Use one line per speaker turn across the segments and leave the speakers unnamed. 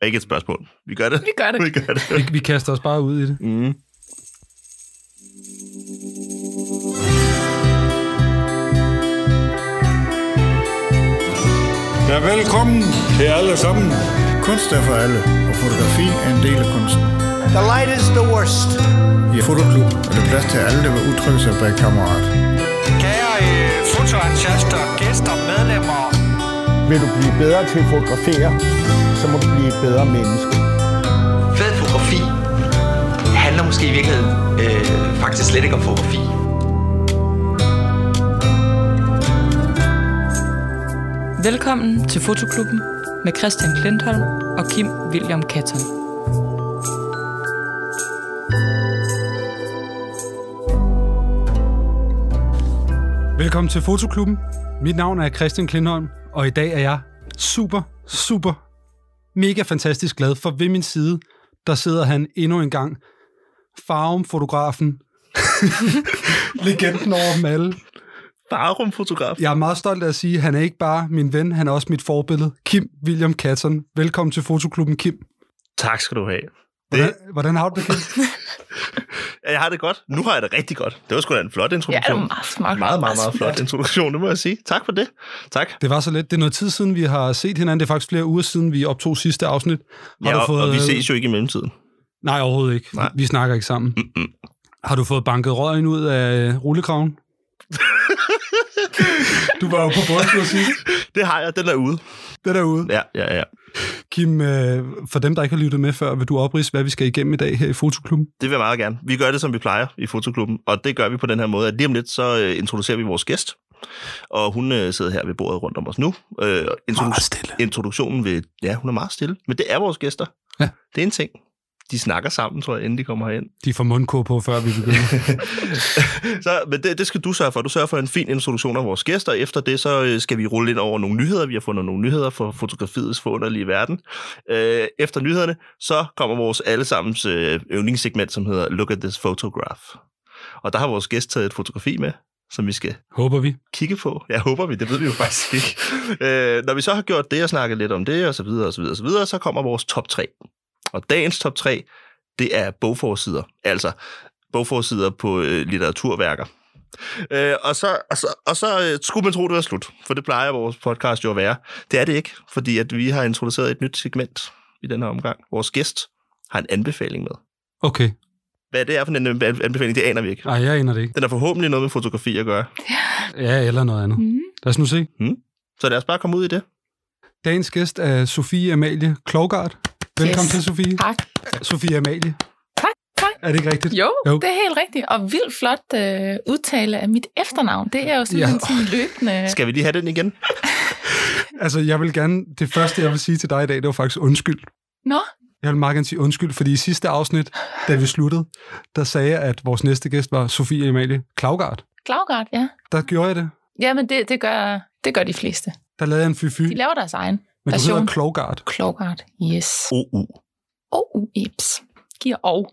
er ikke et spørgsmål. Vi gør det.
Vi gør det.
Vi gør det.
Vi, vi kaster os bare ud i det.
Mm.
Ja, velkommen til alle sammen.
Kunst er for alle, og fotografi er en del af kunsten.
The light is the worst.
I Fotoklub er der plads til alle, der vil udtrykke sig bag kammerat.
Kære øh, fotoentusiaster, gæster, medlemmer.
Vil du blive bedre til at fotografere, så må du blive et bedre menneske.
Fed fotografi handler måske i virkeligheden øh, faktisk slet ikke om fotografi.
Velkommen til Fotoklubben med Christian Klintholm og Kim William Katton.
Velkommen til Fotoklubben. Mit navn er Christian Klindholm, og i dag er jeg super, super, mega fantastisk glad, for ved min side, der sidder han endnu en gang. Farum-fotografen. Legenden over dem alle.
Barum-fotograf.
Jeg er meget stolt af at sige, at han er ikke bare min ven, han er også mit forbillede. Kim William Katton. Velkommen til Fotoklubben, Kim.
Tak skal du have.
Hvordan, hvordan har du det, Kim?
Ja, Jeg har det godt. Nu har jeg det rigtig godt. Det var sgu da en flot
Ja, det
introduktion.
var meget smart.
meget, meget, meget flot introduktion, det må jeg sige. Tak for det. Tak.
Det var så lidt. Det er noget tid siden, vi har set hinanden. Det er faktisk flere uger siden, vi optog sidste afsnit. Har
Ja,
du
og,
fået,
og vi
øh,
ses jo ikke i mellemtiden.
Nej, overhovedet ikke.
Nej.
Nej. Vi snakker ikke sammen. Mm-mm. Har du fået banket røgen ud af øh, rullekraven? du var jo på bunden sidst.
Det har jeg, den er ude.
Det derude.
Ja, ja, ja.
Kim, øh, for dem, der ikke har lyttet med før, vil du oprise, hvad vi skal igennem i dag her i Fotoklubben?
Det vil jeg meget gerne. Vi gør det, som vi plejer i Fotoklubben, og det gør vi på den her måde, at lige om lidt, så øh, introducerer vi vores gæst, og hun øh, sidder her ved bordet rundt om os nu. Øh, og introdu-
stille.
introduktionen ved, ja, hun er meget stille, men det er vores gæster.
Ja.
Det er en ting. De snakker sammen, tror jeg, inden de kommer herind.
De får mundkur på, før vi begynder.
Så, men det, det skal du sørge for. Du sørger for en fin introduktion af vores gæster, og efter det så øh, skal vi rulle ind over nogle nyheder. Vi har fundet nogle nyheder for fotografiets forunderlige verden. Øh, efter nyhederne, så kommer vores allesammens øh, yndlingssegment, som hedder Look at this photograph. Og der har vores gæst taget et fotografi med, som vi skal
Håber vi.
kigge på. Jeg håber vi, det ved vi jo faktisk ikke. Øh, når vi så har gjort det og snakket lidt om det, og så videre, og så videre, og så videre, så kommer vores top 3. Og dagens top 3, det er bogforsider. Altså bogforsider på øh, litteraturværker. Øh, og så, og så, og så øh, skulle man tro, det var slut, for det plejer vores podcast jo at være. Det er det ikke, fordi at vi har introduceret et nyt segment i den her omgang. Vores gæst har en anbefaling med.
Okay.
Hvad det er for en anbe- anbefaling, det aner vi ikke.
Nej, jeg aner det ikke.
Den har forhåbentlig noget med fotografi at gøre.
Ja, eller noget andet.
Mhm.
Lad os nu se.
Så lad os bare komme ud i det.
Dagens gæst er Sofie Amalie Klogart. Velkommen
Yes.
yes. til, Sofie.
Tak.
Sofie Amalie.
Tak, tak.
Er det ikke rigtigt?
Jo,
Jo.
jo, det er helt rigtigt. Og vildt flot øh, udtale af mit efternavn. Det er jo sådan
Ja.
ja. en sådan løbende...
Skal vi lige have den igen?
Altså, jeg vil gerne... Det første, jeg vil sige til dig i dag, det var faktisk undskyld.
Nå,
Jeg vil meget gerne sige undskyld, fordi i sidste afsnit, da vi sluttede, der sagde jeg, at vores næste gæst var Sofie Amalie Klaugart.
Klaugard, ja.
Der gjorde jeg det.
Jamen, det, det, gør, det gør de fleste.
Der lavede jeg en fy-fy,
De laver deres egen
men du hedder
version.
Klaugart.
Klaugard, yes.
OU.
Og oh, uips. Giver og.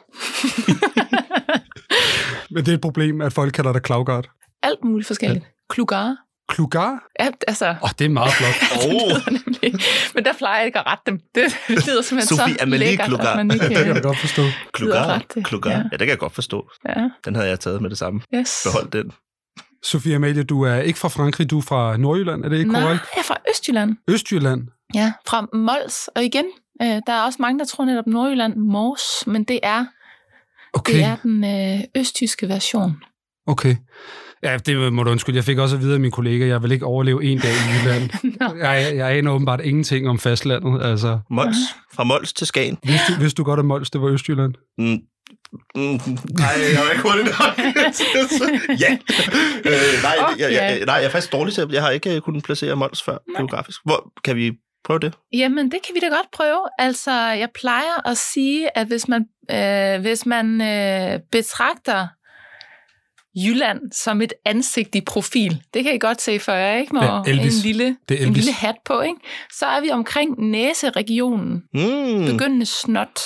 Men det er et problem, at folk kalder dig Klaugart.
Alt muligt forskelligt. Klugar.
Klugar?
Ja, altså,
Åh, oh, det er meget flot.
Det lyder nemlig. Men der plejer jeg ikke at rette dem. Det, det lyder simpelthen
Sofie
så
Amalie
lækkert,
Klugar.
at man ikke...
Det kan jeg da godt forstå.
Klugar.
ret, det.
Klugar. Ja.
Ja.
ja, det kan jeg godt forstå.
Ja,
Den havde jeg taget med det samme.
yes.
Behold den.
Sofie Amalie, du er ikke fra Frankrig, du er fra Nordjylland, er det ikke
Nej,
korrekt?
jeg er fra Østjylland.
Østjylland.
Ja, fra Mols. Og igen, øh, der er også mange, der tror netop Nordjylland Mors, men det er,
Okay,
det er den øh, østtyske version.
okay. Ja, det må du undskylde. Jeg fik også at vide af mine kollegaer, jeg vil ikke overleve en dag i Jylland.
Nå.
Jeg, jeg aner åbenbart ingenting om fastlandet. Altså,
Mols. Fra Mols til Skagen.
vidste, du- vidste du godt, at Mols, det var Østjylland?
Mm. Mm. Nej, jeg var ikke hurtig nok. ja. Øh, nej,
Åh,
jeg, jeg,
ja.
nej, jeg er faktisk dårlig til at... Jeg har ikke øh, kunnet placere Mols før nej. geografisk. Hvor, kan vi prøve det?
Jamen, det kan vi da godt prøve. Altså, jeg plejer at sige, at hvis man, øh, hvis man øh, betragter Jylland som et ansigt i profil, det kan I godt se for jer, ikke? Med
Ja, Elvis.
en, lille,
Det er
en
Elvis.
lille hat på, ikke? Så er vi omkring næseregionen.
Mm.
Begyndende snot.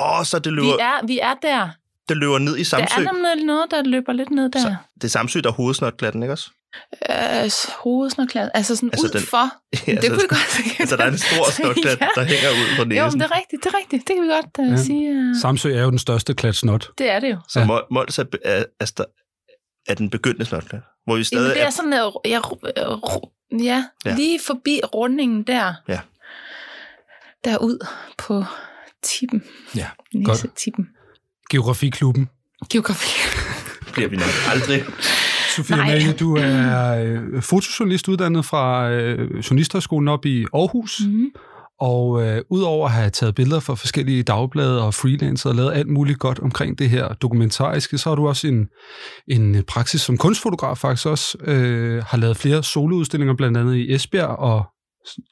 Åh, så det
Vi
løber...
er, vi er der.
der løber ned i
Der
Samsø.
er nemlig noget, der løber lidt ned der.
Så- Det er Samsø, der er hovedsnotklatten, ikke også?
Øh, hovedsnørklæden. Altså sådan altså
Altså den-
ud den, for. Ja, det
altså-
kunne vi godt se.
Altså, der er en stor snotklat,
Ja.
der hænger ud fra
Jo, men
næsen.
det er rigtigt, det er rigtigt. Det kan vi godt uh,
Ja.
ja. sige. Uh,
Samsø er jo den største klat snot.
det er det jo.
Så
Ja.
Mo- Mols er, be- er, er, sta- er den begyndende snotklat. Hvor vi
Jamen,
stadig
det er
er...
sådan noget, ja, ru- øh, ru- ja,
Ja.
ja, lige forbi rundingen der.
Ja.
Derud på tippen.
Ja, godt.
Næsetippen.
Geografiklubben.
Geografi.
bliver vi nok aldrig.
Sofie
Nej.
Amalie, du er øh, fotojournalist uddannet fra øh, Journalisthøjskolen op i Aarhus. Mm.
Mm.
Og øh, udover at have taget billeder fra forskellige dagblade og freelancer og lavet alt muligt godt omkring det her dokumentariske, så har du også en, en praksis som kunstfotograf faktisk også. Øh, har lavet flere soloudstillinger, blandt andet i Esbjerg og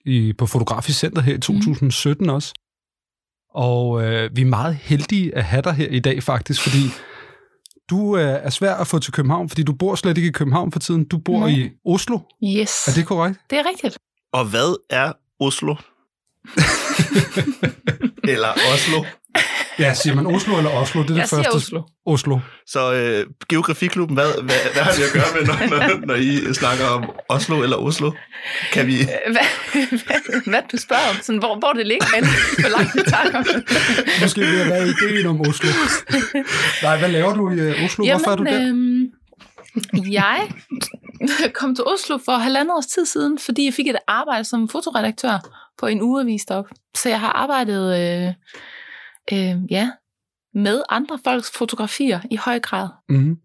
i, på Fotografisk Center her i 2017 mm. også. Og øh, vi er meget heldige at have dig her i dag faktisk, fordi du øh, er svær at få til København, fordi du bor slet ikke i København for tiden. Du bor
Nej.
i Oslo.
Yes,
Er det korrekt?
det er rigtigt.
Og hvad er Oslo? Eller Oslo.
Ja, siger man Oslo eller Oslo? Det er
Jeg
det
siger
første.
Oslo.
Oslo.
Så øh, Geografiklubben, hvad, hvad, hvad har det at gøre med, når, når, når I snakker om Oslo eller Oslo? Kan vi...
Hvad, hvad, hvad du spørger om, sådan, hvor, hvor det ligger henne, hvor langt det tager.
Måske vil jeg være ideen om Oslo. Nej, hvad laver du i øh, Oslo? Hvorfor er du der?
Øhm, jeg kom til Oslo for halvandet års tid siden, fordi jeg fik et arbejde som fotoredaktør på en ugeavis deroppe. Så jeg har arbejdet øh, øh, ja, med andre folks fotografier i høj grad.
Mm-hmm.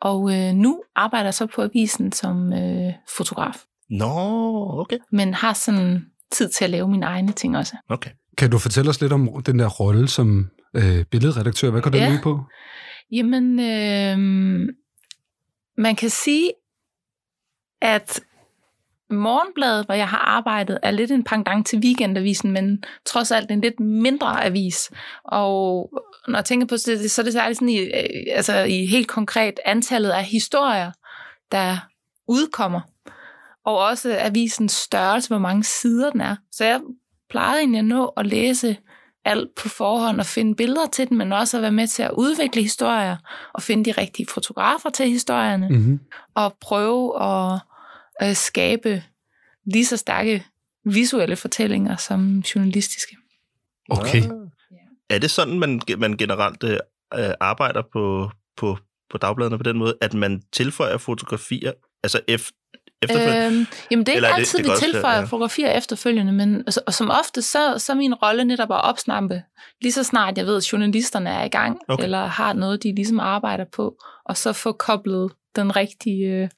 Og øh, nu arbejder jeg så på avisen som øh, fotograf,
Nå, okay.
men har sådan tid til at lave mine egne ting også.
okay.
Kan du fortælle os lidt om den der rolle som øh, billedredaktør? Hvad går den
Ja.
ud på?
Jamen, øh, man kan sige, at Morgenbladet, hvor jeg har arbejdet, er lidt en pendant til Weekendavisen, men trods alt en lidt mindre avis. Og når jeg tænker på det, så er det særligt sådan i, øh, altså i helt konkret antallet af historier, der udkommer. Og også avisens størrelse, hvor mange sider den er. Så jeg plejede egentlig at nå at læse alt på forhånd og finde billeder til den, men også at være med til at udvikle historier og finde de rigtige fotografer til historierne
Mm-hmm.
og prøve at øh, skabe lige så stærke visuelle fortællinger som journalistiske.
Okay.
Er det sådan, man, man generelt øh, øh, arbejder på, på, på dagbladene på den måde, at man tilføjer fotografier, altså ef, efterfølgende? Øh,
Øhm, jamen, det er
Eller
ikke
er det-
altid,
det
vi
kan også være-
tilføjer
ja.
fotografier efterfølgende, men altså, og som ofte, så, så er min rolle netop at opsnappe, lige så snart jeg ved, at journalisterne er i gang,
Okay.
okay. eller har noget, de ligesom arbejder på, og så få koblet den rigtige øh,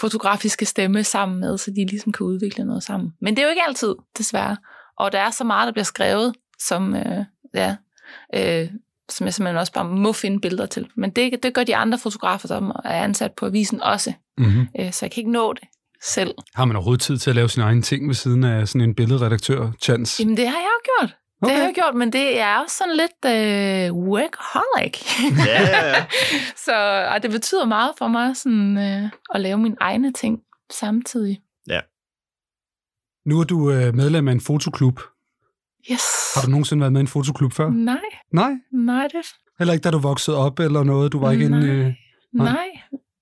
fotografiske stemme sammen med, så de ligesom kan udvikle noget sammen. Men det er jo ikke altid, desværre. Og der er så meget, der bliver skrevet, som, øh, ja, øh, som jeg simpelthen også bare må finde billeder til. Men det, det gør de andre fotografer, som er ansat på avisen også.
Mm-hmm.
Øh, så jeg kan ikke nå det selv.
Har man overhovedet tid til at lave sin egen ting ved siden af sådan en billedredaktør chance?
Jamen, det har jeg jo gjort. Okay. Det har jeg gjort, men det er også sådan lidt øh, workaholic.
ja, ja, ja.
så og det betyder meget for mig sådan, øh, at lave mine egne ting samtidig.
Nu er du øh, medlem af en fotoklub.
Yes.
Har du nogensinde været med i en fotoklub før? Mm.
Nej,
Nej.
nej, det
Heller ikke da du voksede op eller noget? Du var ikke en...
Nej.
Øh... Nej.
Nej. Nej,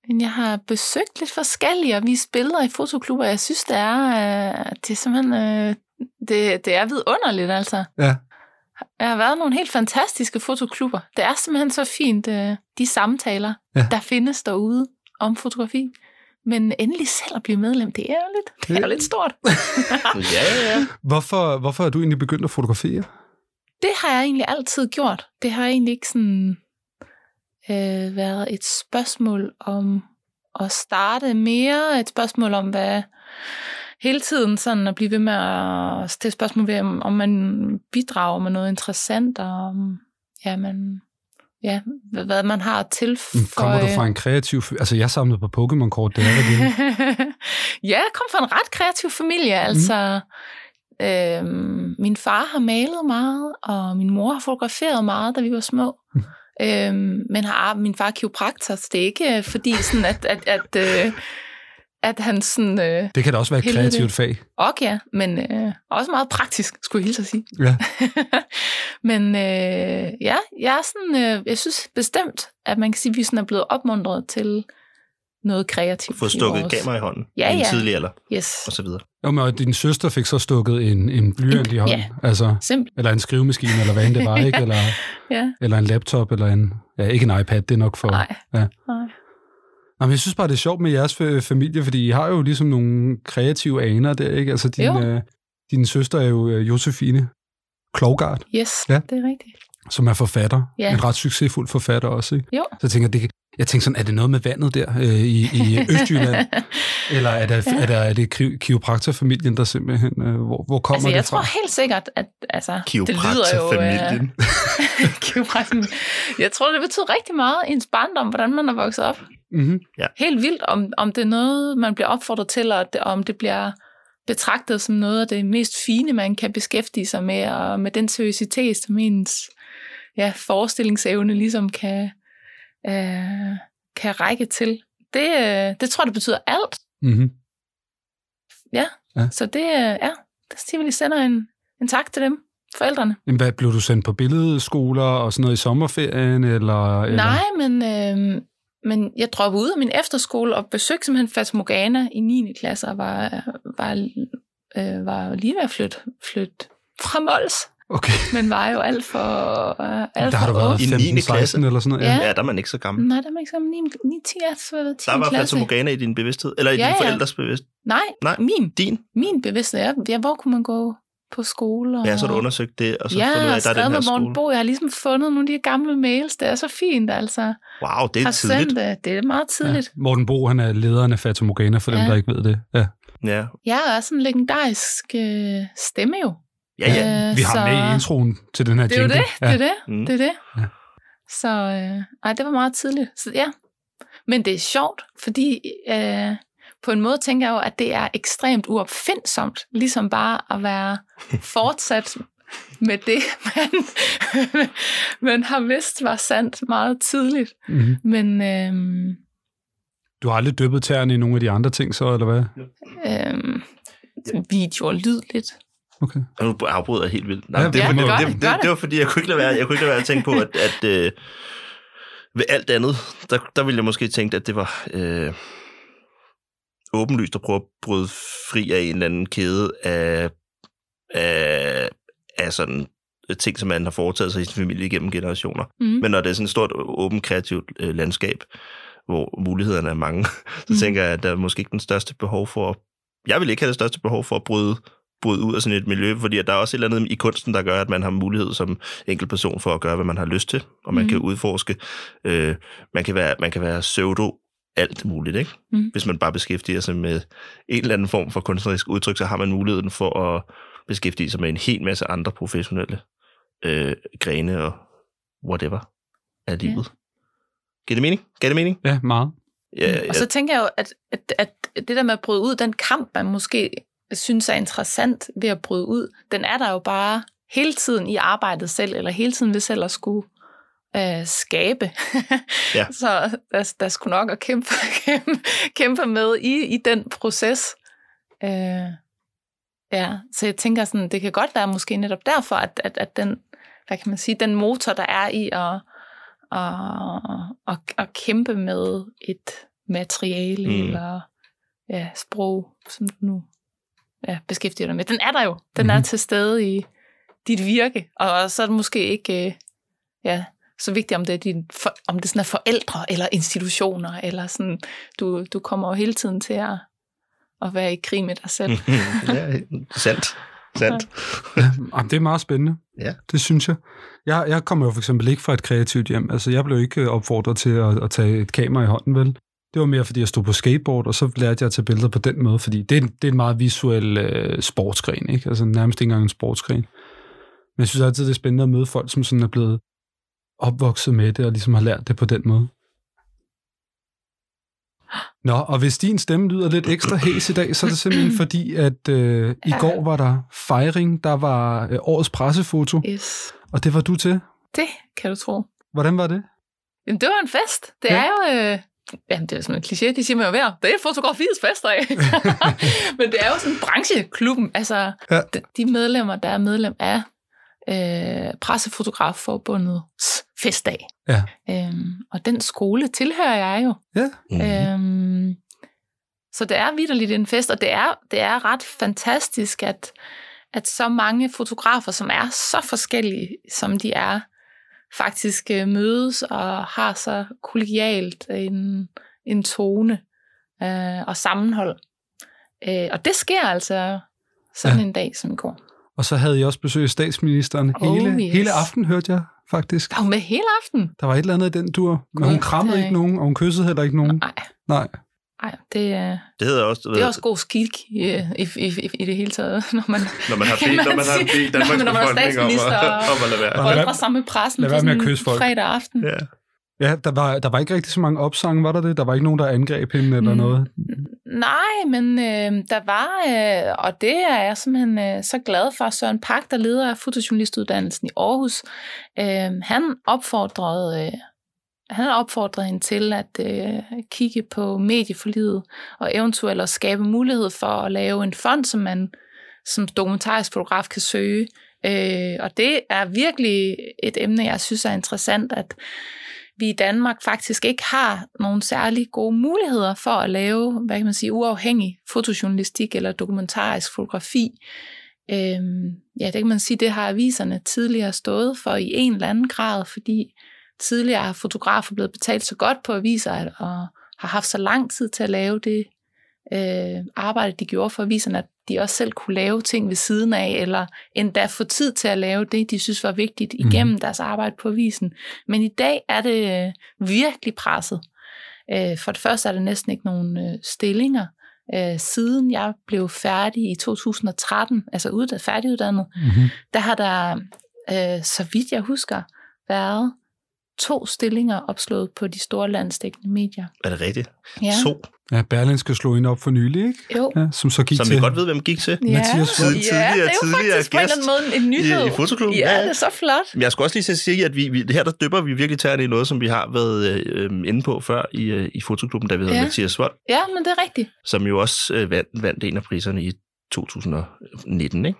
men jeg har besøgt lidt forskellige, og vi spiller i fotoklubber. Jeg synes, det er, øh, det er simpelthen øh, det, det er vidunderligt, altså.
Ja.
Jeg har været i nogle helt fantastiske fotoklubber. Det er simpelthen så fint, øh, de samtaler,
Ja.
ja. der findes derude om fotografi. Men endelig selv at blive medlem, det er jo lidt, det er jo lidt stort.
ja, ja, ja.
Hvorfor, hvorfor er du egentlig begyndt at fotografere?
Det har jeg egentlig altid gjort. Det har egentlig ikke sådan øh, været et spørgsmål om at starte mere. Et spørgsmål om, hvad hele tiden sådan at blive ved med at stille spørgsmål ved, om om man bidrager med noget interessant, og om, ja, man, ja, hvad, hvad man har at
Men
tilføje.
Kommer du fra en kreativ... f- Altså, jeg samlede på Pokémon-kort, det er der lille.
ja, jeg kom fra en ret kreativ familie.
Mhm.
Altså, mm. øhm, min far har malet meget, og min mor har fotograferet meget, da vi var små.
Mhm.
Mm. Øhm, men har, min far er kiropraktor, så det er ikke øh, fordi, sådan, at, at, at, øh, at han sådan... Øh,
Det kan da også være et
Helvede.
kreativt fag.
og ja, men øh, også meget praktisk, skulle jeg hilse at sige.
Ja.
Men øh, ja, jeg, er sådan, øh, jeg synes bestemt, at man kan sige, at vi sådan er blevet opmuntret til noget kreativt.
Få
i
stukket
vores-
gamer i hånden
Ja,
i en
ja.
tidlig alder,
Yes,
og så videre.
Jo, men og din søster fik så stukket en, en blyant i hånden.
ja.
Altså,
simpelthen.
eller en skrivemaskine, eller hvad end det var, ikke? Eller,
Ja.
eller en laptop, eller en... Ja, ikke en iPad, det er nok for...
Nej.
Ja.
Nej.
Nå, men jeg synes bare, det er sjovt med jeres fa- familie, fordi I har jo ligesom nogle kreative aner der, ikke? Altså, din,
Jo.
øh, din søster er jo øh, Josefine Klogart,
Yes,
Ja.
ja. det er rigtigt.
som er forfatter.
Ja.
En ret succesfuld forfatter også, ikke?
Jo.
Så jeg tænker, det, jeg tænker sådan, er det noget med vandet der øh, i, i Østjylland? eller er det, er det, er det ki- kiropraktorfamilien, der simpelthen... Øh, hvor, hvor kommer
altså, jeg
det fra?
tror helt sikkert, at altså, det lyder jo...
Kiropraktorfamilien. Øh...
øh, kiropraktor. jeg tror, det betyder rigtig meget i ens barndom, hvordan man er vokset op.
Mm-hmm.
Helt vildt, om, om det er noget, man bliver opfordret til, og det, om det bliver betragtet som noget af det mest fine, man kan beskæftige sig med, og med den seriøsitet, som ens ja, forestillingsevne ligesom kan, øh, kan række til. Det, øh, det tror jeg, det betyder alt.
Mm-hmm.
Så det, øh, ja, det siger vi lige sender en, en tak til dem, forældrene.
Jamen, hvad, blev du sendt på billedskoler og sådan noget i sommerferien? Eller, eller?
Nej, men, øh, men jeg droppede ud af min efterskole og besøgte simpelthen Fatamorgana i 9. klasse og var, var, øh, var lige ved at flytte, flytte fra Mols,
Okay,
men var jo alt for, øh, alt
der har
for
du været
I
15,
9.
16
klasse.
eller sådan noget.
Ja.
Ja, der er man ikke så gammel.
Nej, der var ikke sammen 9, 9 10, så var det 10.
Der var
klasse.
Fatamorgana i din bevidsthed, eller i
Ja,
dine
ja.
forældres bevidsthed.
Nej,
Nej.
Nej, min,
Din?
min bevidsthed er, ja, hvor kunne man gå på skole? Og,
Ja, så har du undersøgt det, og så
ja,
fundet ud af,
og
at der er
skrevet
den her
med Morten
skole.
Bo. Jeg har ligesom fundet nogle af de her gamle mails. Det er så fint, altså.
Wow, det er
har
tidligt.
sendt øh, det. Det er meget tidligt.
Ja. Morten Bo, han er lederen af Fatomogana, for ja. dem,
Ja.
der ikke ved det. Ja.
Ja,
Jeg er også en legendarisk øh, stemme jo.
ja, ja.
Øh,
Vi har
så-
med i introen til den her
Det er jo
jingle.
det, det
Ja.
er det,
Mm.
det er det.
Ja.
Så øh, ej, det var meget tidligt. Så ja. Men det er sjovt, fordi øh, på en måde tænker jeg jo, at det er ekstremt uopfindsomt, ligesom bare at være fortsat med det, man, man har vidst var sandt meget tidligt.
Mm-hmm.
Men øhm,
Du har aldrig dyppet tæerne i nogle af de andre ting så, eller hvad?
øhm, video og lyd lidt.
Okay.
Og nu afbryder jeg helt vildt. Nej,
Ja,
ja, det,
ja,
var,
gør
det,
det,
det,
gør
det,
det.
det var fordi, jeg kunne ikke lade være, jeg kunne ikke lade være at tænke på, at, at øh, ved alt andet, der, der ville jeg måske tænke, at det var øh, åbenlyst at prøve at bryde fri af en eller anden kæde af, af, af sådan ting, som man har foretaget sig i sin familie gennem generationer.
Mm.
Men når det er sådan et stort, åbent, kreativt øh, landskab, hvor mulighederne er mange, så
Mm.
tænker jeg, at der er måske ikke den største behov for... at- Jeg vil ikke have det største behov for at bryde, bryde ud af sådan et miljø, fordi at der er også et eller andet i kunsten, der gør, at man har mulighed som enkelt person for at gøre, hvad man har lyst til, og man mm.
Mm.
kan udforske. Øh, man, kan være, man kan være pseudo alt muligt, ikke?
Mm.
Hvis man bare beskæftiger sig med en eller anden form for kunstnerisk udtryk, så har man muligheden for at beskæftige sig med en hel masse andre professionelle øh, grene og whatever af
Ja.
livet. Giver det mening? Giver det mening?
Ja, meget.
Ja, ja.
Mm. Og så tænker jeg jo, at, at, at det der med at bryde ud, den kamp, man måske synes er interessant ved at bryde ud, den er der jo bare hele tiden i arbejdet selv, eller hele tiden ved selv at skulle øh, skabe.
Ja.
Så der, der skulle nok at kæmpe, kæmpe, kæmpe med i, i den proces. Øh, ja, så jeg tænker sådan, det kan godt være måske netop derfor, at, at, at den, hvad kan man sige, den motor, der er i at, at, at, at kæmpe med et materiale
Mm.
mm. eller ja, sprog, som du nu ja, beskæftiger dig med. Den er der jo. Den mm. er
Mhm.
til stede i dit virke, og så er det måske ikke øh, ja, så vigtigt, om det er, din for, om det sådan er forældre eller institutioner. Eller sådan. Du, du kommer jo hele tiden til at, at være i krig med dig selv.
ja, sandt. Sandt.
Jamen, det er meget spændende.
Ja.
Det synes jeg. jeg. Jeg kommer jo for eksempel ikke fra et kreativt hjem. Altså, jeg blev ikke øh, opfordret til at, at tage et kamera i hånden, vel? Det var mere, fordi jeg stod på skateboard, og så lærte jeg at tage billeder på den måde, fordi det er, en- det er en meget visuel øh, sportsgren, ikke? Altså nærmest ikke engang en sportsgren. Men jeg synes altid, det er spændende at møde folk, som sådan er blevet opvokset med det, og ligesom har lært det på den måde. Nå, og hvis din stemme lyder lidt ekstra hæs i dag, så er det simpelthen fordi, at øh, i
Ja.
går var der fejring, der var øh, årets pressefoto,
Yes.
og det var du til.
Det kan du tro.
Hvordan var det?
Jamen, det var en fest. Det
Ja.
ja. er jo... Øh, jamen, det er jo sådan en kliché, de siger man jo hver. Det er fotografiets fester af. Men det er jo sådan brancheklubben. Altså,
Ja.
ja. de medlemmer, der er medlem af øh, Pressefotografforbundets festdag.
Ja.
Øhm, og den skole tilhører jeg jo.
Ja.
Mhm.
Øhm, så det er vidderligt en fest, og det er, det er ret fantastisk, at, at så mange fotografer, som er så forskellige, som de er, faktisk øh, mødes og har så kollegialt en, en tone øh, og sammenhold. Øh, og det sker altså sådan
Ja.
ja. en dag som i går.
Og så havde jeg også besøg af statsministeren
Oh,
hele,
yes.
hele aften, hørte jeg faktisk.
Og med hele aften.
Der var et eller andet i den dur, men hun
Gud,
krammede
nej.
ikke nogen, og hun kyssede heller ikke nogen.
Nej,
Nej.
nej, det er...
Det hedder også,
Det er også god skik i, i, i, i det hele taget, når man
når man har
kan
bedt,
man
når man har
sige-
bedt
Nå, men
Danmarks
når man er
befolkning om,
statsminister
at-
og-
om at lade være.
Og lad
rødder
være-
sammen med pressen
lad
på
være med at
sådan en
kysse folk.
fredag aften.
Ja.
Ja, der var, der var ikke rigtig så mange opsange, var der det? Der var ikke nogen, der angreb hende eller
Mm.
noget.
Nej, men øh, der var, øh, og det er jeg simpelthen øh, så glad for, Søren Pak, der leder af fotojournalistuddannelsen i Aarhus, øh, han opfordrede... Øh, han opfordrede hende til at øh, kigge på medieforlivet og eventuelt at skabe mulighed for at lave en fond, som man som dokumentarisk fotograf kan søge. Øh, og det er virkelig et emne, jeg synes er interessant, at vi i Danmark faktisk ikke har nogle særlig gode muligheder for at lave, hvad kan man sige, uafhængig fotojournalistik eller dokumentarisk fotografi. Øhm, ja, det kan man sige, det har aviserne tidligere stået for i en eller anden grad, fordi tidligere har fotografer blevet betalt så godt på aviser at- og har haft så lang tid til at lave det øh, arbejde, de gjorde for aviserne, at de også selv kunne lave ting ved siden af, eller endda få tid til at lave det, de synes var vigtigt igennem mm. deres arbejde på avisen. Men i dag er det øh, virkelig presset. Øh, for det første er der næsten ikke nogen øh, stillinger. Øh, siden jeg blev færdig i 2013, altså ud, færdiguddannet,
Mhm.
Mm-hmm.
der har der, øh, så vidt jeg husker, været to stillinger opslået på de store landstækkende medier.
Er det rigtigt? To,
Ja, Berlinske slog hende op for nylig, ikke?
Jo.
Ja, som så gik
som vi
til...
godt ved, hvem gik til.
Ja,
Mathias Svend.
ja, det er jo
Tidligere-
faktisk på en eller anden måde en nyhed.
I, i fotoklubben.
Ja, det er så flot.
Men jeg skulle også lige til at sige, at vi, vi, her der døber vi virkelig tæerne i noget, som vi har været øh, øh, inde på før i, øh, i fotoklubben, da vi havde ja.
Ja.
Mathias Vold,
Ja, men det er rigtigt.
som jo også øh, vandt, vandt en af priserne i 2019, ikke?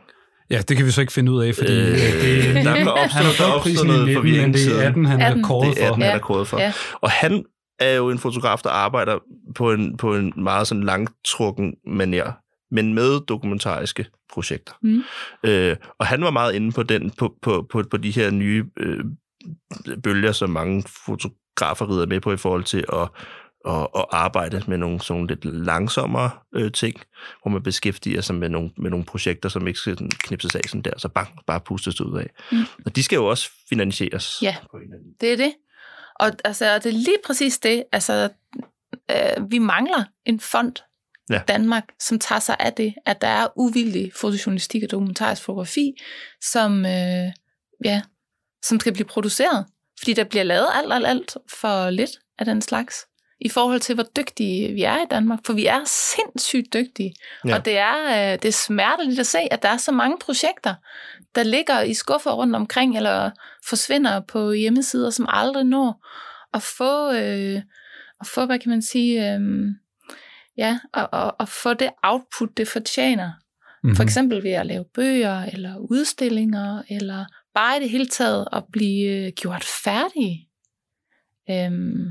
Ja, det kan vi så ikke finde ud af, fordi... Øh, det,
der blev
han har
opstået, der
fået
opstået
prisen i
noget
19, men
forvirring
det er
siden.
18, han er
18.
kåret
Det er
for.
18, han er
Ja.
kodet for.
Ja.
Og han er jo en fotograf, der arbejder på en, på en meget sådan langtrukken manier, men med dokumentariske projekter.
Mm.
Øh, og han var meget inde på, den, på, på, på, på de her nye øh, bølger, som mange fotografer rider med på i forhold til at, at, at arbejde med nogle sådan lidt langsommere øh, ting, hvor man beskæftiger sig med nogle, med nogle projekter, som ikke skal sådan knipses af sådan der, så bang, bare pustes ud af.
Mm.
Og de skal jo også finansieres.
Ja.
På en eller anden
Det er det. Og altså, og det er lige præcis det. Altså, øh, vi mangler en fond i
Ja.
Danmark, som tager sig af det, at der er uvildig fotojournalistik og dokumentarisk fotografi, som, øh, ja, som skal blive produceret. Fordi der bliver lavet alt, alt, alt for lidt af den slags i forhold til, hvor dygtige vi er i Danmark. For vi er sindssygt dygtige.
Ja.
Ja. Og det er, øh, det er smerteligt at se, at der er så mange projekter, der ligger i skuffer rundt omkring, eller forsvinder på hjemmesider, som aldrig når at få, øh, at få hvad kan man sige, øh, ja, og, og, og få det output, det fortjener.
Mm-hmm.
For eksempel ved at lave bøger, eller udstillinger, eller bare i det hele taget at blive øh, gjort færdig. Øhm,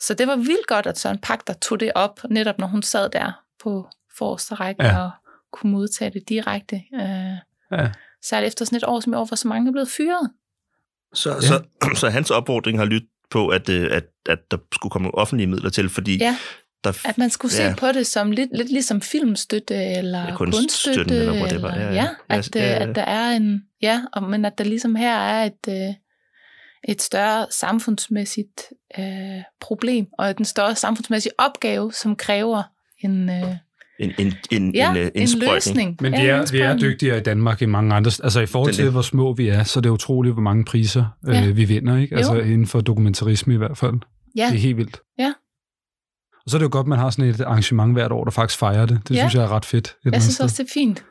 så det var vildt godt, at Søren Pak, der tog det op, netop når hun sad der på forreste række
Ja.
ja. og kunne modtage det direkte. Øh,
Ja.
Særligt efter sådan et år som i år, hvor så mange er blevet fyret.
Så, ja. så, så hans opfordring har lyttet på, at, øh, at, at der skulle komme offentlige midler til, fordi
Ja.
der...
At man skulle se
Ja.
på det som lidt, lidt ligesom filmstøtte eller
Ja,
ja,
kunststøtten
kunststøtte.
eller whatever. Ja, ja.
ja,
Ja,
ja, at,
ja,
ja,
ja.
at der er en... Ja, og, men at der ligesom her er et, øh, et større samfundsmæssigt øh, problem, og en større samfundsmæssig opgave, som kræver en, øh,
en, en, en,
ja,
en, øh,
en, en
indsprøjtning.
løsning.
Men
Ja,
vi er,
en
vi er
indsprøjtning.
dygtigere i Danmark end mange andre. Altså i forhold
Det er
til,
det.
hvor små vi er, så er det utroligt, hvor mange priser øh,
Ja.
vi vinder. Ikke? Altså
Jo.
inden for dokumentarisme i hvert fald.
Ja,
Det er helt vildt.
Ja.
Og så er det jo godt, man har sådan et arrangement hvert år, der faktisk fejrer det. Det
Ja.
synes jeg er ret fedt. et eller
Jeg synes
andet
også, det er fint.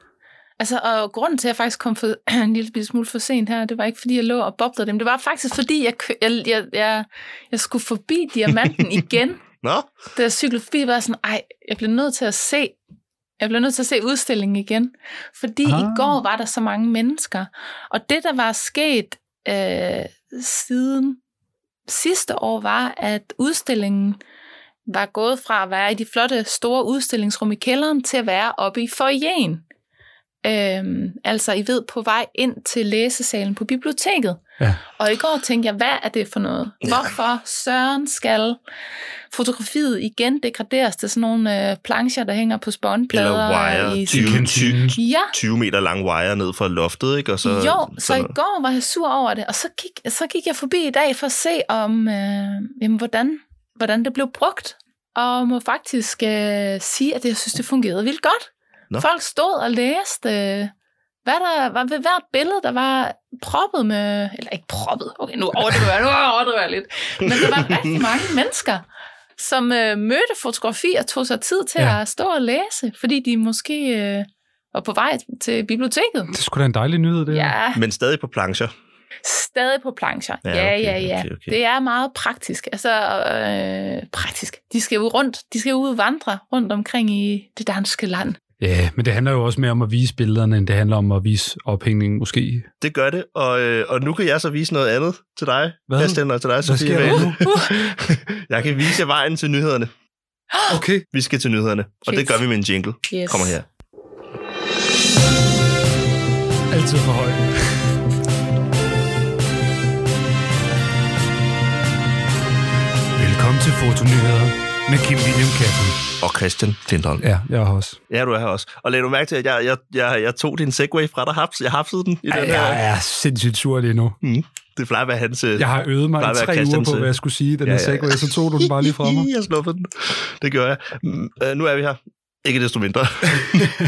Altså, og grunden til, at jeg faktisk kom for, en lille bitte smule for sent her, det var ikke, fordi jeg lå og boblede dem. Det var faktisk, fordi jeg, kø- jeg, jeg, jeg, jeg skulle forbi diamanten igen.
Nå,
da jeg cyklede forbi, var jeg sådan, ej, jeg bliver nødt til at se Jeg blev nødt til at se udstillingen igen, fordi ah. i
Ah.
går var der så mange mennesker. Og det, der var sket øh, siden sidste år, var, at udstillingen var gået fra at være i de flotte store udstillingsrum i kælderen til at være oppe i foyeren. Øhm, altså, I ved, på vej ind til læsesalen på biblioteket.
Ja.
Og i går tænkte jeg, hvad er det for noget? Hvorfor Søren skal fotografiet igen degraderes til sådan nogle øh, plancher, der hænger på
Eller
spånplader?
wire,
i...
20, 20,
Ja,
20 meter lang wire ned fra loftet, ikke? Og så,
så, jo, så, så i
sådan-
går var jeg sur over det, og så gik, så gik jeg forbi i dag for at se, om øh, jamen, hvordan, hvordan det blev brugt. Og må faktisk øh, sige, at jeg synes, det fungerede vildt godt.
Nå.
Nå. Folk stod og læste, øh, hvad der var ved hvert billede, der var proppet med... Eller ikke proppet, okay, nu overdriver jeg, nu overdriver jeg lidt. Men der var rigtig mange mennesker, som øh, mødte fotografi og tog sig tid til
Ja.
ja. at stå og læse, fordi de måske øh, var på vej til biblioteket.
Det er sgu da en dejlig nyhed, det her.
Ja,
Men stadig på plancher.
Stadig på plancher.
Ja,
Ja, ja,
okay,
ja. ja.
okay, okay.
Det er meget praktisk. Altså, øh, praktisk. De skal jo rundt. De skal jo ud og vandre rundt omkring i det danske land.
Ja, men det handler jo også mere om at vise billederne, end det handler om at vise ophængningen måske.
Det gør det, og, øh, og nu kan jeg så vise noget andet til dig.
Hvad?
Jeg stiller til dig,
Hvad
Sofie.
sker der nu?
jeg kan vise jer vejen til nyhederne.
Okay.
Vi skal til nyhederne, og det
Fedt.
gør vi med en jingle.
Yes.
Kommer her.
Altid for højt. Velkommen til Fotonyheder med Kim William Katten.
Og Christian Klintholm.
Ja, jeg har også.
Ja, du er her også. Og lad du mærke til, at jeg, jeg, jeg, jeg tog din segway fra dig. Haps, jeg hapsede den i den her.
Jeg er sindssygt sur lige nu.
Det plejer at være hans... øh,
Jeg har øvet mig
Bare
i
være
tre uger
Christians,
på,
øh,
hvad jeg skulle sige i den
ja,
her
ja.
segway, så tog du den bare lige fra mig.
Jeg snuffede den. Det gjorde jeg. Mm, øh, nu er vi her. Ikke desto mindre.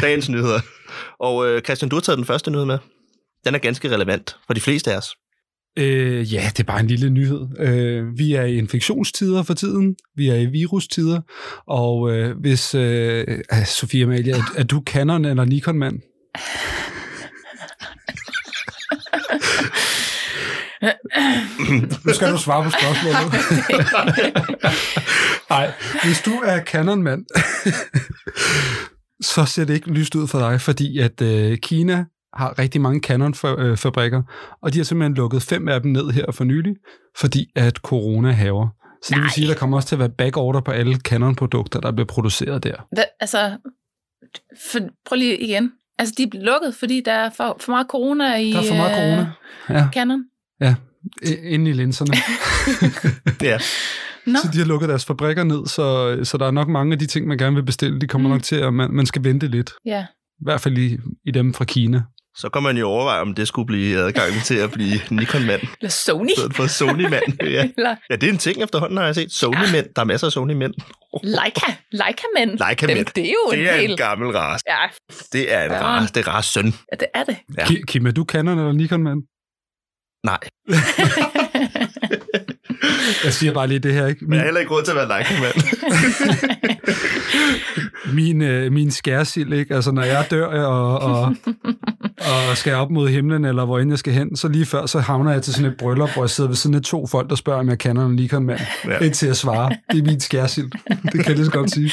Dagens nyheder. Og øh, Christian, du har taget den første nyhed med. Den er ganske relevant for de fleste af os.
Øh, ja, det er bare en lille nyhed. Øh, vi er i infektionstider for tiden, vi er i virustider, og øh, hvis, øh, ah, Sofie Amalie, er, er du Canon eller Nikon-mand? nu skal du svare på spørgsmålet. Nej, hvis du er Canon-mand, så ser det ikke lyst ud for dig, fordi at øh, Kina har rigtig mange Canon-fabrikker, og de har simpelthen lukket fem af dem ned her for nylig, fordi at corona haver. Så det vil sige, at der kommer også til at være backorder på alle Canon-produkter, der bliver produceret der.
Hvad, altså, for, prøv lige igen. Altså, de er lukket, fordi der er for, for meget corona i...
Der er for meget corona. Ja,
Øh, Canon.
i- inde i linserne.
Ja.
Nå,
Så de har lukket deres fabrikker ned, så, så der er nok mange af de ting, man gerne vil bestille, de kommer
Mm.
nok til, at man, man skal vente lidt.
ja.
I hvert fald i, i dem fra Kina.
Så kan man jo overveje, om det skulle blive adgangen til at blive Nikon-mand, i
Eller Sony.
stedet for Sony-mand. Ja.
Eller
ja, det er en ting efterhånden, har jeg set. Sony-mænd. Der er masser af Sony-mænd.
Leica. Leica-mænd.
Leica-mænd.
Dem, Det er jo
Det er
en
en
hel...
gammel ras.
Ja,
Det er en
Ja.
ras. Det er ras søn.
ja, det er det.
Ja.
Ja. Kim, er du Canon eller Nikon-mand?
Nej.
Jeg siger bare lige det her, ikke?
Men
Min,
jeg har heller ikke råd til at være Leica-mand.
min, øh, min skærsild, ikke? Altså, når jeg dør og, og, og skal op mod himlen, eller hvor end jeg skal hen, så lige før, så havner jeg til sådan et bryllup, hvor jeg sidder ved sådan et to folk, der spørger, om jeg kender en Nikon mand,
Ja.
ja. indtil jeg svarer, det er min skærsild. Det kan jeg lige så godt sige.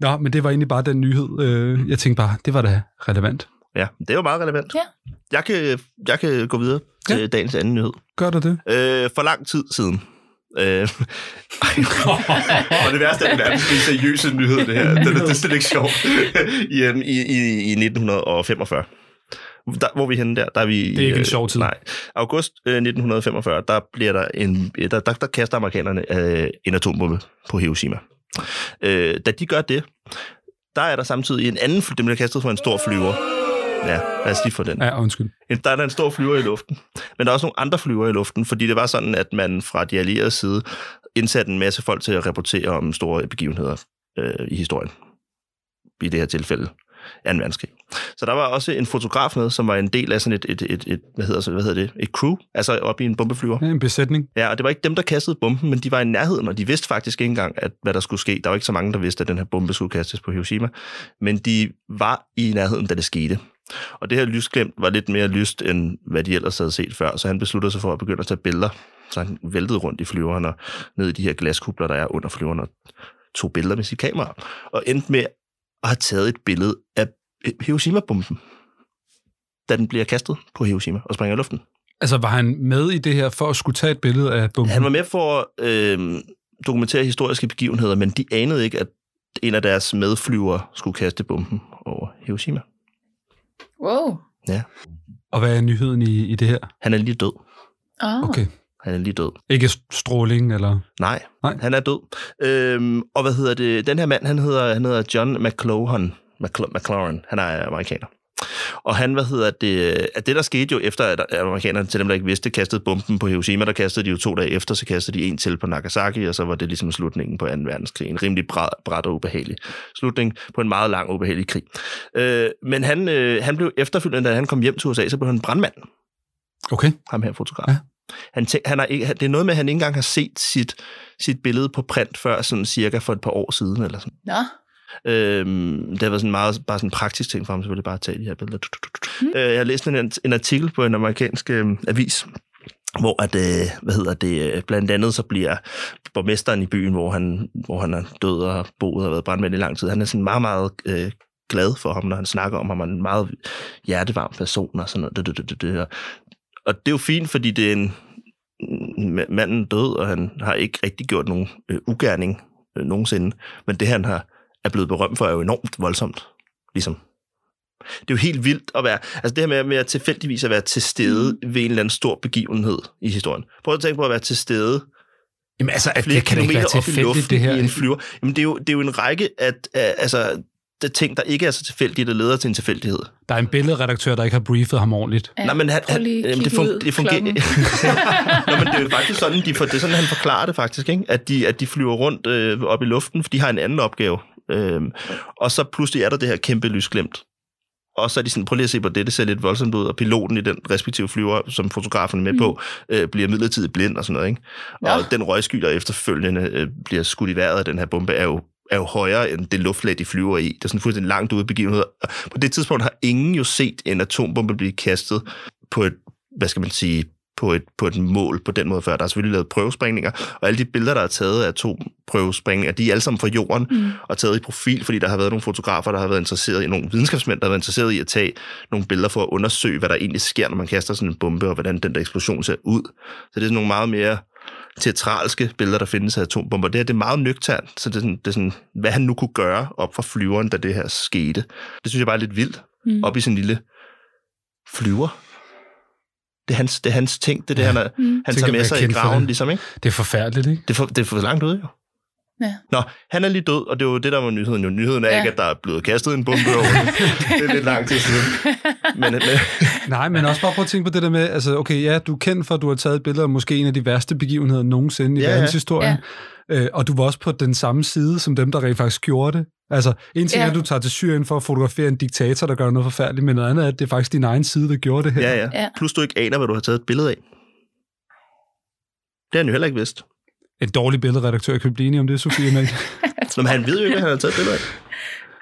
Nå, men det var egentlig bare den nyhed. øh, Jeg tænkte bare, det var da relevant.
Ja, det er jo meget relevant.
Ja.
Jeg kan, jeg kan gå videre til ja. dagens anden nyhed.
Gør du det?
Øh, for lang tid siden. Øh, og det værste er den verdens mest seriøse nyhed, det her. Det, det, det er slet ikke sjovt. I, øhm, I, i, I 1945. Der, hvor er vi henne der? der er vi,
Det er ikke en sjov tid.
Nej. August øh, 1945, der, bliver der, en, øh, der, der, der kaster amerikanerne øh, en atombombe på Hiroshima. Øh, da de gør det, der er der samtidig en anden, fly- den bliver kastet fra en stor flyver. Ja, lad os lige få den.
Ja, undskyld.
En- Der er der en stor flyver i luften. Men der er også nogle andre flyver i luften, fordi det var sådan, at man fra de allierede side indsatte en masse folk til at rapportere om store begivenheder øh, i historien. I det her tilfælde 2. verdenskrig. Så der var også en fotograf med, som var en del af sådan et, et, et, et hvad, hedder, så- hvad hedder det, et crew, altså oppe i en bombeflyver.
Ja, en besætning.
Ja, og det var ikke dem, der kastede bomben, men de var i nærheden, og de vidste faktisk ikke engang, at, hvad der skulle ske. Der var ikke så mange, der vidste, at den her bombe skulle kastes på Hiroshima. Men de var i nærheden, da det skete. Og det her lysglemt var lidt mere lyst, end hvad de ellers havde set før, så han besluttede sig for at begynde at tage billeder. Så han væltede rundt i flyveren og ned i de her glaskubler, der er under flyveren, og tog billeder med sit kamera. Og endte med og har taget et billede af Hiroshima-bomben, da den bliver kastet på Hiroshima og springer i luften.
Altså, var han med i det her for at skulle tage et billede af bomben?
Han var med for at øh, dokumentere historiske begivenheder, men de anede ikke, at en af deres medflyvere skulle kaste bomben over Hiroshima.
Wow.
Og hvad er nyheden i, i det her?
Han er lige død. Ah.
Oh.
Okay.
Han er lige død.
Ikke stråling, eller...
Nej,
Nej.
Nej. han er død. Øhm, og hvad hedder det? Den her mand, han hedder, han hedder John McLauhan. McL- McLaurin. Han er amerikaner. Og han, hvad hedder det, at det der skete jo efter, at amerikanerne, til dem der ikke vidste, kastede bomben på Hiroshima, der kastede de jo to dage efter, så kastede de en til på Nagasaki, og så var det ligesom slutningen på 2. verdenskrig. En rimelig bræt, bræt og ubehagelig slutning på en meget lang ubehagelig krig. Øh, men han, øh, han blev efterfølgende, da han kom hjem til USA, så blev han brandmand
Okay.
ham her fotograf.
Ja.
Ja. Han tæ- han har ikke, han- det er noget med, at han ikke engang har set sit, sit billede på print før, sådan cirka for et par år siden. Eller sådan.
Nå.
Øhm, det har været sådan meget, bare sådan en praktisk ting for ham, selvfølgelig bare at tage de her billeder. Tut, tut, tut. Øh, jeg har læst en, en artikel på en amerikansk øh, avis, hvor at, øh, hvad hedder det, øh, blandt andet så bliver borgmesteren i byen, hvor han, hvor han er død og har boet og været brandmand i lang tid, han er sådan meget, meget øh, glad for ham, når han snakker om ham, han er en meget hjertevarm person og sådan noget. Det, det, det, det. Og, og det er jo fint, fordi det er en, ma- manden er død, og han har ikke rigtig gjort nogen øh, ugerning øh, nogensinde, men det han har, er blevet berømt for, er jo enormt voldsomt, ligesom. Det er jo helt vildt at være, altså det her med, med at tilfældigvis at være til stede mm. ved en eller anden stor begivenhed i historien. Prøv at tænke på at være til stede
Jamen altså,
flere det kan kilometer op i luften det her. i en flyver. Jamen, det er jo, det er jo en række af, af altså, det er ting, der ikke er så tilfældige, der leder til en tilfældighed. Ja.
Der er en billedredaktør, der ikke har briefet ham ordentligt.
Ja,
Nej, men han,
prøv
han,
lige at
jamen, det,
kigge
fun,
ud
det fungerer.
klokken.
Nå, men det er jo faktisk sådan, de, for, det er sådan, han forklarer det faktisk, ikke? At, de, at de flyver rundt øh, op i luften, for de har en anden opgave. Øhm, og så pludselig er der det her kæmpe lysglimt. Og så er de sådan, prøv lige at se på det, det ser lidt voldsomt ud, og piloten i den respektive flyver, som fotografen er med mm. på, øh, bliver midlertidigt blind og sådan noget. Ikke?
Nå.
Og den røgsky, der efterfølgende øh, bliver skudt i vejret af den her bombe, er jo, er jo højere end det luftlag, de flyver i. Det er sådan fuldstændig langt ude i begivenhed. Og På det tidspunkt har ingen jo set en atombombe blive kastet på et, hvad skal man sige, på et, på et mål på den måde før. Der er selvfølgelig lavet prøvesprængninger, og alle de billeder, der er taget af atomprøvesprængninger, de er alle sammen fra jorden mm. og taget i profil, fordi der har været nogle fotografer, der har været interesseret i, nogle videnskabsmænd, der har været interesseret i at tage nogle billeder for at undersøge, hvad der egentlig sker, når man kaster sådan en bombe, og hvordan den der eksplosion ser ud. Så det er sådan nogle meget mere teatralske billeder, der findes af atombomber. Det her det er meget nøgternt, så det er, sådan, det er sådan, hvad han nu kunne gøre op fra flyveren, da det her skete. Det synes jeg bare er lidt vildt, mm. op i sin lille flyver. Det er hans, det er hans ting, det er det, han, er, mm. han
Tænk
tager
at
med
være
sig i
kendt for
graven,
det.
ligesom, ikke?
Det er forfærdeligt, ikke?
Det er for, det er for langt ude, jo.
Ja.
Nå, han er lige død, og det var jo det, der var nyheden. Jo, nyheden er
Ja.
ja. ikke, at der er blevet kastet en bombe over. det er lidt lang tid siden. Men, men
Nej, men også bare prøv at tænke på det der med, altså okay, ja, du er kendt for, at du har taget et billede af måske en af de værste begivenheder nogensinde i
Ja,
ja,
ja.
verdenshistorien, ja. Øh, og du var også på den samme side, som dem, der rent faktisk gjorde det. Altså, en ting ja.
Ja.
er, at du tager til Syrien for at fotografere en diktator, der gør noget forfærdeligt, men noget andet er, at det er faktisk din egen side, der gjorde det her.
ja, ja.
Ja.
Plus du ikke aner, hvad du har taget et billede af. Det har han jo heller ikke vidst.
En dårlig billedredaktør kan vi blive enige om det, Sofie. Men...
Nå, men han ved jo ikke, at han har taget billeder af.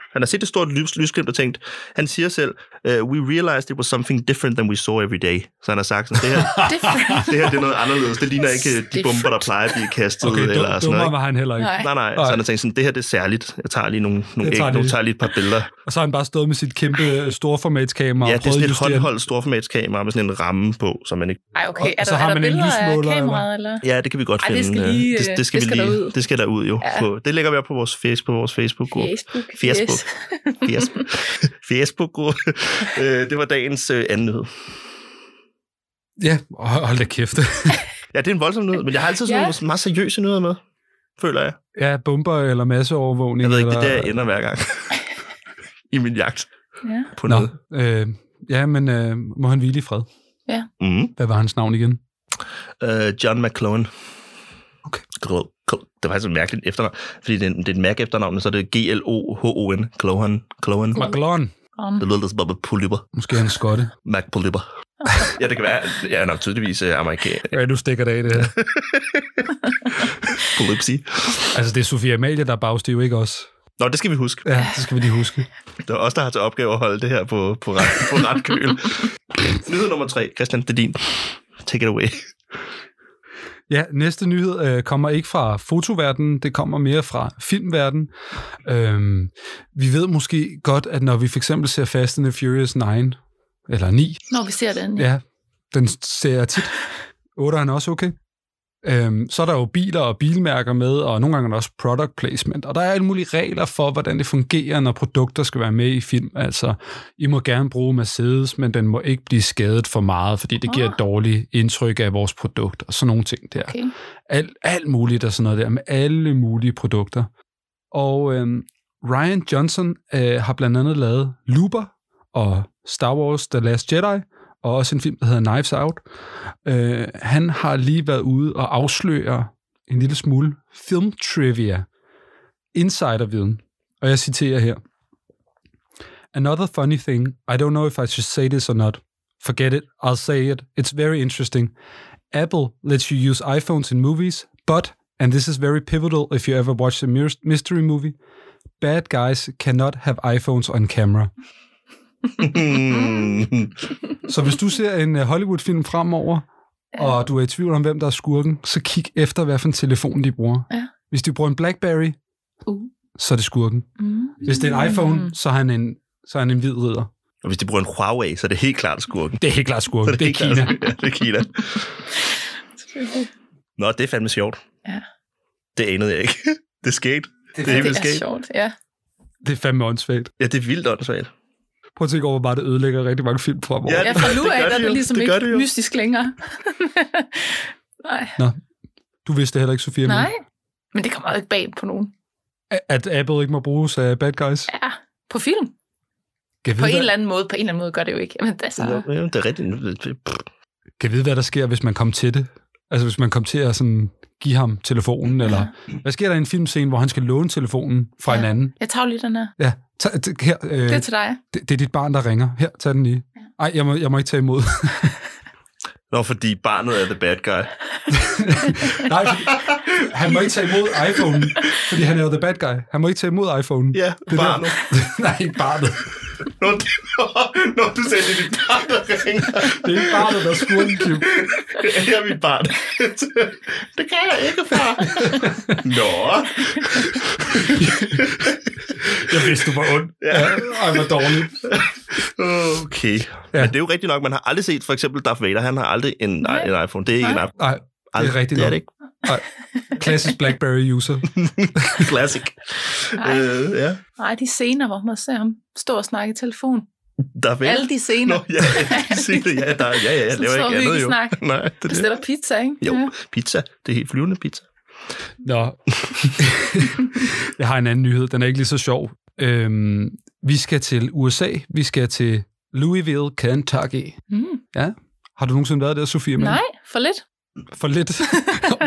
Han har set et stort lys, lysglimt og tænkt, han siger selv, uh, we realized it was something different than we saw every day. Så han har sagt sådan, det her,
Different.
det her det er noget anderledes. Det ligner ikke de bomber, der plejer at blive kastet.
Okay,
eller
dum,
sådan noget,
dummere
ikke?
var han heller ikke.
Nej.
Nej, nej.
Nej.
Så han har tænkt sådan, det her det er særligt. Jeg tager lige nogle, nogle,
Jeg tager
æg, nu
lige-
tager jeg lige et par billeder.
Og så har han bare stået med sit kæmpe øh, storformatskamera
Ja,
og
det er
prøvet
sådan
at
et
justere.
håndholdt storformatskamera med sådan en ramme på, som man ikke...
Ej, okay.
Og
Er
så
der,
har
er der
man en
billeder af
lysmåler,
kameraet, eller?
Ja, det kan vi godt
Ej,
finde.
det skal lige,
øh,
øh,
det, det, skal
det
vi
skal
lige,
derud.
det skal derud, jo.
Ja.
Ja. På, det lægger vi op på vores, face, på vores Facebook-gruppe.
Facebook.
Facebook.
Yes.
Facebook. Facebook-gruppe. Øh, det var dagens øh, anden nyhed.
Ja, hold hold da kæft.
Ja, det er en voldsom nyhed, men jeg har altid sådan
Ja.
nogle meget seriøse nyheder med, føler jeg.
ja, bomber eller masseovervågning.
Jeg ved ikke, det er der,
eller...
jeg ender hver gang i min jagt
Ja.
på noget.
Nå, øh, ja, men øh, må han hvile i fred.
Mm.
Hvad var hans navn igen?
Øh, John McClone.
Okay.
Glo- Glo- Det var faktisk et mærkeligt efternavn, fordi det er, en- det er et mærke efternavn, men så er det G-L-O-H-O-N. Clohan. Clohan.
McLaren.
Om.
Det lyder lidt som om en polypper.
Måske er han skotte.
Mac polypper. ja, det kan være. Ja, han er tydeligvis øh, amerikaner.
Ja, du stikker det af det her.
Polypsi.
altså, det er Sofia Amalie, der er bagstiv, ikke os.
Nå, det skal vi huske.
Ja, det skal vi lige huske.
Det er os, der har til opgave at holde det her på, på, ret, på ret køl. Nyhed nummer tre. Christian, det er din. Take it away.
Ja, næste nyhed øh, kommer ikke fra fotoverdenen, det kommer mere fra filmverdenen. Øhm, vi ved måske godt, at når vi for eksempel ser Fast and the Furious 9, eller 9,
Når vi ser den.
ja, den ser jeg tit. 8 er også okay. Øhm, så er der jo biler og bilmærker med, og nogle gange er der også product placement. Og der er alle mulige regler for, hvordan det fungerer, når produkter skal være med i film. Altså, I må gerne bruge Mercedes, men den må ikke blive skadet for meget, fordi det giver et dårligt indtryk af vores produkt, og sådan nogle ting der
Okay.
alt, alt muligt og sådan noget der, med alle mulige produkter. Og øhm, Ryan Johnson øh, har blandt andet lavet Looper og Star Wars The Last Jedi, og også en film, der hedder Knives Out. Øh, han har lige været ude og afsløre en lille smule filmtrivia, insiderviden, og jeg citerer her. Another funny thing, I don't know if I should say this or not. Forget it, I'll say it, it's very interesting. Apple lets you use iPhones in movies, but, and this is very pivotal if you ever watched a myr- mystery movie, bad guys cannot have iPhones on camera.
Hmm.
Så hvis du ser en øh, Hollywood-film fremover, og du er i tvivl om, hvem der er skurken, så kig efter, hvad for en telefon de bruger.
Ja.
Hvis de bruger en BlackBerry,
Uh.
så er det skurken.
Mm.
Hvis det er en iPhone, så er han en, så er han en hvid ridder.
Og hvis de bruger en Huawei, så er det helt klart skurken.
Det er helt klart skurken. Det er
helt klart-
Kina.
Ja, det er Kina. Nå, det er fandme sjovt.
Ja.
Det anede jeg ikke. Det er sket. Det er,
Det
helt
er
sket.
sjovt, ja.
Det er fandme åndsvagt.
Ja, det er vildt åndssvagt.
Prøv at tænke over, hvor bare det ødelægger rigtig mange film fremover.
Ja.
Ja, for nu
det gør
af, der er
det jo.
det ligesom
Det gør
ikke
det jo.
mystisk længere. Nej,
Du vidste det heller ikke, Sofia. men-
nej. Men det kommer jo ikke bag på nogen.
At Apple ikke må bruges af bad guys.
Ja, på film.
Kan
På
vide,
en
hvad,
eller anden måde. På en eller anden måde gør det jo ikke. Men altså,
Ja, det er rigtigt. Pff,
kan vide, hvad der sker, hvis man kom til det. Altså hvis man kom til at sådan, give ham telefonen, eller hvad sker der i en filmscene, hvor han skal låne telefonen fra ja. en
Ja.
anden?
jeg tager jo lige den her.
Ja, tag, t- her, øh,
Det er
det,
til dig.
det er dit barn, der ringer. Her, tag den lige. Ej, jeg må, jeg må ikke tage imod.
Nå, fordi barnet er the bad guy.
Nej, fordi, han må ikke tage imod iPhone, fordi han er jo the bad guy. Han må ikke tage imod iPhone.
Ja,
Det er
barnet.
Der. Nej, ikke barnet.
Når, når du sagde, det er dit barn, der ringer.
Det er ikke barnet, der skurrer en Kim.
Det er mit barn. Det kan jeg ikke, far. Nå.
Jeg vidste, du var ond. Ja. Ej, hvor dårligt.
Okay.
Ja.
Ja. Men det er jo rigtigt nok, man har aldrig set for eksempel Darth Vader, han har aldrig en,
Nej.
en iPhone. Det er ikke en iPhone.
Nej, det er
Aldrig.
rigtigt
Det er
nok.
det ikke.
Ej, klassisk BlackBerry-user.
Classic. Øh, ja.
Nej, de scener, hvor man ser ham stå og snakke i telefon.
Darth Vader.
Alle de scener.
Nå, ja, sig det. Ja, der, ja, ja, jeg
Sådan
laver
står
ikke andet jo.
hyggesnak.
Nej, det er det.
Bestiller pizza, ikke?
Jo,
Ja.
pizza. Det er helt flyvende pizza.
Nå. jeg har en anden nyhed, den er ikke lige så sjov. Øhm, vi skal til USA, vi skal til Louisville, Kentucky.
Mm.
Har du nogensinde været der, Sofie? Men
Nej, for lidt.
For lidt.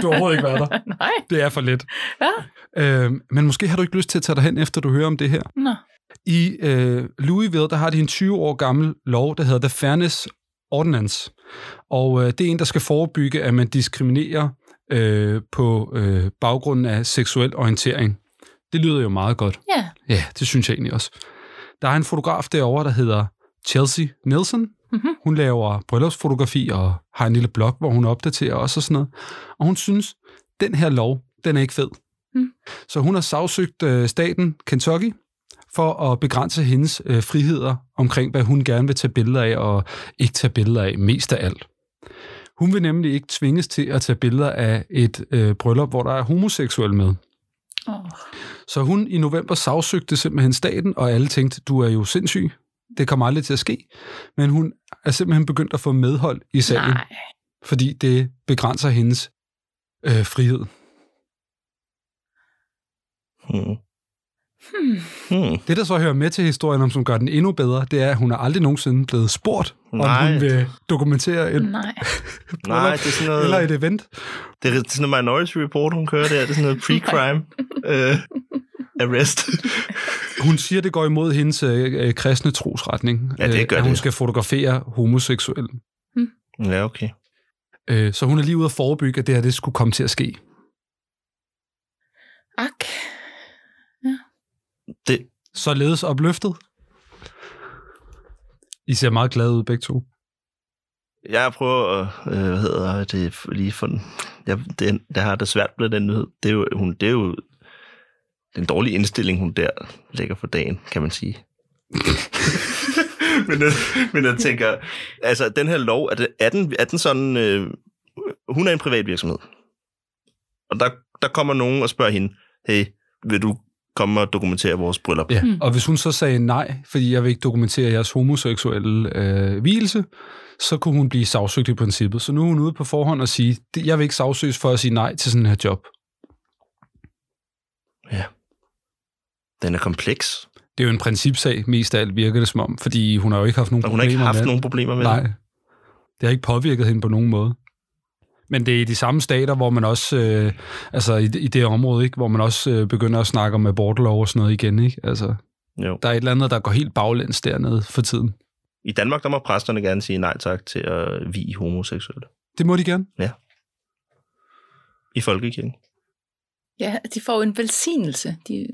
du har overhovedet ikke været der.
Nej.
Det er for lidt.
Ja.
Øhm, men måske har du ikke lyst til at tage dig hen, efter du hører om det her.
Nå.
I øh, Louisville, der har de en 20 år gammel lov, der hedder The Fairness Ordinance. Og øh, det er en, der skal forebygge, at man diskriminerer øh, på øh, baggrunden af seksuel orientering. Det lyder jo meget godt.
Ja.
Ja, det synes jeg egentlig også. Der er en fotograf derovre, der hedder Chelsea Nielsen.
Mhm.
Hun laver bryllupsfotografi og har en lille blog, hvor hun opdaterer også og sådan noget. Og hun synes, den her lov, den er ikke fed.
Mm.
Så hun har sagsøgt øh, staten Kentucky for at begrænse hendes øh, friheder omkring, hvad hun gerne vil tage billeder af og ikke tage billeder af mest af alt. Hun vil nemlig ikke tvinges til at tage billeder af et øh, bryllup, hvor der er homoseksuel med.
Oh.
Så hun i november sagsøgte simpelthen staten, og alle tænkte, du er jo sindssyg. Det kommer aldrig til at ske. Men hun er simpelthen begyndt at få medhold i sagen,
Nej.
fordi det begrænser hendes øh, frihed.
Hmm.
Hmm.
Hmm.
Det, der så hører med til historien om, som gør den endnu bedre, det er, at hun er aldrig nogensinde blevet spurgt, om
Nej.
hun vil dokumentere et,
Nej.
Nej, det er sådan noget...
eller et event.
Det er, det er sådan noget Minority Report, hun kører der. Det er sådan noget pre-crime øh, arrest.
Hun siger, det går imod hendes øh, øh, kristne trosretning,
Ja, det
øh,
gør
at hun
det.
skal fotografere homoseksuelle.
ja, okay.
Øh, så hun er lige ude at forebygge, at det her det skulle komme til at ske.
Ak.
Det,
således opløftet. I ser meget glade ud begge to.
jeg prøver at, øh, hvad hedder det, lige for den, jeg, det, jeg har det svært med den nyhed. Det er jo, hun, det er jo den dårlige indstilling, hun der lægger for dagen, kan man sige. men, jeg, men jeg tænker, altså den her lov, er, det, er, den, er den sådan, øh, hun er en privat virksomhed, og der, der kommer nogen og spørger hende, hey, vil du komme og dokumentere vores bryllup?
Ja. Mm. Og hvis hun så sagde nej, fordi jeg vil ikke dokumentere jeres homoseksuelle øh, hvilelse, så kunne hun blive sagsøgt i princippet. Så nu er hun ude på forhånd og sige, "Det- jeg vil ikke sagsøges for at sige nej til sådan her job.
Den er kompleks,
Det er jo en principsag, mest af alt virker det som om, fordi hun har jo ikke haft nogen
og hun har ikke
problemer
haft
med
nogen problemer med
Nej.
det.
Det har ikke påvirket hende på nogen måde. Men det er i de samme stater, hvor man også, øh, altså i, i det område, ikke, hvor man også øh, begynder at snakke om abortlov og sådan noget igen, ikke? Altså,
Jo.
der er et eller andet, der går helt baglæns dernede for tiden.
I Danmark, der må præsterne gerne sige nej tak til at vi homoseksuelle
Det må de gerne.
i folkekirken.
Ja, de får jo en velsignelse de, øh,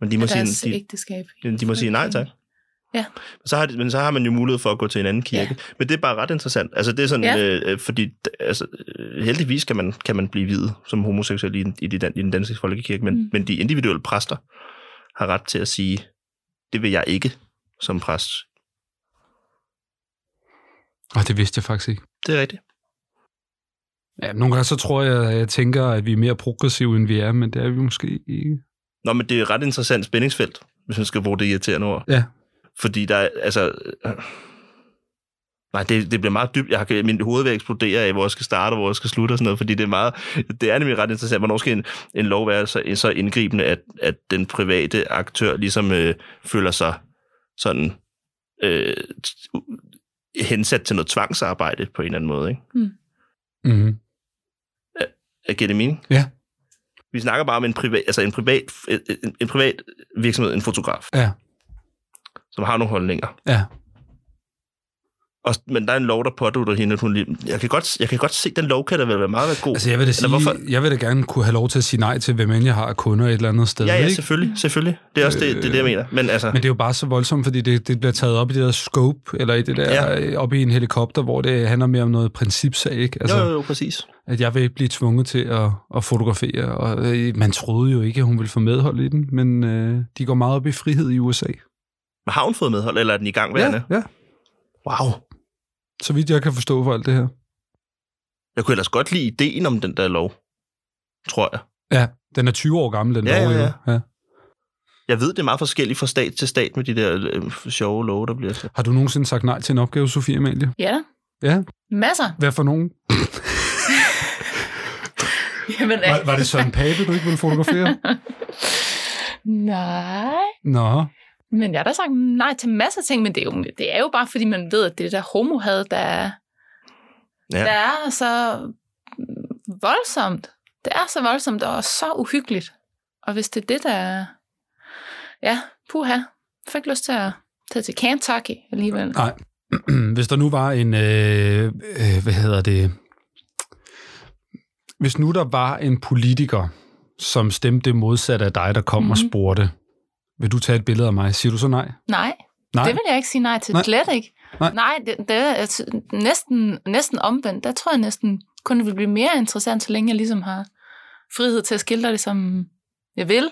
Men de må,
af deres
sige,
ægteskab.
de, de må sige nej tak.
Ja.
Så har de, men så har man jo mulighed for at gå til en anden kirke. Ja. Men det er bare ret interessant. Altså det er sådan,
Ja.
ja. øh, fordi altså, øh, heldigvis kan man, kan man blive videt som homoseksuel i, den- i, de, dan- i den danske folkekirke, men,
Mm.
mm. men de individuelle præster har ret til at sige, det vil jeg ikke som præst.
Og det vidste jeg faktisk ikke.
Det er rigtigt.
Ja, nogle gange så tror jeg, at jeg tænker, at vi er mere progressive, end vi er, men det er vi måske ikke.
Nå, men det er et ret interessant spændingsfelt, hvis man skal bruge det irriterende ord.
Ja.
Fordi der er, altså... øh, Nej, det, det bliver meget dybt. Jeg har, min hoved vil eksplodere af, hvor jeg skal starte og hvor jeg skal slutte og sådan noget, fordi det er meget... Det er nemlig ret interessant. Hvornår skal en, en lov være så, så indgribende, at, at den private aktør ligesom øh, føler sig sådan... Øh, t- u- hensat til noget tvangsarbejde på en eller anden måde, ikke?
Mm-hmm.
Giver det mening?
Ja.
Vi snakker bare om en privat, altså en privat, en, en privat virksomhed, en fotograf,
Ja.
som har nogle holdninger.
Ja.
Og, men der er en lov, der pådutter hende, at hun lige, jeg kan godt, jeg kan godt se, den lov kan da vel være meget god.
Altså, jeg vil da sige,
Eller hvorfor-
jeg vil da gerne kunne have lov til at sige nej til, hvem end jeg har af kunder et eller andet sted.
ja, ja,
ikke? Øh,
selvfølgelig, selvfølgelig. Det er også det, det, er det, jeg mener. Men altså,
Men det er jo bare så voldsomt, fordi det, det bliver taget op i det der scope, eller i det der,
Ja.
ja. op i en helikopter, hvor det handler mere om noget principsag, ikke? Altså,
jo, jo, jo, præcis.
at jeg vil ikke blive tvunget til at, at fotografere, og øh, man troede jo ikke, at hun ville få medhold i den, men øh, de går meget op i frihed i USA.
Men har hun fået medhold, eller er den i gang værende?
ja.
Wow.
Så vidt jeg kan forstå for alt det her.
Jeg kunne ellers godt lide ideen om den der lov, tror jeg.
Ja, den er 20 år gammel, den
Ja,
lov,
ja,
jo. ja.
Jeg ved, det er meget forskelligt fra stat til stat med de der øh, sjove love, der bliver sat.
Har du nogensinde sagt nej til en opgave, Sofie Amalie?
Ja,
Ja,
masser.
hvad for nogen?
Jamen,
Var, var det Søren Pape, du ikke ville fotografere?
Nej.
Nå,
Men jeg har da sagt nej til masser af ting, men det er, jo, det er jo bare, fordi man ved, at det der homohad, der er,
Ja.
ja. der er så voldsomt. Det er så voldsomt og så uhyggeligt. Og hvis det er det, der er... Ja, puha. Jeg fik lyst til at tage til Kentucky alligevel.
Ah.
Nej. Hvis der nu var en, øh, øh, hvad hedder det, hvis nu der var en politiker, som stemte det modsatte af dig, der kom mm-hmm. og
Mhm.
spurgte, vil du tage et billede af mig? Siger du så nej?
Nej,
Nej.
det vil jeg ikke sige nej til.
Nej.
Nej. Slet ikke.
Nej.
nej det, det er altså næsten, næsten omvendt. Der tror jeg næsten kun, det vil blive mere interessant, så længe jeg ligesom har frihed til at skildre det, som jeg vil.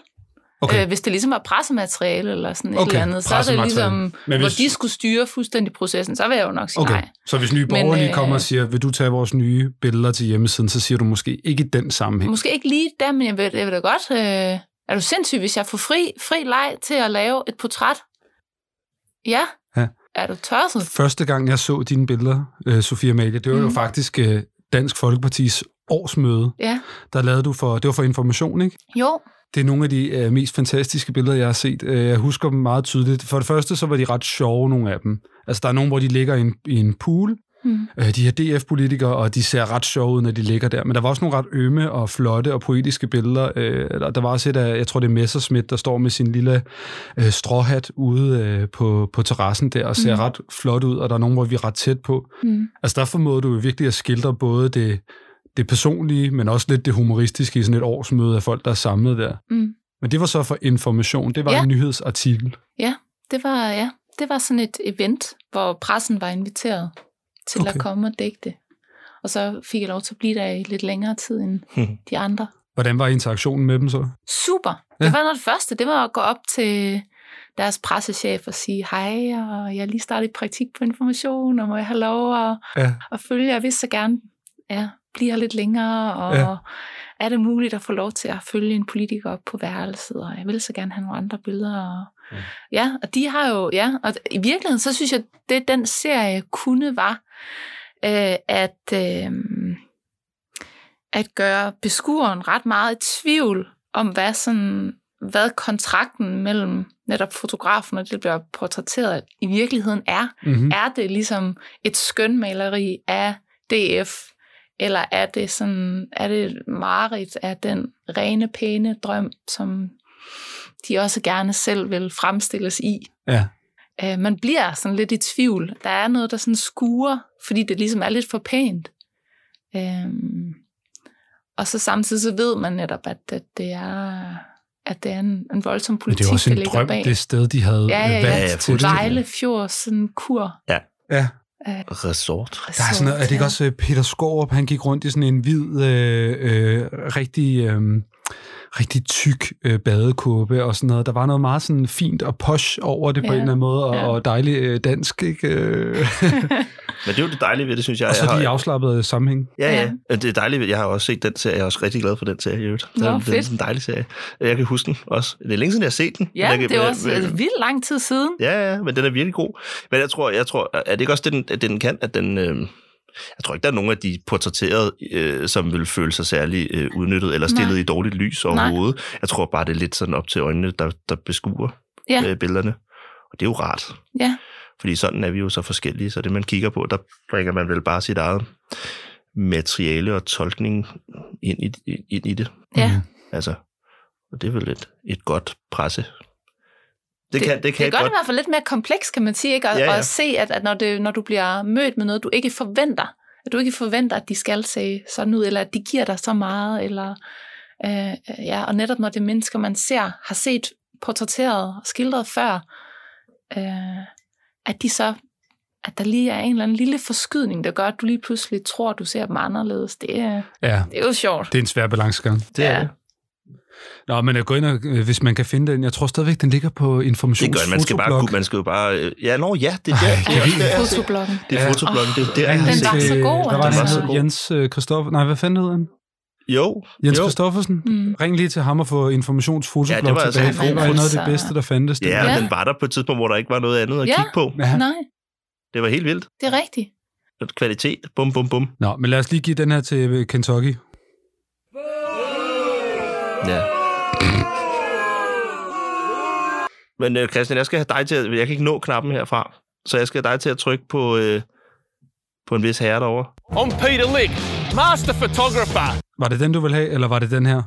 Okay. Øh, hvis det ligesom er pressemateriale eller sådan et
Okay,
eller andet, så er det
pressemateriale.
ligesom,
Men
hvis... hvor
hvis-
de skulle styre fuldstændig processen, så vil jeg jo nok sige okay.
okay.
nej.
Så hvis nye
Men,
borgere lige
øh,
kommer og siger, vil du tage vores nye billeder til hjemmesiden, så siger du måske ikke i den sammenhæng.
Måske ikke lige der, men jeg vil, jeg vil da godt... Øh, er du sindssyg, hvis jeg får fri, fri leg til at lave et portræt? Ja.
Ja.
Er du tosset?
Første gang, jeg så dine billeder, øh, Sofia Amalie, det var mm. jo
Mhm.
faktisk øh, Dansk Folkepartis årsmøde,
Ja.
der lavede du for, det var for information, ikke?
Jo.
Det er nogle af de øh, mest fantastiske billeder, jeg har set. Øh, jeg husker dem meget tydeligt. For det første, så var de ret sjove, nogle af dem. Altså, der er nogle, hvor de ligger i en, i en pool.
Mm.
Øh, de her DF-politikere, og de ser ret sjove ud, når de ligger der. Men der var også nogle ret ømme og flotte og poetiske billeder. Øh, der, der var også et af, jeg tror, det er Messerschmidt, der står med sin lille øh, stråhat ude øh, på, på terrassen der, og ser mm.
Mm.
ret flot ud, og der er nogle, hvor vi er ret tæt på.
Mm.
Altså der formåede du jo virkelig at skildre både det, det personlige, men også lidt det humoristiske i sådan et årsmøde af folk, der er samlet der.
Mm.
Men det var så for information. Det var ja.
Ja.
en nyhedsartikel.
Det var, ja, det var sådan et event, hvor pressen var inviteret til okay.
Okay.
at komme og dække det. Og så fik jeg lov til at blive der i lidt længere tid end de andre.
Hvordan var interaktionen med dem så?
Super. Ja.
Ja.
Det var noget af det første. Det var at gå op til deres pressechef og sige, hej, og jeg er lige startet i praktik på information, og må jeg have lov at,
Ja.
at følge? Jeg vil så gerne ja, blive her lidt længere, og
Ja.
ja. er det muligt at få lov til at følge en politiker op på værelset, og jeg vil så gerne have nogle andre billeder. Og,
Mm.
Ja, og de har jo, ja, og i virkeligheden, så synes jeg, det den serie kunne var, øh, at... Øh, at gøre beskueren ret meget i tvivl om, hvad, sådan, hvad kontrakten mellem netop fotografen og det, der bliver portrætteret, i virkeligheden er.
Mm-hmm.
Er det ligesom et skønmaleri af DF, eller er det sådan, er det et mareridt af den rene, pæne drøm, som de også gerne selv vil fremstilles i?
Ja.
Øh, man bliver sådan lidt i tvivl. Der er noget, der sådan skuer, fordi det ligesom er lidt for pænt. Øhm, og så samtidig så ved man netop, at, at det er, at det er en, en voldsom
Men
politik,
det er jo også
der
en
ligger
drøm,
bag.
det sted, de havde
ja, ja,
øh,
ja,
valgt
ja,
til det.
Vejle Fjord, sådan en kur.
Ja.
Resort.
Der er sådan noget, er det ikke også øh, Peter Skorup, han gik rundt i sådan en hvid, øh, øh, rigtig, øh, rigtig tyk øh, badekåbe og sådan noget. Der var noget meget sådan fint og posh over det på
Ja.
en eller anden måde, og,
Ja.
og dejligt øh, dansk, ikke? Øh,
Men det er jo det dejlige ved det, synes jeg.
og så
jeg har-
de afslappede sammenhæng.
Ja,
Ja.
ja. ja. Det er dejligt. ved- Jeg har også set den serie. Jeg er også rigtig glad for den serie. i øvrigt.
Nå,
Den- det er
fedt.
en dejlig serie. Jeg kan huske den også. Det er længe siden, jeg har set den. men
Ja,
jeg kan,
det er jo også
men-
altså, vildt lang tid siden.
Ja, ja, men den er virkelig god. Men jeg tror, jeg tror er det ikke også det, den, at den kan? At den, øh, jeg tror ikke, der er nogen af de portrætterede, øh, som vil føle sig særlig øh, udnyttet eller stillet
Nej.
Nej. i dårligt lys overhovedet. Nej. Jeg tror bare, det er lidt sådan op til øjnene, der, der beskuer
Ja.
ja. øh, billederne. Og det er jo rart.
Ja.
Fordi sådan er vi jo så forskellige, så det man kigger på, der bringer man vel bare sit eget materiale og tolkning ind i, ind i det.
Ja.
Altså, og det er vel et, et godt presse. Det, kan, det kan
det
jeg
gør det
godt
i hvert fald lidt mere kompleks, kan man sige, ikke? Og,
Ja,
ja,
ja.
ja. og se, at, at når, det, når du bliver mødt med noget, du ikke forventer, at du ikke forventer, at de skal se sådan ud, eller at de giver dig så meget, eller øh, øh, ja, og netop når det er mennesker, man ser, har set portrætteret og skildret før, øh, at de så at der lige er en eller anden lille forskydning, der gør, at du lige pludselig tror, at du ser dem anderledes. Det, er-
Ja,
det er jo sjovt.
det er en svær balancegang.
Det er
Ja.
det.
Nå, men at gå ind og, øh, hvis man kan finde den, jeg tror stadigvæk, den ligger på
Det gør
informationsfotoblog.
det. man skal bare kunne, man skal jo bare... øh, Ja, nå, ja, det er der.
Ej,
det, er også der, jeg ser-
Fotoblokken.
det er
Ja.
fotoblokken, det er jo der, jeg
Ja,
har
Den var
set.
så
øh,
god,
Der var
altså.
den,
Den var
der
så god.
hed Jens øh, Christoffer. Nej, hvad fanden hed han?
Jo,
Jens
jo.
Christoffersen?
Mm.
Ring lige til ham og få
Ja,
informationsfotoblog
det var altså
tilbage.
helt
for det var
fokus.
noget af det bedste, der fandtes.
Ja,
Ja.
ja, den var der på et tidspunkt, hvor der ikke var noget andet at
Ja.
kigge på.
Ja.
Nej,
Det var helt vildt.
det er rigtigt.
Kvalitet, bum, bum, bum.
Nå, men lad os lige give den her til øh, Kentucky.
Ja. Men øh, Christian, jeg skal have dig til at... Jeg kan ikke nå knappen herfra. Så jeg skal have dig til at trykke på, øh, på en vis herre derovre.
I'm Peter Lick, master photographer.
Var det den, du ville have, eller var det den her?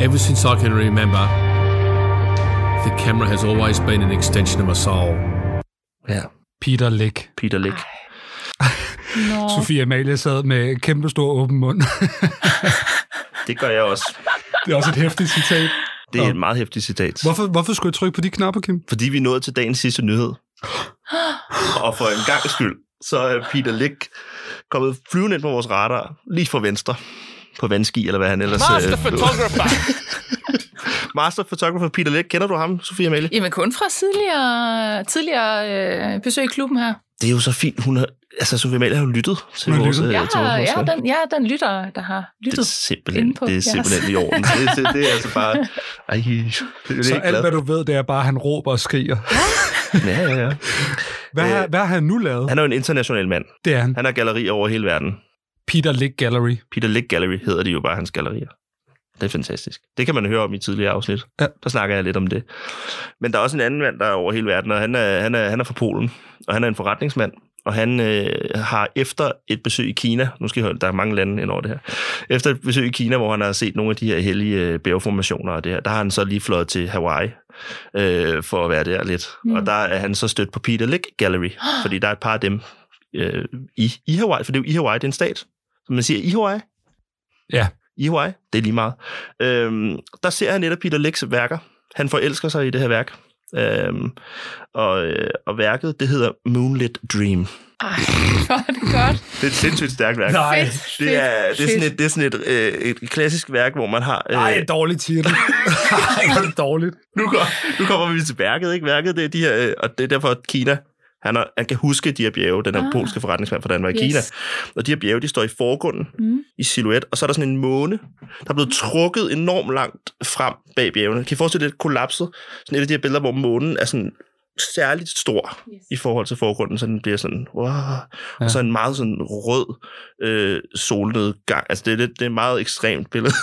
Ever since I can remember, the camera has always been an extension of my soul.
Ja.
Peter Lick.
Peter Lick.
Nå.
Sofie Amalie sad med en kæmpe stor åben mund.
Det gør jeg også.
det er også et hæftigt citat.
Det er
Nå.
et meget hæftigt citat.
Hvorfor, hvorfor skulle jeg trykke på de knapper, Kim?
fordi vi nåede til dagens sidste nyhed. Og for en gang skyld, så er Peter Lick kommet flyvende ind på vores radar, lige fra venstre, på vandski, eller hvad han ellers...
Master
øh,
photographer.
Master Photographer Peter Lick. Kender du ham, Sofie Amalie?
Jamen kun fra tidligere, tidligere øh, besøg i klubben her.
Det er jo så fint, hun har... Altså, Sofie Amalie har jo lyttet til
Hun har
vores...
lyttet.
øh,
Jeg
til vores
har, jeg,
forslag.
er den, jeg er den lytter, der har
det er
lyttet.
simpelthen,
inde på
det er
jeres.
simpelthen i orden. Det, det, det er altså bare... Ej, det er
Så
så
alt, hvad du ved, det er bare, at han råber og skriger.
Ja, ja, ja.
Hvad, har, hvad har han nu lavet?
Øh, Han er jo en international mand.
Det er han.
Han har gallerier over hele verden.
Peter Lick Gallery.
Peter Lick Gallery hedder det jo bare hans gallerier. Det er fantastisk. Det kan man høre om i tidligere afsnit.
Ja.
Der snakker jeg lidt om det. Men der er også en anden mand, der er over hele verden, og han er, han er, han er fra Polen, og han er en forretningsmand. Og han øh, har efter et besøg i Kina, nu skal I høre, der er mange lande ind over det her, efter et besøg i Kina, hvor han har set nogle af de her hellige øh, bjergformationer og det her, der har han så lige fløjet til Hawaii øh, for at være der lidt.
Mm.
Mm. Og der er han så stødt på Peter Lick Gallery, fordi der er et par af dem øh, i, i Hawaii, for det er jo i Hawaii, det er en stat. Så man siger i Hawaii,
Ja.
i Hawaii, det er lige meget. Øhm, der ser han et af Peter Licks værker. Han forelsker sig i det her værk. Øhm, og, øh, og værket, det hedder Moonlit Dream.
Ej, hvor er det godt.
Det er et sindssygt stærkt værk.
Nej.
Fedt,
Det er,
fedt,
det er sådan,
fedt.
et, det er sådan et, øh, et klassisk værk, hvor man har... Øh,
Nej, dårligt, siger det. Nej, det er dårligt.
nu, går, nu kommer vi til værket, ikke? Værket, det er de her... Øh, og det er derfor, at Kina... Han, har, han kan huske de her bjerge, den her
Ah.
ah, polske forretningsmand fra Danmark
Yes.
yes. Kina. Og de her bjerge, de står i forgrunden
Mm.
mm. i silhuet, og så er der sådan en måne, der er blevet trukket enormt langt frem bag bjergene. Kan I forestille jer det er kollapset? Sådan et af de her billeder, hvor månen er sådan særligt stor
Yes.
yes. i forhold til forgrunden, så den bliver sådan, wow.
Ja.
ja. og så en meget sådan rød øh, solnedgang. Altså, det er, lidt, det er et meget ekstremt billede.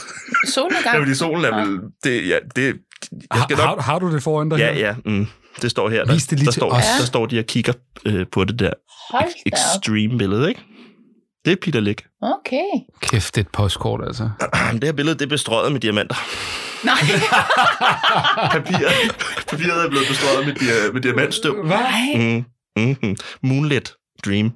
Ja,
Solnedgang.
fordi solen er vel... Det, ja, det, jeg
Har,
skal nok...
har, har du det foran dig her?
Ja, ja. Mm, det står her. Der,
Vis det lige
der,
til
står,
os.
der står de og kigger øh, på det der
Hold da op.
extreme billede, ikke? Det er Peter Lick.
Okay.
Kæft, det er et postkort, altså.
Det her billede, det er bestrøget med diamanter.
Nej,
Papiret, papiret er blevet bestrøget med, dia- med diamantstøv.
nej.
Mm, mm-hmm. Moonlit Dream.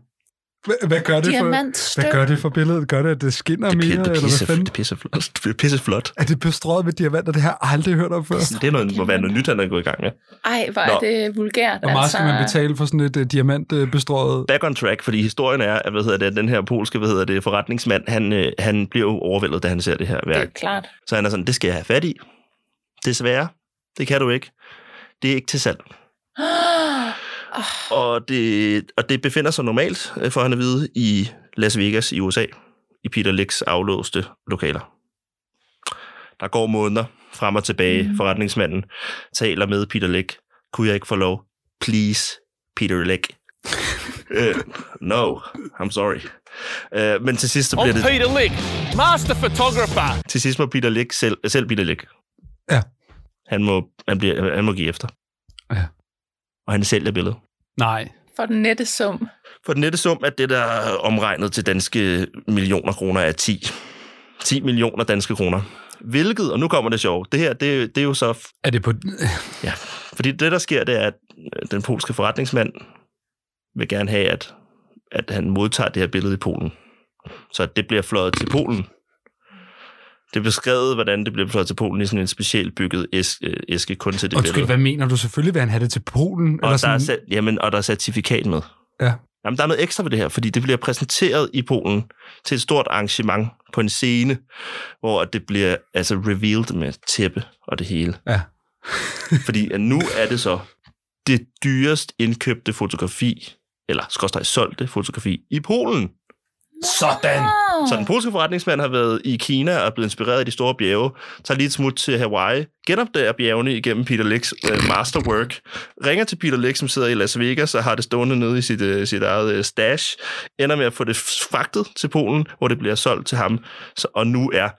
Hva- Hvad gør det for,
Diamantstøv.
hvad gør det for billedet? Gør det, at det skinner
Det er,
mere,
pi- det er
eller hvad
pisse,
fanden?
det er pisse flot. Det er pisse flot.
Er det bestrøget med diamanter? Det har jeg aldrig hørt om før.
Det er noget, må være noget nyt, han er gået i gang med.
Ej, hvor er
Nå.
det vulgært.
Hvor meget skal man
altså.
betale for sådan et uh, diamantbestrøget?
Back on track, fordi historien er, at hvad hedder det, den her polske hvad hedder det, forretningsmand, han, øh, han bliver jo overvældet, da han ser det her
Det
værk.
er klart.
Så han er sådan, det skal jeg have fat i. Desværre, det kan du ikke. Det er ikke til salg. Og det, og det befinder sig normalt, øh, får han at vide, i Las Vegas i USA, i Peter Licks aflåste lokaler. Der går måneder frem og tilbage. Mm. Forretningsmanden taler med Peter Lick. Kunne jeg ikke få lov? Please, Peter Lick. uh, no, I'm sorry. Uh, men til sidst så bliver det...
Peter Lick, master photographer.
Til sidst må Peter Lick selv, øh, selv Peter Lick.
Ja.
Han må, han, bliver, han må give efter.
Ja.
Og han sælger billedet.
Nej.
For den nette sum.
For den nette sum er det, der er omregnet til danske millioner kroner, er 10. 10 millioner danske kroner. Hvilket, og nu kommer det sjove, det her, det, det er jo så
Er det på...
Ja, fordi det, der sker, det er, at øh, den polske forretningsmand vil gerne have, at, at han modtager det her billede i Polen. Så at det bliver fløjet til Polen. Det er beskrevet, hvordan det bliver fløjet til Polen i sådan en specielt bygget æs- øh, æske kun til det
Undskyld,
billede.
hvad mener du? Selvfølgelig vil han have det til Polen?
Og der, er, sat- jamen, og der er certifikat med.
Ja.
Jamen, der er noget ekstra ved det her, fordi det bliver præsenteret i Polen til et stort arrangement på en scene, hvor det bliver altså revealed med tæppe og det hele.
Ja.
Fordi at nu er det så det dyrest indkøbte fotografi, eller skorstræk solgte fotografi i Polen.
Sådan!
Ah.
Så den polske forretningsmand har været i Kina og er blevet inspireret af de store bjerge, tager lige et smut til Hawaii, genopdager bjergene igennem Peter Licks øh, masterwork, ringer til Peter Lick, som sidder i Las Vegas og har det stående nede i sit, øh, sit eget øh, stash, ender med at få det fragtet til Polen, hvor det bliver solgt til ham, så, og nu er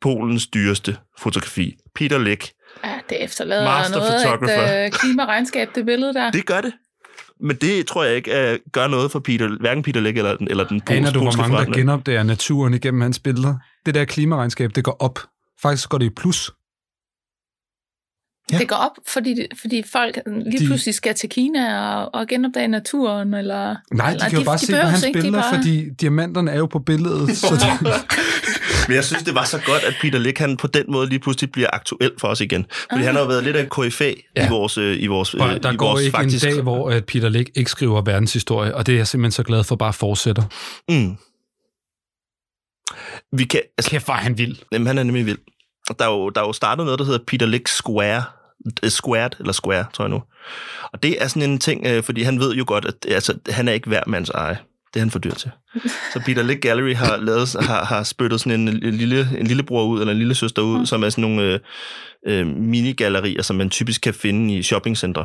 Polens dyreste fotografi. Peter Lick.
Ja, det efterlader
Master
noget
photographer.
af et øh, klimaregnskab, det billede der.
Det gør det. Men det tror jeg ikke uh, gør noget for Peter, hverken Peter Læk eller den, eller den pol-
Aner du, hvor
polske
mange, der
forretning.
genopdager naturen igennem hans billeder? Det der klimaregnskab, det går op. Faktisk går det i plus.
Det går op, fordi, fordi folk lige
De-
de... pludselig skal til Kina og, og genopdage naturen, eller...
Nej, de
eller
kan jo bare se på
behøves
hans
ikke, de
billeder,
bare-
fordi diamanterne er jo på billedet. Så det,
Men jeg synes, det var så godt, at Peter Læk, han på den måde lige pludselig bliver aktuel for os igen. Fordi han har jo været lidt af en KFA ja.
Ja.
i vores, øh, i vores, øh,
og der
i
går
vores
ikke faktisk... en dag, hvor at Peter Lick ikke skriver verdenshistorie, og det er jeg simpelthen så glad for bare fortsætter.
Mm. Vi kan, altså,
Kæft, var han vild.
Jamen, han er nemlig vild. Og Der er jo, der er jo startet noget, der hedder Peter Lick Square. Eh, Squared, eller Square, tror jeg nu. Og det er sådan en ting, øh, fordi han ved jo godt, at altså, han er ikke hver mands eje. Det er han for dyr til. Så Peter Lick Gallery har, lavet, har, har spyttet sådan en, en, lille, en lillebror ud, eller en lille søster ud, mm. som er sådan nogle øh, øh, minigallerier, som man typisk kan finde i shoppingcentre.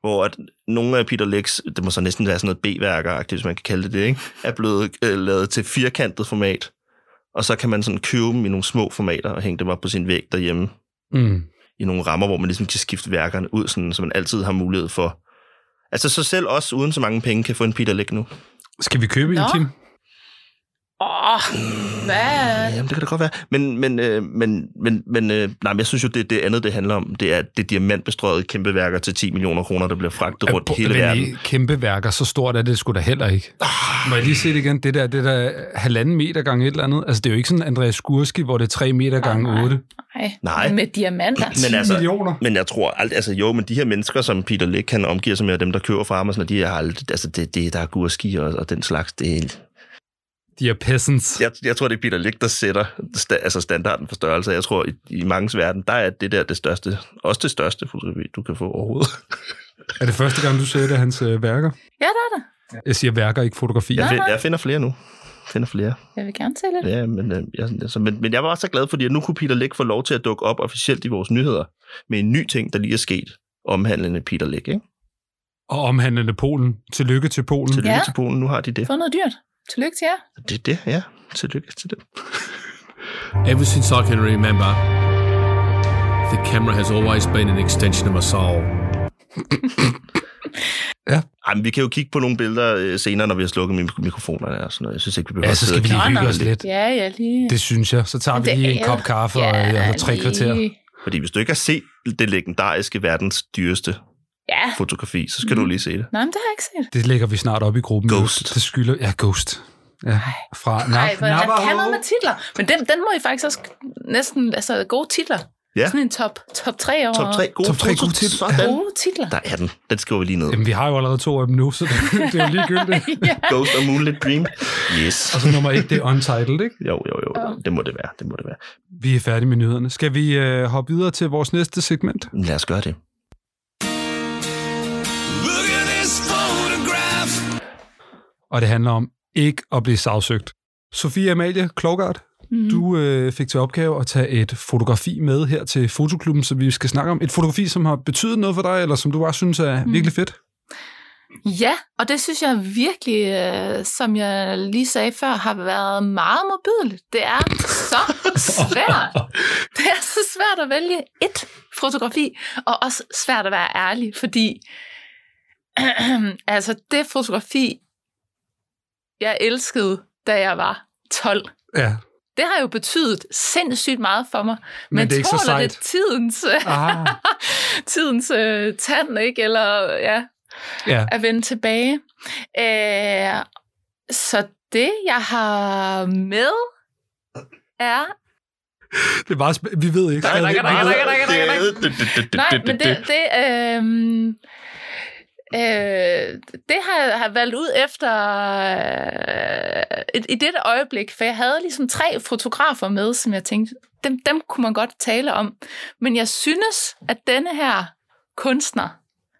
Hvor at nogle af Peter Licks, det må så næsten være sådan noget B-værker, hvis man kan kalde det det, ikke? er blevet øh, lavet til firkantet format. Og så kan man sådan købe dem i nogle små formater og hænge dem op på sin væg derhjemme
Mm.
i nogle rammer, hvor man ligesom kan skifte værkerne ud, sådan, så man altid har mulighed for... Altså så selv os uden så mange penge kan få en Peter Lick nu.
Skal vi købe en,
Nå.
Kim?
Åh, hvad?
Jamen, det kan det godt være. Men, men, øh, men, men, men, øh, nej, men jeg synes jo, det, det andet, det handler om, det er det er diamantbestrøget kæmpe værker til 10 millioner kroner, der bliver fragtet rundt i hele
Men
verden.
i Kæmpe værker, så stort er det sgu da heller ikke. Må jeg lige se det igen? Det der, det der halvanden meter gange et eller andet. Altså, det er jo ikke sådan Andreas Skurski, hvor det er tre meter gange
nej.
otte.
Ej, Nej,
Nej.
med diamanter.
Men altså,
millioner.
Men jeg tror alt, altså jo, men de her mennesker, som Peter Lick kan omgive sig med, og dem, der kører fra ham, og sådan, noget, de har alt, altså det, det der er gurski og, og den slags, det er,
De er peasants.
jeg, jeg tror, det er Peter Lick, der sætter sta, altså standarden for størrelse. Jeg tror, i, i mangens verden, der er det der det største, også det største fotografi, du kan få overhovedet.
Er det første gang, du ser det af hans øh, værker?
Ja, der er det.
Jeg siger værker, ikke fotografier.
Jeg,
Nej,
find,
nej.
jeg finder flere nu. Jeg finder flere.
Jeg vil gerne se lidt.
Ja, men, øh, jeg, altså, men, men jeg var så glad, fordi at nu kunne Peter Lick få lov til at dukke op officielt i vores nyheder med en ny ting, der lige er sket omhandlende Peter Lick. Ikke?
Og omhandlende Polen. Tillykke til Polen.
Tillykke
Ja.
til Polen, nu har de det.
Få noget dyrt. Tillykke til jer.
Det er det, ja. Tillykke til dem.
Ever since I can remember, the camera has always been an extension of my soul.
Ej, men vi kan jo kigge på nogle billeder øh, senere, når vi har slukket mik- mikrofonerne og sådan noget. Jeg synes ikke, vi behøver
Ja, så skal vi
Nå,
lige hygge
nå.
os lidt.
Ja, ja, lige.
Det synes jeg. Så tager vi
Det
lige en
er-
kop kaffe og
ja,
ja, tre
lige.
kvarter.
Fordi hvis du ikke har set det legendariske verdens dyreste
Ja,
fotografi, så
Mhm.
skal mm. du lige se det.
nej, men det har jeg ikke set.
Det lægger vi snart op i gruppen.
Ghost.
Det skylder... Ja, Ghost. Ja. Fra
Nej,
Na-
for han kan noget
Navajo.
med titler. Men den, den må I faktisk også næsten, altså gode titler.
Ja.
Sådan en top, top 3 over
Top 3 gode
Top tre
foto-
gode titler.
Sådan.
gode titler.
Der er den. Den skriver vi lige ned.
Jamen, vi har jo allerede to af dem nu, så det, det er jo ligegyldigt.
ja.
Ghost og Moonlit Dream. Yes.
Og så nummer et, det er Untitled, ikke?
Jo, jo, jo. Det må det være. Det må det være.
Vi er færdige med nyhederne. Skal vi øh, hoppe videre til vores næste segment?
Men Lad os gøre det.
Og det handler om ikke at blive sagsøgt. Sofie Amalie Klogart,
Mm.
Du øh, fik til opgave at tage et fotografi med her til Fotoklubben, som vi skal snakke om. Et fotografi, som har betydet noget for dig, eller som du bare synes er mm.
Mm.
virkelig fedt.
Ja, og det synes jeg virkelig, øh, som jeg lige sagde før, har været meget modbydeligt. Det er så svært. Det er så svært at vælge et fotografi, og også svært at være ærlig, fordi altså det fotografi, jeg elskede, da jeg var 12,
Ja.
det har jo betydet sindssygt meget for mig.
Men det er ikke så
tåler
sejt.
det tidens,
Ah,
tidens øh, tand, ikke? Eller ja,
ja.
at vende tilbage. Øh, så det, jeg har med, er...
Det er bare... Sp- vi ved ikke.
Nej,
stadigvæk.
nej, nej, nej, nej, nej, nej. Nej,
nej,
men det... det øh, øh, det har jeg har jeg valgt ud efter øh, et- i dette øjeblik, for jeg havde ligesom tre fotografer med, som jeg tænkte, dem, dem kunne man godt tale om. Men jeg synes, at denne her kunstner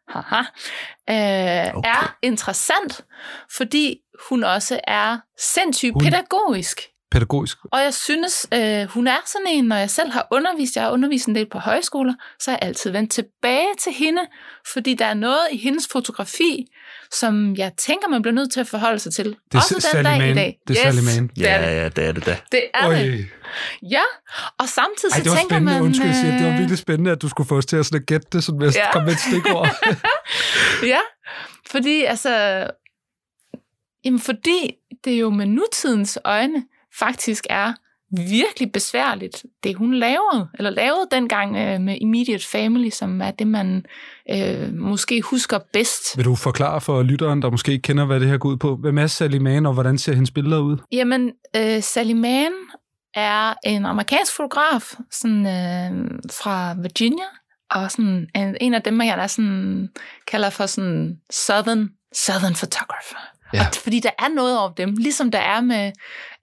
haha, øh,
Okay.
okay. er interessant, fordi hun også er sindssygt
Hun-
hun... pædagogisk.
Pædagogisk.
Og jeg synes, øh, hun er sådan en, når jeg selv har undervist, jeg har undervist en del på højskoler, så har jeg altid vendt tilbage til hende, fordi der er noget i hendes fotografi, som jeg tænker, man bliver nødt til at forholde sig til.
Det er
Også den
Sally
dag i
Mann.
dag.
Det er
yes,
Sally Mann.
Det er
Ja,
det.
ja, det er det da.
Det er
Øj.
det. Ja, og samtidig
Ej,
så
det var
tænker
spændende.
man...
Undskyld, jeg siger, det var
øh,
virkelig spændende, at du skulle få os til at, sådan at gætte det, sådan med at
Ja.
komme med et stikord.
Ja, fordi altså... Jamen fordi det jo med nutidens øjne faktisk er virkelig besværligt, det hun lavede, eller lavede dengang øh, med Immediate Family, som er det, man øh, måske husker bedst.
Vil du forklare for lytteren, der måske ikke kender, hvad det her går ud på? Hvem er Sally Mann, og hvordan ser hendes billeder ud?
Jamen, øh, Sally Mann er en amerikansk fotograf sådan, øh, fra Virginia, og sådan, en, en af dem, jeg der sådan, kalder for sådan Southern, Southern Photographer.
Ja.
Ja. Og, fordi der er noget over dem, ligesom der er med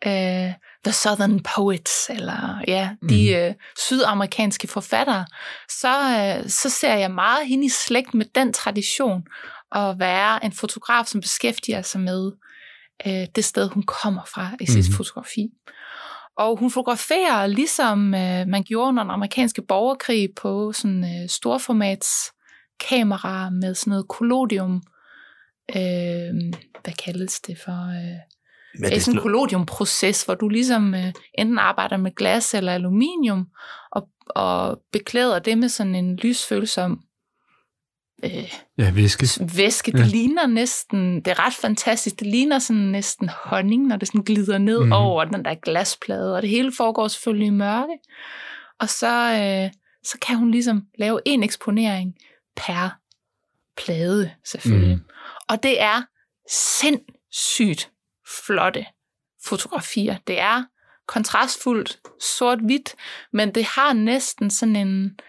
øh, The Southern Poets, eller ja, de
Mhm.
mm. øh, sydamerikanske forfattere, så, øh, så ser jeg meget hende i slægt med den tradition at være en fotograf, som beskæftiger sig med øh, det sted, hun kommer fra i sit
Mhm.
mm-hmm. fotografi. Og hun fotograferer, ligesom øh, man gjorde under den amerikanske borgerkrig, på sådan øh, storformats kamera med sådan noget collodium. Øh, hvad kaldes det for? Øh,
Men
det er sådan en
noget-
kollodiumproces, hvor du ligesom øh, enten arbejder med glas eller aluminium, og, og beklæder det med sådan en lysfølsom øh,
Ja, viske.
væske. Det
Ja.
ja. ligner næsten, det er ret fantastisk, det ligner sådan næsten honning, når det sådan glider ned
Mhm.
mm. over den der glasplade, og det hele foregår selvfølgelig i mørke. Og så, øh, så kan hun ligesom lave en eksponering per plade, selvfølgelig.
Mhm.
Mm. Og det er sindssygt flotte fotografier. Det er kontrastfuldt sort-hvidt, men det har næsten sådan en,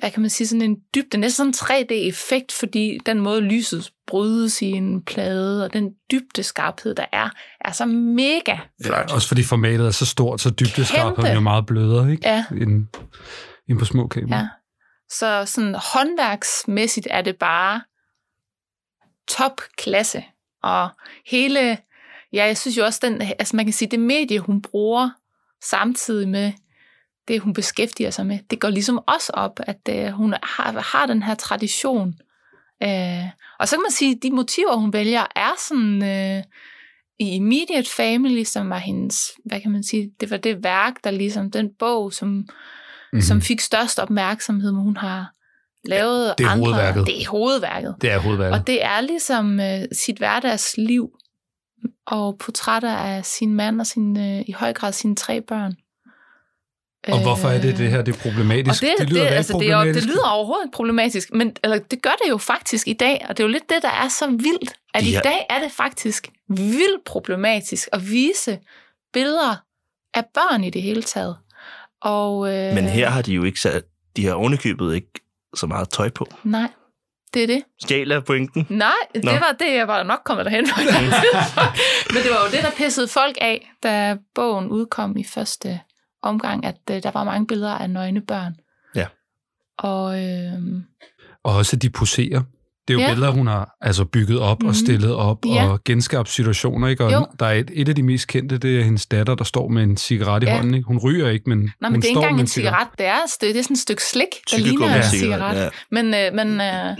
hvad kan man sige, sådan en dybde, næsten sådan en 3D-effekt, fordi den måde lyset brydes i en plade, og den dybde skarphed, der er, er så mega flot.
Ja, også fordi formatet er så stort, så dybdeskarpheden er jo meget blødere, ikke?
Ja.
End, end på små kameraer.
Ja. Så sådan håndværksmæssigt er det bare topklasse. Og hele, ja, jeg synes jo også, den, altså man kan sige, det medie, hun bruger samtidig med det, hun beskæftiger sig med, det går ligesom også op, at øh, hun har, har den her tradition. Øh, og så kan man sige, at de motiver, hun vælger, er sådan øh, i Immediate Family, som var hendes, hvad kan man sige, det var det værk, der ligesom, den bog, som
Mhm.
mm-hmm. som fik størst opmærksomhed, men hun har lavet
det er
andre.
hovedværket.
Det er hovedværket.
Det er hovedværket.
Og det er ligesom øh, sit hverdagsliv og portrætter af sin mand og sin, øh, i høj grad sine tre børn.
Og hvorfor er det det her, det er problematisk?
øh, Og
det
det,
lyder
det,
da ikke
altså, det, er, jo-
problematisk.
det lyder overhovedet ikke problematisk, men eller, det gør det jo faktisk i dag, og det er jo lidt det, der er så vildt, at
De
i
har-
dag er det faktisk vildt problematisk at vise billeder af børn i det hele taget. Og, øh,
Men her har de jo ikke sat, de har ovenikøbet ikke så meget tøj på.
Nej, det er det.
Stjæler pointen.
Nej, det
Nå.
var det, jeg var nok kommet derhen på. et eller andet tidspunkt. Men det var jo det, der pissede folk af, da bogen udkom i første omgang, at øh, der var mange billeder af nøgne børn.
Ja.
Og øh,
Og også de poserer. Det er jo
Ja.
ja. billeder, hun har altså bygget op mm-hmm.
Mhm.
og stillet op
Ja.
ja. og genskabt situationer. Ikke? Og
Jo.
der er et, et af de mest kendte, det er hendes datter, der står med en cigaret i
Ja.
ja. hånden. Ikke? Hun ryger ikke, men
nej,
hun
men det er ikke
står
engang
med
en cigaret, det er, det er sådan et stykke slik, der ligner en cigaret.
Ja.
Men, øh, men, øh,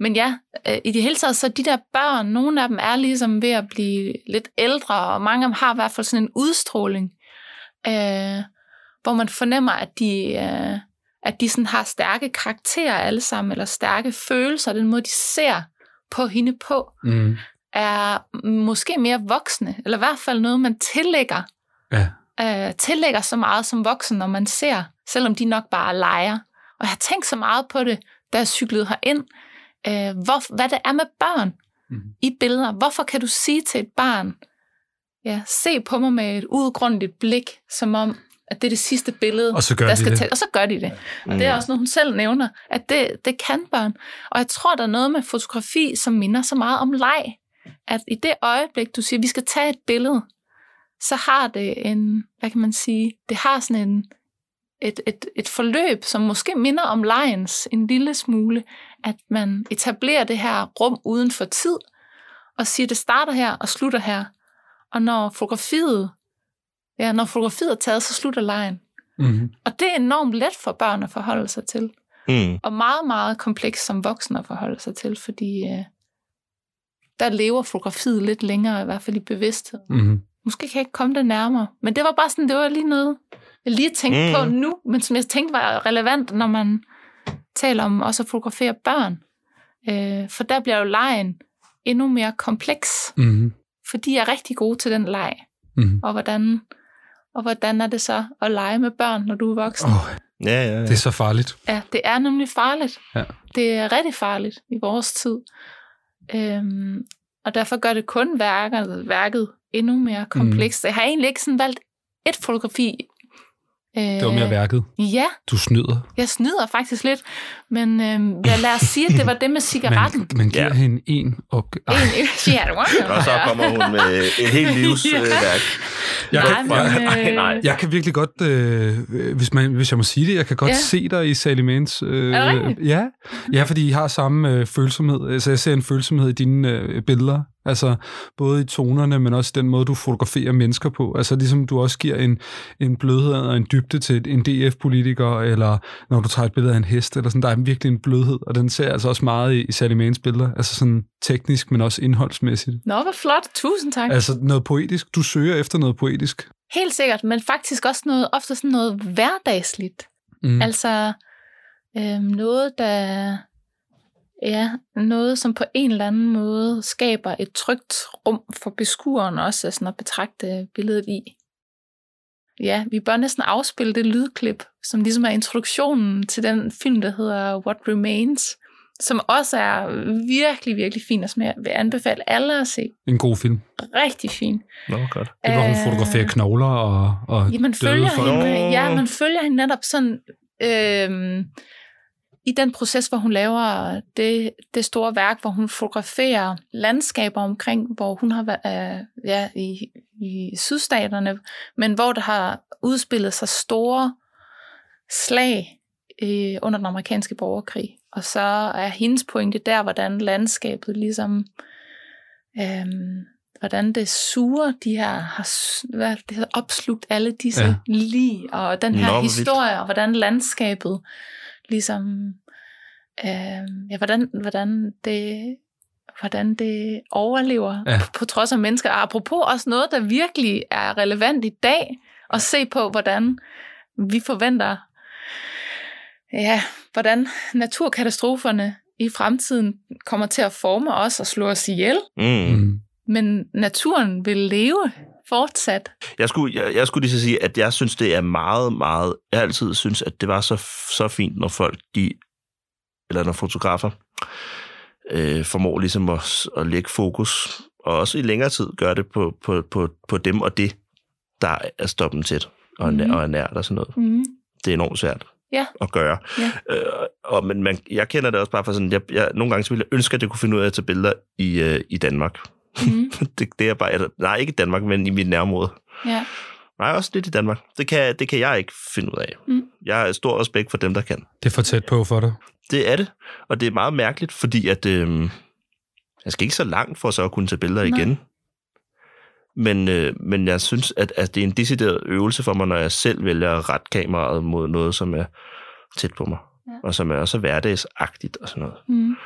men ja, øh, i det hele taget, så de der børn, nogle af dem er ligesom ved at blive lidt ældre, og mange af dem har i hvert fald sådan en udstråling, øh, hvor man fornemmer, at de, øh, at de sådan har stærke karakterer alle sammen, eller stærke følelser, den måde, de ser på hende på,
Mm.
er måske mere voksne, eller i hvert fald noget, man tillægger,
Ja.
øh, tillægger så meget som voksen, når man ser, selvom de nok bare leger. Og jeg har tænkt så meget på det, da jeg cyklede herind, øh, hvor, hvad det er med børn
Mhm.
i billeder. Hvorfor kan du sige til et barn, ja, se på mig med et udgrundeligt blik, som om, at det er det sidste billede,
Og så gør
der
de
skal
det.
til. Og så gør de det. Og
Mm.
det er også noget, hun selv nævner, at det, det kan børn. Og jeg tror, der er noget med fotografi, som minder så meget om leg. At i det øjeblik, du siger, vi skal tage et billede, så har det en, hvad kan man sige, det har sådan en, et, et, et forløb, som måske minder om legens en lille smule, at man etablerer det her rum uden for tid, og siger, det starter her og slutter her. Og når fotografiet, ja, når fotografiet er taget, så slutter lejen.
Mm-hmm.
Og det er enormt let for børn at forholde sig til.
Mm.
Og meget, meget komplekst som voksne at forholde sig til, fordi øh, der lever fotografiet lidt længere, i hvert fald i bevidsthed.
Mm-hmm.
Måske kan jeg ikke komme det nærmere. Men det var bare sådan, det var lige noget, jeg lige tænkte
Mm.
mm. på nu, men som jeg tænkte var relevant, når man taler om også at fotografere børn. Øh, for der bliver jo lejen endnu mere kompleks,
Mm-hmm.
for de er rigtig gode til den leg.
Mm-hmm.
Og hvordan, og hvordan er det så at lege med børn, når du er voksen?
Oh,
Ja, ja, ja.
det er så farligt.
Ja, det er nemlig farligt.
Ja.
Det er rigtig farligt i vores tid. Øhm, og derfor gør det kun værket, værket endnu mere
Mhm.
komplekst. Mm. Jeg har egentlig ikke sådan valgt et fotografi. Øh,
Det var mere værket.
Ja,
Du snyder.
jeg snyder faktisk lidt. Men øhm, lad, lad os sige, at det var det med cigaretten.
Man, man giver
Ja.
ja. hende en opgave. Ej,
En, ja, det var
Og så kommer hun med et helt livsværk.
Ah, jeg,
Nej,
kan,
men,
jeg,
øh,
nej.
jeg kan virkelig godt, øh, hvis, man, hvis jeg må sige det, jeg kan godt
Ja.
ja. se dig i Sally Mans. Øh,
Er det rigtigt?
ja. ja, fordi I har samme øh, følsomhed. Altså, jeg ser en følsomhed i dine øh, billeder. Altså, både i tonerne, men også den måde, du fotograferer mennesker på. Altså, ligesom du også giver en, en blødhed og en dybde til et- en DF-politiker, eller når du tager et billede af en hest, eller sådan, der er virkelig en blødhed, og den ser jeg altså også meget i, i Sally Mans billeder. Altså, sådan teknisk, men også indholdsmæssigt.
Nå, hvor flot. Tusind tak.
Altså noget poetisk. Du søger efter noget poetisk.
Helt sikkert, men faktisk også noget, ofte sådan noget hverdagsligt.
Mm.
Altså øhm, noget, der ja, noget, som på en eller anden måde skaber et trygt rum for beskueren også altså at betragte billedet i. Ja, vi bør næsten afspille det lydklip, som ligesom er introduktionen til den film, der hedder What Remains, som også er virkelig, virkelig fin, og som jeg vil anbefale alle at se.
En god film.
Rigtig fin.
Nå, godt.
Det var, hun
Øh,
fotograferer knogler og, og
Ja, man
døde
følger
folk.
hende, ja, man følger hende netop sådan, øhm, i den proces, hvor hun laver det, det store værk, hvor hun fotograferer landskaber omkring, hvor hun har været øh, ja, i, i sydstaterne, men hvor der har udspillet sig store slag øh, under den amerikanske borgerkrig. Og så er hendes pointe der, hvordan landskabet ligesom... Øhm, hvordan det suger, de her har s- hvad, er det, det hedder, opslugt alle disse
Ja.
ja. lige, og den
Nå,
her
hvor
Nå,
vildt.
historie, og hvordan landskabet ligesom, øh, ja, hvordan, hvordan det hvordan det overlever
Ja.
ja. på trods af mennesker. Og apropos også noget, der virkelig er relevant i dag, at se på, hvordan vi forventer, ja, hvordan naturkatastroferne i fremtiden kommer til at forme os og slå os ihjel.
Mm.
Mm.
Men naturen vil leve fortsat.
Jeg skulle, jeg, jeg skulle lige så sige, at jeg synes, det er meget, meget... Jeg har altid synes, at det var så, så fint, når folk, de, eller når fotografer, øh, formår ligesom at, s- at lægge fokus, og også i længere tid gør det på, på, på, på dem og det, der er stoppen tæt og, mm.
Mhm.
og er nært og sådan noget.
Mm.
Det er enormt svært
Ja.
at gøre.
Ja.
Øh, og, men man, jeg kender det også bare fra sådan, jeg, jeg, nogle gange så ville jeg ønske, at jeg kunne finde ud af at tage billeder i, øh, i Danmark.
Mm.
det, det er bare, eller, nej, ikke i Danmark, men i mit nærområde.
Ja.
Nej, også lidt i Danmark. Det kan, det kan jeg ikke finde ud af.
Mm.
Jeg har stor respekt for dem, der kan.
Det er for tæt på for dig.
Det er det, og det er meget mærkeligt, fordi at, øh, jeg skal ikke så langt for så at kunne tage billeder
Nej.
igen. Men, øh, men jeg synes, at, at det er en decideret øvelse for mig, når jeg selv vælger at rette kameraet mod noget, som er tæt på mig,
Ja.
og som er også hverdagsagtigt og sådan noget.
Mm.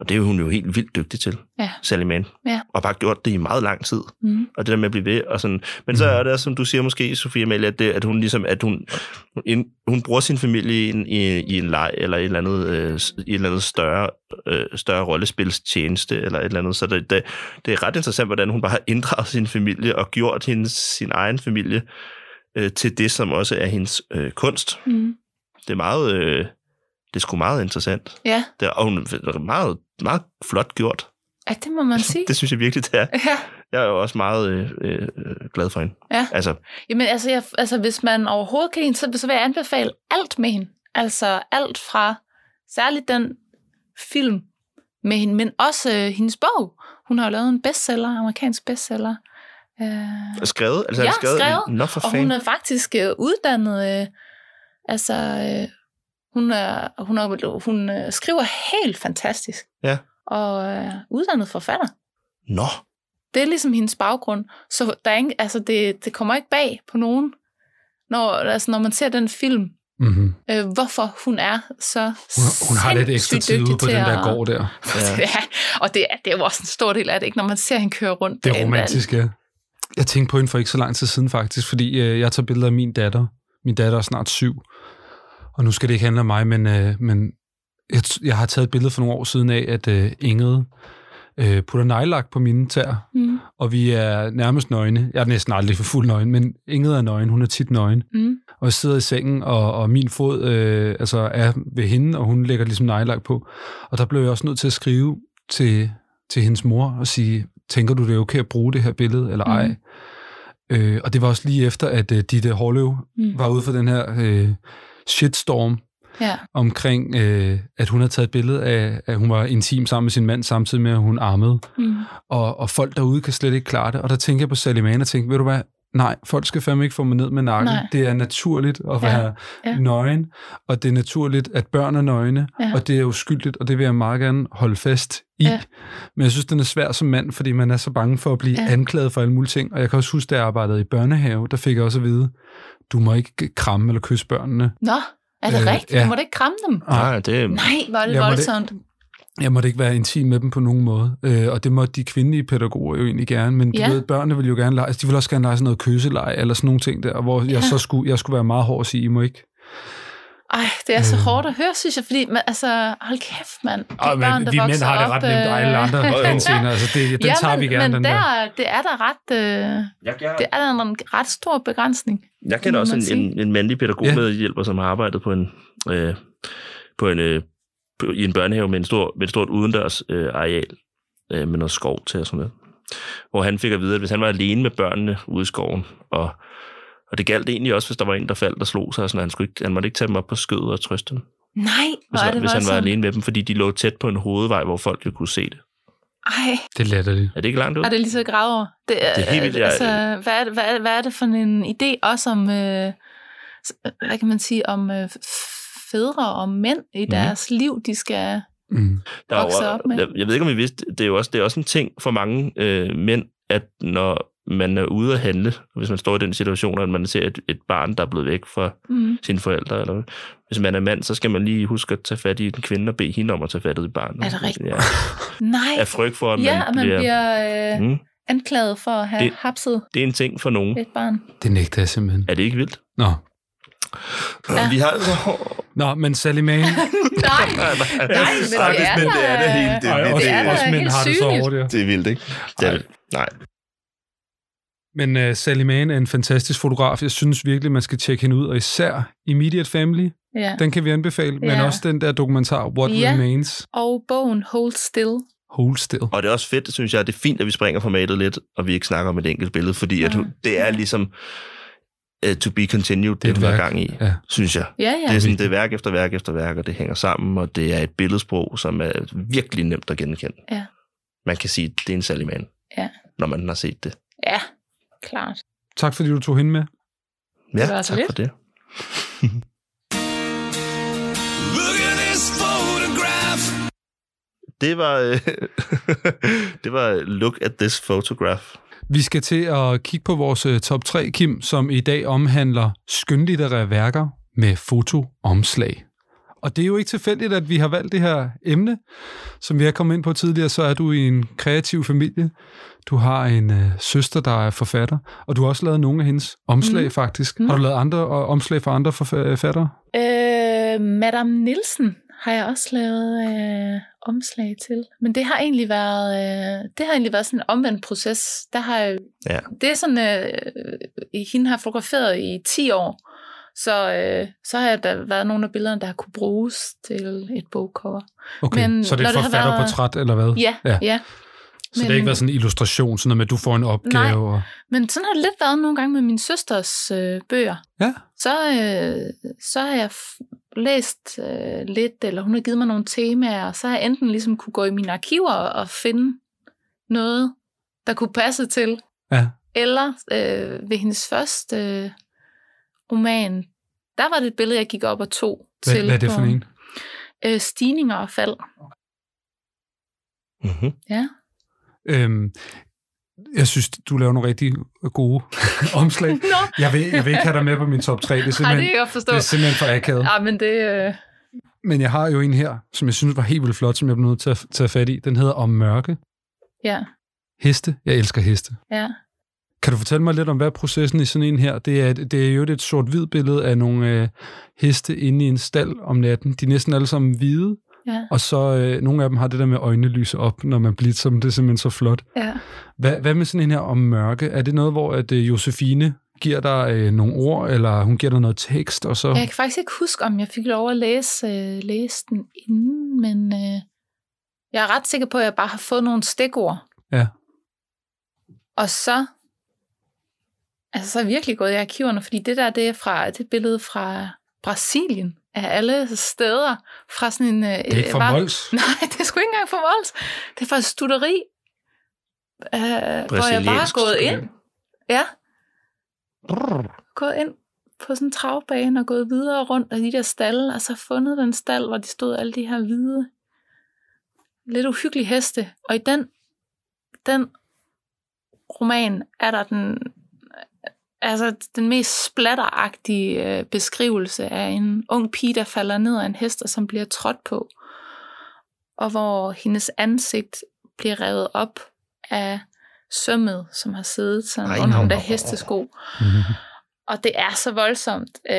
Og det er hun jo helt vildt dygtig til,
Ja.
Sally Mann.
Ja.
Og bare gjort det i meget lang tid
Mm.
og det der med at blive ved, og sådan. Men så er det også, som du siger måske, Sofie Amalie, at, det, at hun ligesom, at hun, hun, ind- hun bruger sin familie i en, i, i en leg, eller et eller andet, øh, s- i et eller andet større, øh, større rollespilstjeneste, eller et eller andet. Så det, det, det er ret interessant, hvordan hun bare har inddraget sin familie, og gjort hendes, sin egen familie øh, til det, som også er hendes øh, kunst.
Mm.
Det er meget, øh, det er sgu meget interessant.
Ja.
Det er, og hun det er meget, meget flot gjort.
ja, det må man sige.
Det synes jeg virkelig, det er.
Ja.
Jeg er jo også meget øh, øh, øh, glad for hende.
Ja.
Altså,
Jamen altså, jeg, altså, hvis man overhovedet kan lide, hende, så, så vil jeg anbefale alt med hende. Altså alt fra særligt den film med hende, men også øh, hendes bog. Hun har jo lavet en bestseller, amerikansk bestseller. Øh,
Skrevet? Altså, er
Ja,
det skrevet?
skrevet.
Nå for
Og hun
fanden.
er faktisk øh, uddannet, øh, altså øh, hun, er, hun, er, hun øh, skriver helt fantastisk.
Ja.
Og øh, uddannet forfatter.
Nå,
Det er ligesom hendes baggrund. Så der er ikke, altså det, det kommer ikke bag på nogen, når, altså når man ser den film,
Mm-hmm.
øh, hvorfor hun er så
Hun, hun har lidt ekstra
sindssygt
tid ude
dygtig
på
til
den der
at-
gård der.
Ja.
Ja. og det er, det er jo også en stor del af det, ikke? når man ser hende køre rundt.
Det er
dagen,
romantisk, ja. Jeg tænkte på hende for ikke så lang tid siden faktisk, fordi øh, jeg tager billeder af min datter. Min datter er snart syv, og nu skal det ikke handle om mig, men, øh, men jeg, t- jeg har taget et billede for nogle år siden af, at øh, Ingrid øh, putter nejlak på mine tæer,
Mm,
og vi er nærmest nøgne. Jeg er næsten aldrig for fuld nøgen, men Ingrid er nøgen, hun er tit nøgen.
mm,
Og jeg sidder i sengen, og, og min fod øh, altså er ved hende, og hun lægger ligesom nejlak på. Og der blev jeg også nødt til at skrive til, til hendes mor og sige, tænker du det er okay at bruge det her billede, eller ej?
Mhm.
Øh, og det var også lige efter, at øh, Ditte Hårløv
mm.
var ude for den her øh, shitstorm
Ja.
omkring, øh, at hun havde taget et billede af, at hun var intim sammen med sin mand, samtidig med, at hun armede
Mm.
og, og folk derude kan slet ikke klare det. Og der tænker jeg på Salimane og tænker, ved du hvad, nej, folk skal fandme ikke få mig ned med nakken.
Nej.
Det er naturligt at være ja.
ja.
nøgen, og det er naturligt, at børn er nøgne, ja.
Ja.
og det er uskyldigt, og det vil jeg meget gerne holde fast i. Ja.
Ja.
Men jeg synes, den er svær som mand, fordi man er så bange for at blive ja.
Ja.
anklaget for alle mulige ting. Og jeg kan også huske, da jeg arbejdede i børnehave, der fik jeg også at vide, du må ikke kramme eller kysse børnene.
Nå, er det
Øh,
øh, rigtigt?
ja.
Du må da ikke kramme dem.
nej, det er...
Nej, hvor er det
Jeg må det-
voldsomt.
Jeg måtte ikke være intim med dem på nogen måde. Øh, og det måtte de kvindelige pædagoger jo egentlig gerne. Men ja.
Ja.
du ved, børnene ville jo gerne lege. Altså, de ville også gerne lege sådan noget kysseleje eller sådan nogle ting der, hvor jeg
Ja.
så skulle, jeg skulle være meget hård og sige, I må ikke.
Ej, det er så
Øh.
hårdt at høre, synes jeg, fordi man, altså, hold kæft, mand. De børn, der vokser op, øh,
henseender. Altså, det, den
ja,
tager
men,
vi gerne,
men
den
der,
der.
det er der ret, øh,
Jeg, jeg,
det er der en ret stor begrænsning.
jeg kender
må
også
man
en,
sige.
en, en mandlig pædagog
Ja.
medhjælper, som har arbejdet på en, øh, på en øh, på, i en børnehave med, en stor, med et stort udendørs øh, areal øh, med noget skov til og sådan noget. Hvor han fik at vide, at hvis han var alene med børnene ude i skoven, og, og det galt egentlig også, hvis der var en, der faldt og slog sig, og sådan, at han, skulle ikke, han måtte ikke tage dem op på skødet og trøste dem,
Nej,
hvis,
hvor er
han,
det
hvis han var
voldsomt.
alene med dem, fordi de lå tæt på en hovedvej, hvor folk jo kunne se det.
Ej,
Det er latterligt.
Er det ikke langt ud?
er det lige så gravet over? Det
Det er helt vildt, jeg-
Altså, hvad er, det, hvad, er, hvad er det for en idé også om, øh, s- hvad kan man sige, om øh, fædre og mænd i
Mhm.
deres liv, de skal...
Mm.
Der er jo-
vokset op med.
Jeg, jeg ved ikke, om I vidste, det er jo også, det er også en ting for mange øh, mænd, at når man er ude at handle, hvis man står i den situation, at man ser et, et barn, der er blevet væk fra
Mm.
sine forældre, eller hvad. hvis man er mand, så skal man lige huske at tage fat i en kvinde og bede hende om at tage fat i barnet.
Er det rigtigt?
Ja.
Nej,
Af frygt for, at man,
ja, at man bliver øh,
Mm,
anklaget for at have
Det- Mm.
hapset
det er en ting for nogen.
et barn.
Det nægter jeg simpelthen.
Er det ikke vildt?
Nå.
Vi har...
Nå, men Sally Mann...
Nej, nej, men det er,
men det er det hele. Det,
Ej,
det,
også,
det,
er da
også mænd
helt
har det så
synligt.
over det.
det er vildt, ikke? Det er, vildt. nej.
Men uh, Sally Mann er en fantastisk fotograf. Jeg synes virkelig, man skal tjekke hende ud, og især Immediate Family.
Ja.
Den kan vi anbefale, men
Ja.
også den der dokumentar, What
Ja.
Remains,
Og bogen Hold Still.
Hold Still.
Og det er også fedt, synes jeg, det er fint, at vi springer formatet lidt, og vi ikke snakker om et enkelt billede, fordi at,
Ja.
det er ligesom uh, to be continued, det,
et
det du har
værk.
gang i,
Ja.
synes jeg.
Ja, ja.
Det er sådan, det er værk efter værk efter værk, og det hænger sammen, og det er et billedsprog, som er virkelig nemt at genkende.
Ja.
Man kan sige, det er en særlig mand,
Ja.
når man har set det.
Ja, klart.
Tak fordi du tog hende med.
Ja,
var altså
tak
så
for det.
Look at this photograph.
Det var, øh, det var Look at this photograph.
Vi skal til at kigge på vores øh, top 3, Kim, som i dag omhandler skønlitterære værker med fotoomslag. Og det er jo ikke tilfældigt, at vi har valgt det her emne. Som vi har kommet ind på tidligere, så er du i en kreativ familie. Du har en øh, søster, der er forfatter, og du har også lavet nogle af hendes omslag,
Mhm.
mm. faktisk.
Mhm.
Har du lavet andre øh, omslag for andre forfattere?
Øh, Madame Nielsen har jeg også lavet øh, omslag til. Men det har egentlig været øh, det har egentlig været sådan en omvendt proces. Der har jeg,
Ja.
Det er sådan, øh, hende har fotograferet i 10 år. Så, øh, så har der været nogle af billederne, der har kunne bruges til et bogcover.
Okay,
Men
så det er
når
et
det har
forfatterportræt, eller hvad?
Ja,
Ja.
ja. ja.
Så det har ikke
men-
været sådan en illustration, sådan noget med, at du får en opgave? Og...
Men sådan har det lidt været nogle gange med min søsters øh, bøger.
Ja.
Så, øh, så har jeg f- læst øh, lidt, eller hun har givet mig nogle temaer, og så har jeg enten ligesom kunne gå i mine arkiver og finde noget, der kunne passe til.
Ja.
Eller øh, ved hendes første øh, roman, der var det et billede, jeg gik op og tog
Hvad,
til.
hvad er det for
på,
en?
Øh, stigninger og fald.
Mhm.
Mm-hmm.
Ja.
Øhm, jeg synes, du laver nogle rigtig gode omslag.
Nå,
Jeg vil, jeg vil ikke have dig med på min top 3. Det er
Ej, det kan
simpelthen,
jeg godt forstå.
det er simpelthen for akavet.
Ej, men det... Øh,
Men jeg har jo en her, som jeg synes var helt vildt flot, som jeg blev nødt til at tage fat i. Den hedder Om mørke.
ja,
Heste. Jeg elsker heste.
ja.
Kan du fortælle mig lidt om, hvad processen i sådan en her? Det er, det er jo et sort-hvid billede af nogle øh, heste inde i en stald om natten. De er næsten alle sammen hvide,
Ja.
og så øh, nogle af dem har det der med øjnene lyse op, når man bliver som det er simpelthen så flot.
ja.
Hvad, hvad med sådan en her om mørke? Er det noget, hvor at øh, Josefine giver dig øh, nogle ord, eller hun giver dig noget tekst, og så...
Jeg kan faktisk ikke huske, om jeg fik lov at læse, øh, læse den inden, men øh, jeg er ret sikker på, at jeg bare har fået nogle stikord.
Ja.
Og så, altså, så er jeg virkelig gået i arkiverne, fordi det der, det er fra det er et billede fra Brasilien af alle steder. Fra sådan en, øh,
det er ikke for Mols.
Nej, det er sgu ikke engang for Mols. Det er fra et studeri, øh, hvor jeg bare
Brasiliansk
er gået
studeri.
ind. Ja. Gået ind på sådan en travbane og gået videre rundt af de der stalle, og så fundet den stald, hvor de stod alle de her hvide, lidt uhyggelige heste. Og i den, den roman er der den, altså den mest splatteragtige øh, beskrivelse af en ung pige, der falder ned af en hest, og som bliver trådt på. Og hvor hendes ansigt bliver revet op af sømmet, som har siddet sådan
Ej,
under
nå.
den der hestesko. Og det er så voldsomt. Øh,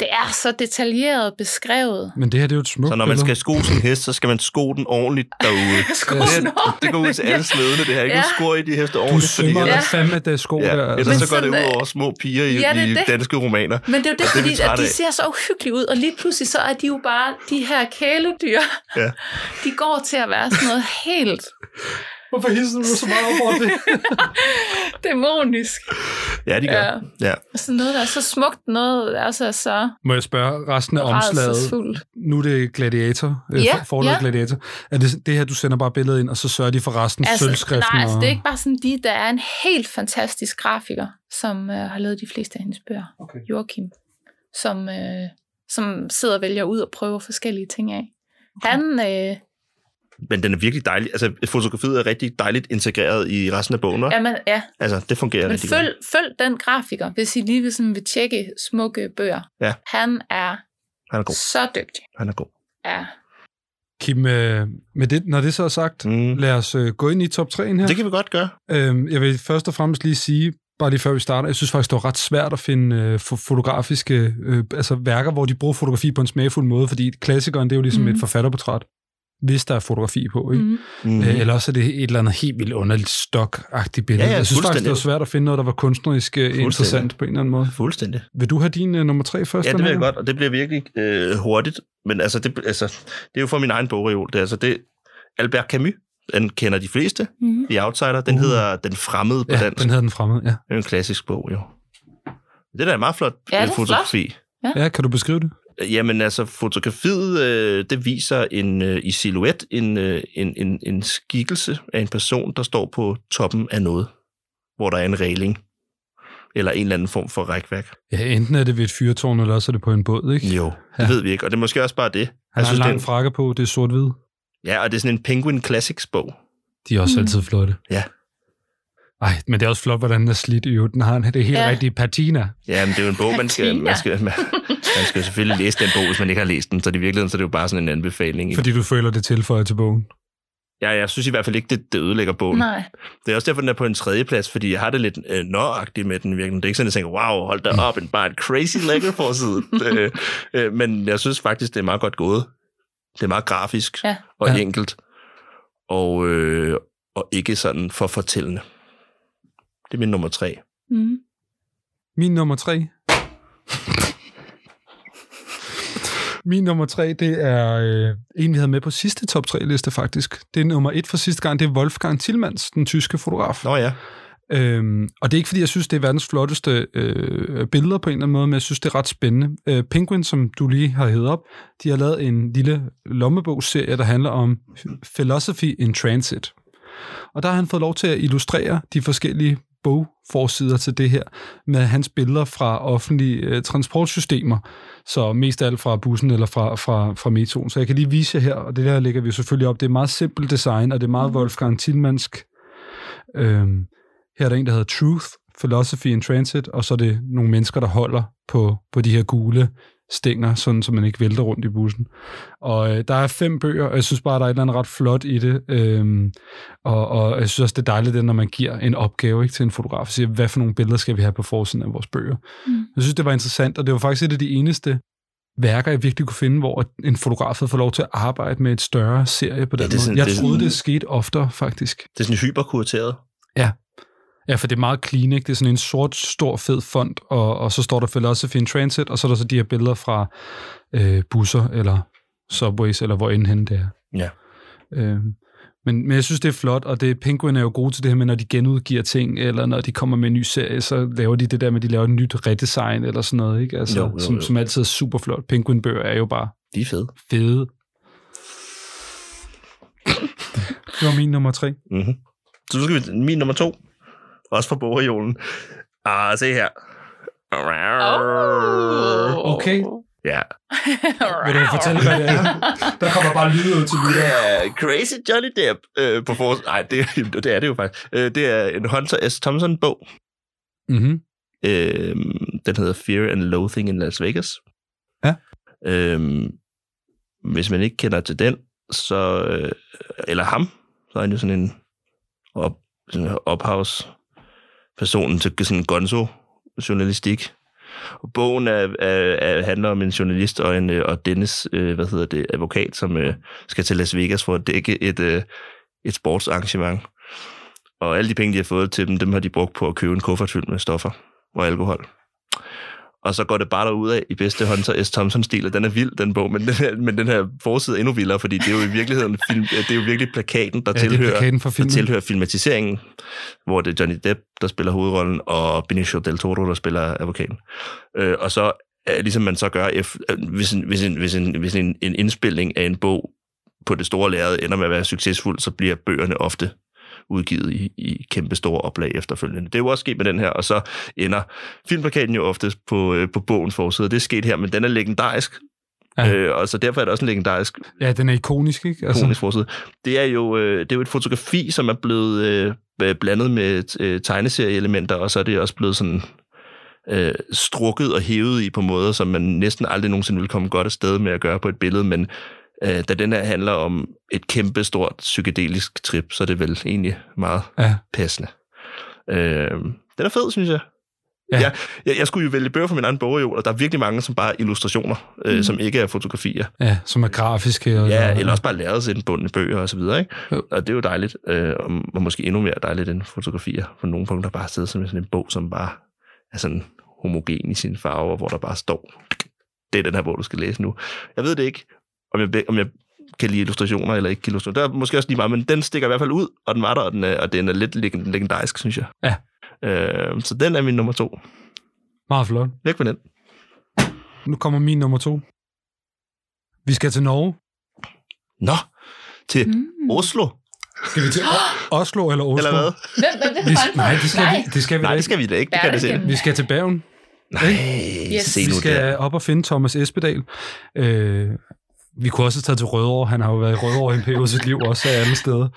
det er så detaljeret beskrevet.
Men det her, det er jo et smukt
Så når man
billede.
skal sko sin hest, så skal man sko den ordentligt derude.
sko
det,
den
det går ud til alle sledene, det her. Ikke
Ja.
ja. skor i de heste
Du
ordentligt.
sømmer dig
ellers,
fandme det sko
ja.
der.
ellers
Men
så går det
sådan,
ud
øh,
over små piger i,
ja, det er
i
det.
danske romaner.
Men det er jo det,
Og er vi
fordi at
trætte
de
af.
ser så uhyggelige ud, og lige pludselig så er de jo bare de her kæledyr.
Ja.
De går til at være sådan noget helt
Hvorfor hisser du så meget op over det?
dæmonisk.
Ja, de
Ja.
gør. Ja.
Sådan noget, der er så smukt, noget der også er så
Må jeg spørge resten af omslaget?
rædselsfuldt.
Nu er det Gladiator. øh,
Ja,
for- forlaget
ja.
Gladiator. Er det det her, du sender bare billedet ind, og så sørger de for resten altså, sølvskriften?
nej, altså, det er
og-
ikke bare sådan de, der er en helt fantastisk grafiker, som øh, har lavet de fleste af hendes bøger.
Okay.
Joachim, som, øh, som sidder og vælger ud og prøver forskellige ting af. Han, øh,
Men den er virkelig dejlig. Altså, fotografiet er rigtig dejligt integreret i resten af bogen. Ja.
ja, man, ja,
Altså, det fungerer
men
rigtig
følg, følg den grafiker, hvis I lige vil, sådan, vil tjekke smukke bøger.
Ja.
Han er
godt. Han er god.
så dygtig.
Han er god.
Ja.
Kim, øh, med det, når det så er sagt,
Mm.
lad os øh, gå ind i top 3'en her.
Det kan vi godt gøre.
Øhm, jeg vil først og fremmest lige sige, bare lige før vi starter, jeg synes faktisk, det var ret svært at finde øh, fo- fotografiske øh, altså værker, hvor de bruger fotografi på en smagfuld måde, fordi klassikeren, det er jo ligesom
Mhm.
mm. et forfatterportræt, hvis der er fotografi på, ikke? Mm.
Mm.
Mm.
Øh, eller også er det et eller andet helt vildt underligt stokagtigt billede.
Ja, ja,
jeg synes faktisk,
fuldstændig.
det var svært at finde noget, der var kunstnerisk øh,
Fuldstændig.
interessant på en eller anden måde.
Fuldstændig.
Vil du have din øh, nummer tre først?
Ja, det vil jeg
Amanda?
godt, og det bliver virkelig øh, hurtigt. Men altså det, altså, det er jo fra min egen bogreol. Det, er altså, det, Albert Camus, den kender de fleste,
Mm.
The Outsider. Den
Uh.
uh. hedder Den Fremmede på ja,
Ja,
dansk.
den havde den fremmede, ja.
Det er jo en klassisk bog, jo. Det der er en meget flot
Ja,
ja,
det er
øh, fotografi.
Ja, kan du beskrive det?
Jamen altså, fotografiet, øh, det viser en, øh, i silhuet en, øh, en, en, en skikkelse af en person, der står på toppen af noget, hvor der er en regling eller en eller anden form for rækværk.
Ja, enten er det ved et fyrtårn, eller også er det på en båd, ikke?
Jo, det
Ja.
ved vi ikke, og det er måske også bare det.
Han har en
det er
lang
en-
frakke på, det er sort-hvid.
Ja, og det er sådan en Penguin Classics-bog.
De er også
Mm.
mm. altid flotte.
Ja.
Ej, men det er også flot, hvordan den er slidt i øvrigt. Den har en, det er helt
Ja.
ja. rigtige patina.
Ja, men det er jo en bog, man skal,
Patina.
man, skal, man, man skal jo selvfølgelig læse den bog, hvis man ikke har læst den. Så i virkeligheden så er det jo bare sådan en anbefaling. Fordi...
Fordi du føler det tilføjer til bogen.
Jeg, jeg synes i hvert fald ikke, det, det ødelægger bogen.
Nej.
Det er også derfor, den er på en tredje plads, fordi jeg har det lidt øh, nøjagtigt med den virkelig. Det er ikke sådan, at jeg tænker, wow, hold
Mm.
da op, en bare en crazy lækker forside. øh, øh, men jeg synes faktisk, det er meget godt gået. Det er meget grafisk
Ja.
ja. og
Ja.
ja. enkelt. Og, øh, og ikke sådan for fortællende. Det er min nummer tre.
Mm.
Min nummer tre. Min nummer tre, det er øh, en, vi havde med på sidste top tre liste faktisk. Det er nummer et fra sidste gang, det er Wolfgang Tillmans, den tyske fotograf.
Nå ja,
Øhm, og det er ikke, fordi jeg synes, det er verdens flotteste øh, billeder på en eller anden måde, men jeg synes, det er ret spændende. Øh, Penguin, som du lige har hævet op, de har lavet en lille lommebogsserie, der handler om Philosophy in Transit. Og der har han fået lov til at illustrere de forskellige bogforsider til det her, med hans billeder fra offentlige øh, transportsystemer, så mest af alt fra bussen eller fra, fra, fra metroen. Så jeg kan lige vise jer her, og det der lægger vi jo selvfølgelig op. Det er meget simpelt design, og det er meget Wolfgang Tillmansk. Øhm, her er der en, der hedder Truth, Philosophy in Transit, og så er det nogle mennesker, der holder på, på de her gule stænger, sådan så man ikke vælter rundt i bussen. Og øh, der er fem bøger, og jeg synes bare, der er et eller andet ret flot i det. Øhm, og, og jeg synes også, det er dejligt, det, når man giver en opgave ikke, til en fotograf, og siger, hvad for nogle billeder skal vi have på forsiden af vores bøger.
Mm.
Jeg synes, det var interessant, og det var faktisk et af de eneste værker, jeg virkelig kunne finde, hvor en fotograf havde fået lov til at arbejde med et større serie på den
Ja, det
ja,
er
måde.
sådan-
jeg
det er
troede,
sådan-
det skete oftere, faktisk.
det er sådan hyperkurateret.
Ja, for det er meget clean, ikke? Det er sådan en sort, stor, fed font, og, og så står der Philosophy in Transit, og så er der så de her billeder fra øh, busser, eller subways, eller hvor end hen det er.
Ja.
Øh, men, men jeg synes, det er flot, og det, Penguin er jo gode til det her med, når de genudgiver ting, eller når de kommer med en ny serie, så laver de det der med, at de laver et nyt redesign, eller sådan noget, ikke? Altså,
Jo, jo,
Som,
jo.
som altid er super flot. Penguin-bøger er jo bare
De er fede.
fede. Det var min nummer tre.
Mm-hmm. Så nu skal vi til min nummer to. Også fra bogreolen. Ah, se her.
Oh.
Okay.
Ja.
Vil du fortælle, hvad det er? Der kommer bare lyde ud til lytter.
Yeah, crazy Johnny Depp øh, på for... Nej, det, det er det jo faktisk. Øh, det er en Hunter S. Thompson-bog.
Mm-hmm.
Øh, den hedder Fear and Loathing in Las Vegas.
Ja.
Øh, hvis man ikke kender til den, så... Øh, eller ham, så er han jo sådan en op, sådan en ophavspersonen til sådan gonzo-journalistik. Og bogen er, er, er, handler om en journalist og, en, øh, og Dennis, øh, hvad hedder det, advokat, som øh, skal til Las Vegas for at dække et, øh, et sportsarrangement. Og alle de penge, de har fået til dem, dem har de brugt på at købe en kuffert fyldt med stoffer og alkohol. Og så går det bare derud af i bedste Hunter S. Thompson-stil, og den er vild, den bog, men den her, men den her forside er endnu vildere, fordi det er jo i virkeligheden film, det er jo virkelig plakaten, der,
Ja, det er
tilhører,
plakaten for
der
filmen.
tilhører filmatiseringen, hvor det er Johnny Depp, der spiller hovedrollen, og Benicio Del Toro, der spiller advokaten. Øh, og så, øh, ligesom man så gør, if, øh, hvis, en, hvis, en, hvis, en, hvis en, en indspilning af en bog på det store lærred ender med at være succesfuld, så bliver bøgerne ofte udgivet i, i kæmpe store oplag efterfølgende. Det er jo også sket med den her, og så ender filmplakaten jo ofte på, øh, på bogens forside. Det er sket her, men den er legendarisk,
Ja.
ja. øh, og så derfor er det også en legendarisk
Ja, den er ikonisk, ikke?
altså. ikonisk forside. Det er, jo, øh, det er jo et fotografi, som er blevet øh, øh, blandet med øh, tegneserieelementer, og så er det også blevet sådan øh, strukket og hævet i på måder, som man næsten aldrig nogensinde vil komme godt af sted med at gøre på et billede, men øh, da den her handler om et kæmpe stort psykedelisk trip, så er det vel egentlig meget
Ja.
passende. Øh, den er fed, synes jeg.
Ja.
Ja. Jeg, jeg, jeg skulle jo vælge bøger fra min anden bogreol, og der er virkelig mange, som bare er illustrationer, øh, mm. som ikke er fotografier.
Ja, som er grafiske. Og,
Ja, eller også bare lærredsindbundne bøger og så videre, ikke?
Jo.
Og det er jo dejligt, øh, og, og måske endnu mere dejligt end fotografier. På nogle punkter bare sidder som sådan en bog, som bare er sådan homogen i sine farver, hvor der bare står, det er den her bog, du skal læse nu. Jeg ved det ikke, om jeg, om jeg kan lide illustrationer eller ikke kan illustrationer. Der er måske også lige meget, men den stikker i hvert fald ud, og den var der, og den er, og den er lidt leg- legendarisk, synes jeg.
Ja.
Øh, så den er min nummer to.
Meget flot.
Væk med den.
Nu kommer min nummer to. Vi skal til Norge.
Nå, til
Mm.
Oslo.
Skal vi til Oslo eller Oslo?
Eller hvad?
Hvem er det
Vi,
for en
nej, det skal,
Nej.
Vi, det skal vi da
Nej, det
ikke.
skal vi da ikke. Det kan det se.
Berlingen.
Vi skal til Bergen.
Nej,
Yes.
yes. se
Vi
nu der.
skal op og finde Thomas Espedal. Øh, vi kunne også have taget til Rødovre. Han har jo været i Rødovre i en periode af sit liv, også af alle steder.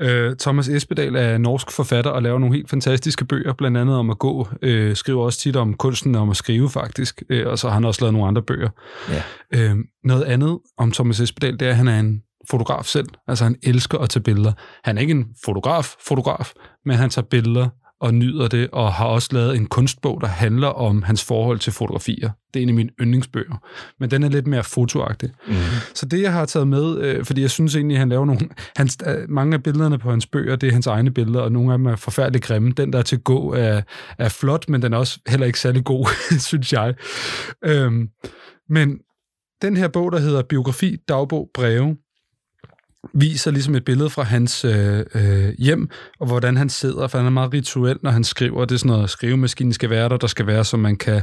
Øh, Thomas Espedal er norsk forfatter og laver nogle helt fantastiske bøger, blandt andet om at gå. Øh, skriver også tit om kunsten om at skrive, faktisk. Øh, og så har han også lavet nogle andre bøger.
Ja.
Øh, noget andet om Thomas Espedal, det er, at han er en fotograf selv. Altså, han elsker at tage billeder. Han er ikke en fotograf-fotograf, men han tager billeder og nyder det, og har også lavet en kunstbog, der handler om hans forhold til fotografier. Det er en af mine yndlingsbøger, men den er lidt mere fotoagtig. Mm. Så det, jeg har taget med, øh, fordi jeg synes egentlig, han laver nogle... Hans, øh, mange af billederne på hans bøger, det er hans egne billeder, og nogle af dem er forfærdeligt grimme. Den, der er til gå, er, er flot, men den er også heller ikke særlig god, synes jeg. Øhm, men den her bog, der hedder Biografi, Dagbog, Breve, viser ligesom et billede fra hans øh, øh, hjem, og hvordan han sidder, for han er meget rituel, når han skriver. Det er sådan noget, skrivemaskinen skal være der, der skal være, så man kan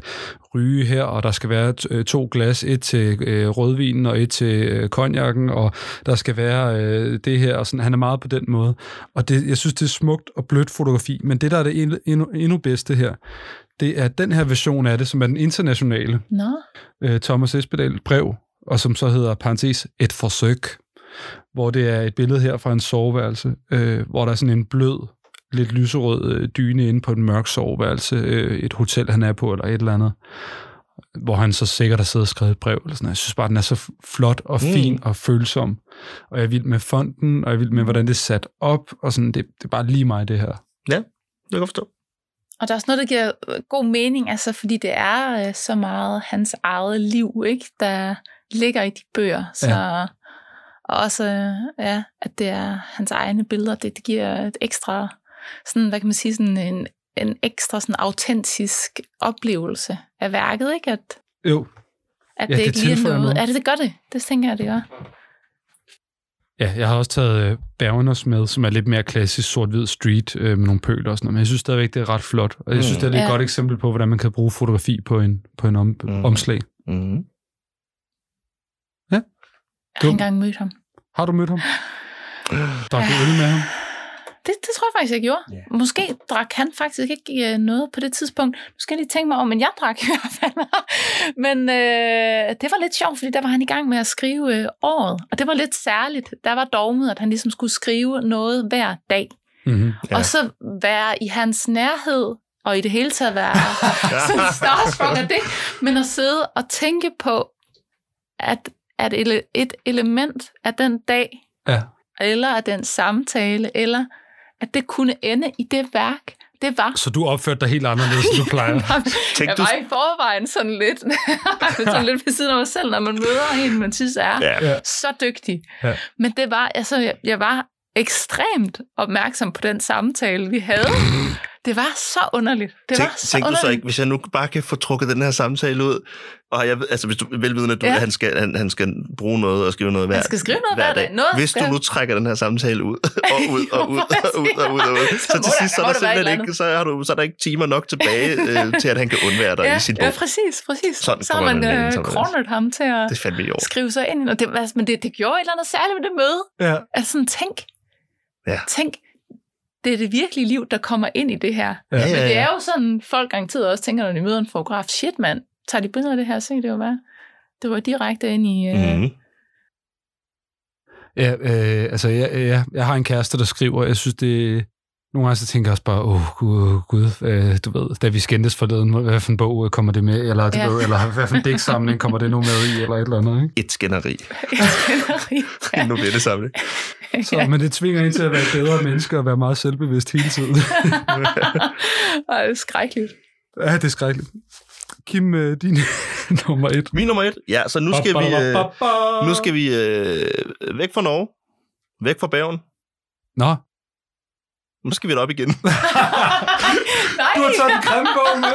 ryge her, og der skal være t- øh, to glas, et til øh, rødvinen og et til øh, konjakken, og der skal være øh, det her, og sådan. han er meget på den måde. Og det, jeg synes, det er smukt og blødt fotografi, men det, der er det endnu- endnu, endnu bedste her, det er den her version af det, som er den internationale,
Nå,
øh, Thomas Espedal brev, og som så hedder parentes et forsøg, hvor det er et billede her fra en soveværelse, øh, hvor der er sådan en blød, lidt lyserød øh, dyne inde på et mørkt soveværelse, øh, et hotel han er på eller et eller andet, hvor han så sikkert har siddet og skrevet et brev. Eller sådan. noget. Jeg synes bare, den er så flot og
Mm.
fin og følsom. Og jeg er vild med fonden, og jeg er vild med, hvordan det er sat op, og sådan, det, det er bare lige mig, det her.
Det kan jeg godt forstå.
og der er også noget, der giver øh, god mening, altså, fordi det er øh, så meget hans eget liv, ikke, der ligger i de bøger. Så, ja. Og også, øh, ja, at det er hans egne billeder, det, det giver et ekstra, sådan, hvad kan man sige, sådan en, en ekstra sådan autentisk oplevelse af værket, ikke? At,
Jo,
at
Ja,
det,
det
ikke lige er
tilføjer
noget.
noget.
Ja, det, det gør det. Det tænker jeg, det gør.
Ja, jeg har også taget øh, Bergeners med, som er lidt mere klassisk sort-hvid street øh, med nogle pøler og sådan noget. Men jeg synes stadigvæk, det er ret flot. Og jeg synes,
Mm.
det er et
Ja.
godt eksempel på, hvordan man kan bruge fotografi på en, på en om,
Mm.
omslag.
Mm.
Jeg har
Dum.
engang mødt ham.
Har du mødt ham? Drak du øl med ham?
Det, det tror jeg faktisk, jeg gjorde.
Ja.
Yeah. Måske drak han faktisk ikke øh, noget på det tidspunkt. Nu skal jeg lige tænke mig om, men jeg drak i hvert fald. men øh, det var lidt sjovt, fordi der var han i gang med at skrive øh, året. Og det var lidt særligt. Der var dogmet, at han ligesom skulle skrive noget hver dag.
Mm-hmm.
Ja.
Ja. Og så være i hans nærhed, og i det hele taget være sådan starstruck af det, men at sidde og tænke på, at, at ele- et element af den dag,
Ja.
eller af den samtale, eller at det kunne ende i det værk, det var...
Så du opførte dig helt anderledes, end du plejer.
Tænk, jeg var i forvejen sådan lidt, sådan lidt ved siden af mig selv, når man møder hende, man synes er
Ja.
ja. så dygtig.
Ja.
Men det var, altså, jeg, jeg var ekstremt opmærksom på den samtale, vi havde. Det var så underligt. Det
Tænk,
var så
tænk du
underligt.
så ikke, hvis jeg nu bare kan få trukket den her samtale ud, og jeg, ved- altså hvis du velvidende, at du, ja.
Ja.
han, skal, han, han skal bruge noget og skrive noget hver,
Han skal skrive noget hver dag. Noget
hvis du
skal-
nu trækker den her samtale ud, og ud, og ud, og ud, og ud, og ud, så, til
må der-
sidst så
må
er, der
der være et eller
simpelthen ikke,
andet.
så, har du, så er der ikke timer nok tilbage øh, til, at han kan undvære dig
ja,
i sin bog.
ja, præcis, præcis.
Sådan
så har
kommer
man
man ind,
øh,
sådan er det.
kronet ham til at
Det er fandme i år.
skrive sig ind. i noget. det, var- men det, det gjorde et eller andet særligt ved det møde.
Ja.
Altså sådan, tænk,
Ja.
tænk, det er det virkelige liv, der kommer ind i det her.
Ja,
ja,
Men det
ja.
er jo sådan, folk garanteret også tænker, når de møder en fotograf, shit mand, tager de billeder af det her, se det jo hvad. Det var direkte ind i... Øh,
Mhm.
Ja, øh, altså, jeg, jeg, jeg har en kæreste, der skriver, og jeg synes, det... Nogle gange så tænker jeg også bare, åh oh, gud, gud øh, du ved, da vi skændtes forleden, hvad for en bog øh, kommer det med, eller, du
Ja.
ved, eller hvad for en digtsamling kommer det nu med i, eller et eller andet, ikke?
Et skænderi.
ja.
Nu bliver det samlet.
Så, men det tvinger en til at være et bedre menneske og være meget selvbevidst hele tiden.
Ej, det er skrækkeligt.
ja, det er skrækkeligt. Kim, øh, din nummer et.
Min nummer et. Ja, så nu skal vi, øh, nu skal vi øh, væk fra Norge. Væk fra Bergen.
Nå,
Nu skal vi op igen.
Nej,
du har taget en grimme bog med.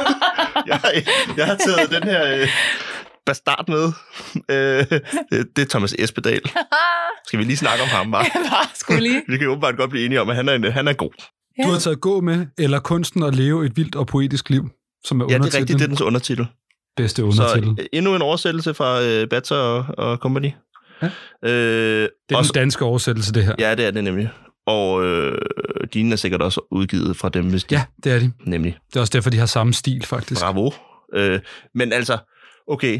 jeg, har- jeg har taget den her øh, bastard med. Øh, det- det er Thomas Espedal. Skal vi lige snakke om ham, bare?
bare skulle lige...
Vi kan jo åbenbart godt blive enige om, at han er, en, han er god.
Du har taget gå med, eller kunsten at leve et vildt og poetisk liv, som er
Ja, det er
undertitlen.
rigtigt. Det er dens undertitel.
bedste undertitel.
Så øh, endnu en oversættelse fra øh, Batzer og, og Company.
Ja.
Øh,
det er
også,
den danske oversættelse, det her.
ja, det er det nemlig. Og øh, dine er sikkert også udgivet fra dem, hvis de,
Ja, det er de.
nemlig.
Det er også derfor, de har samme stil, faktisk.
Bravo. Øh, men altså, okay.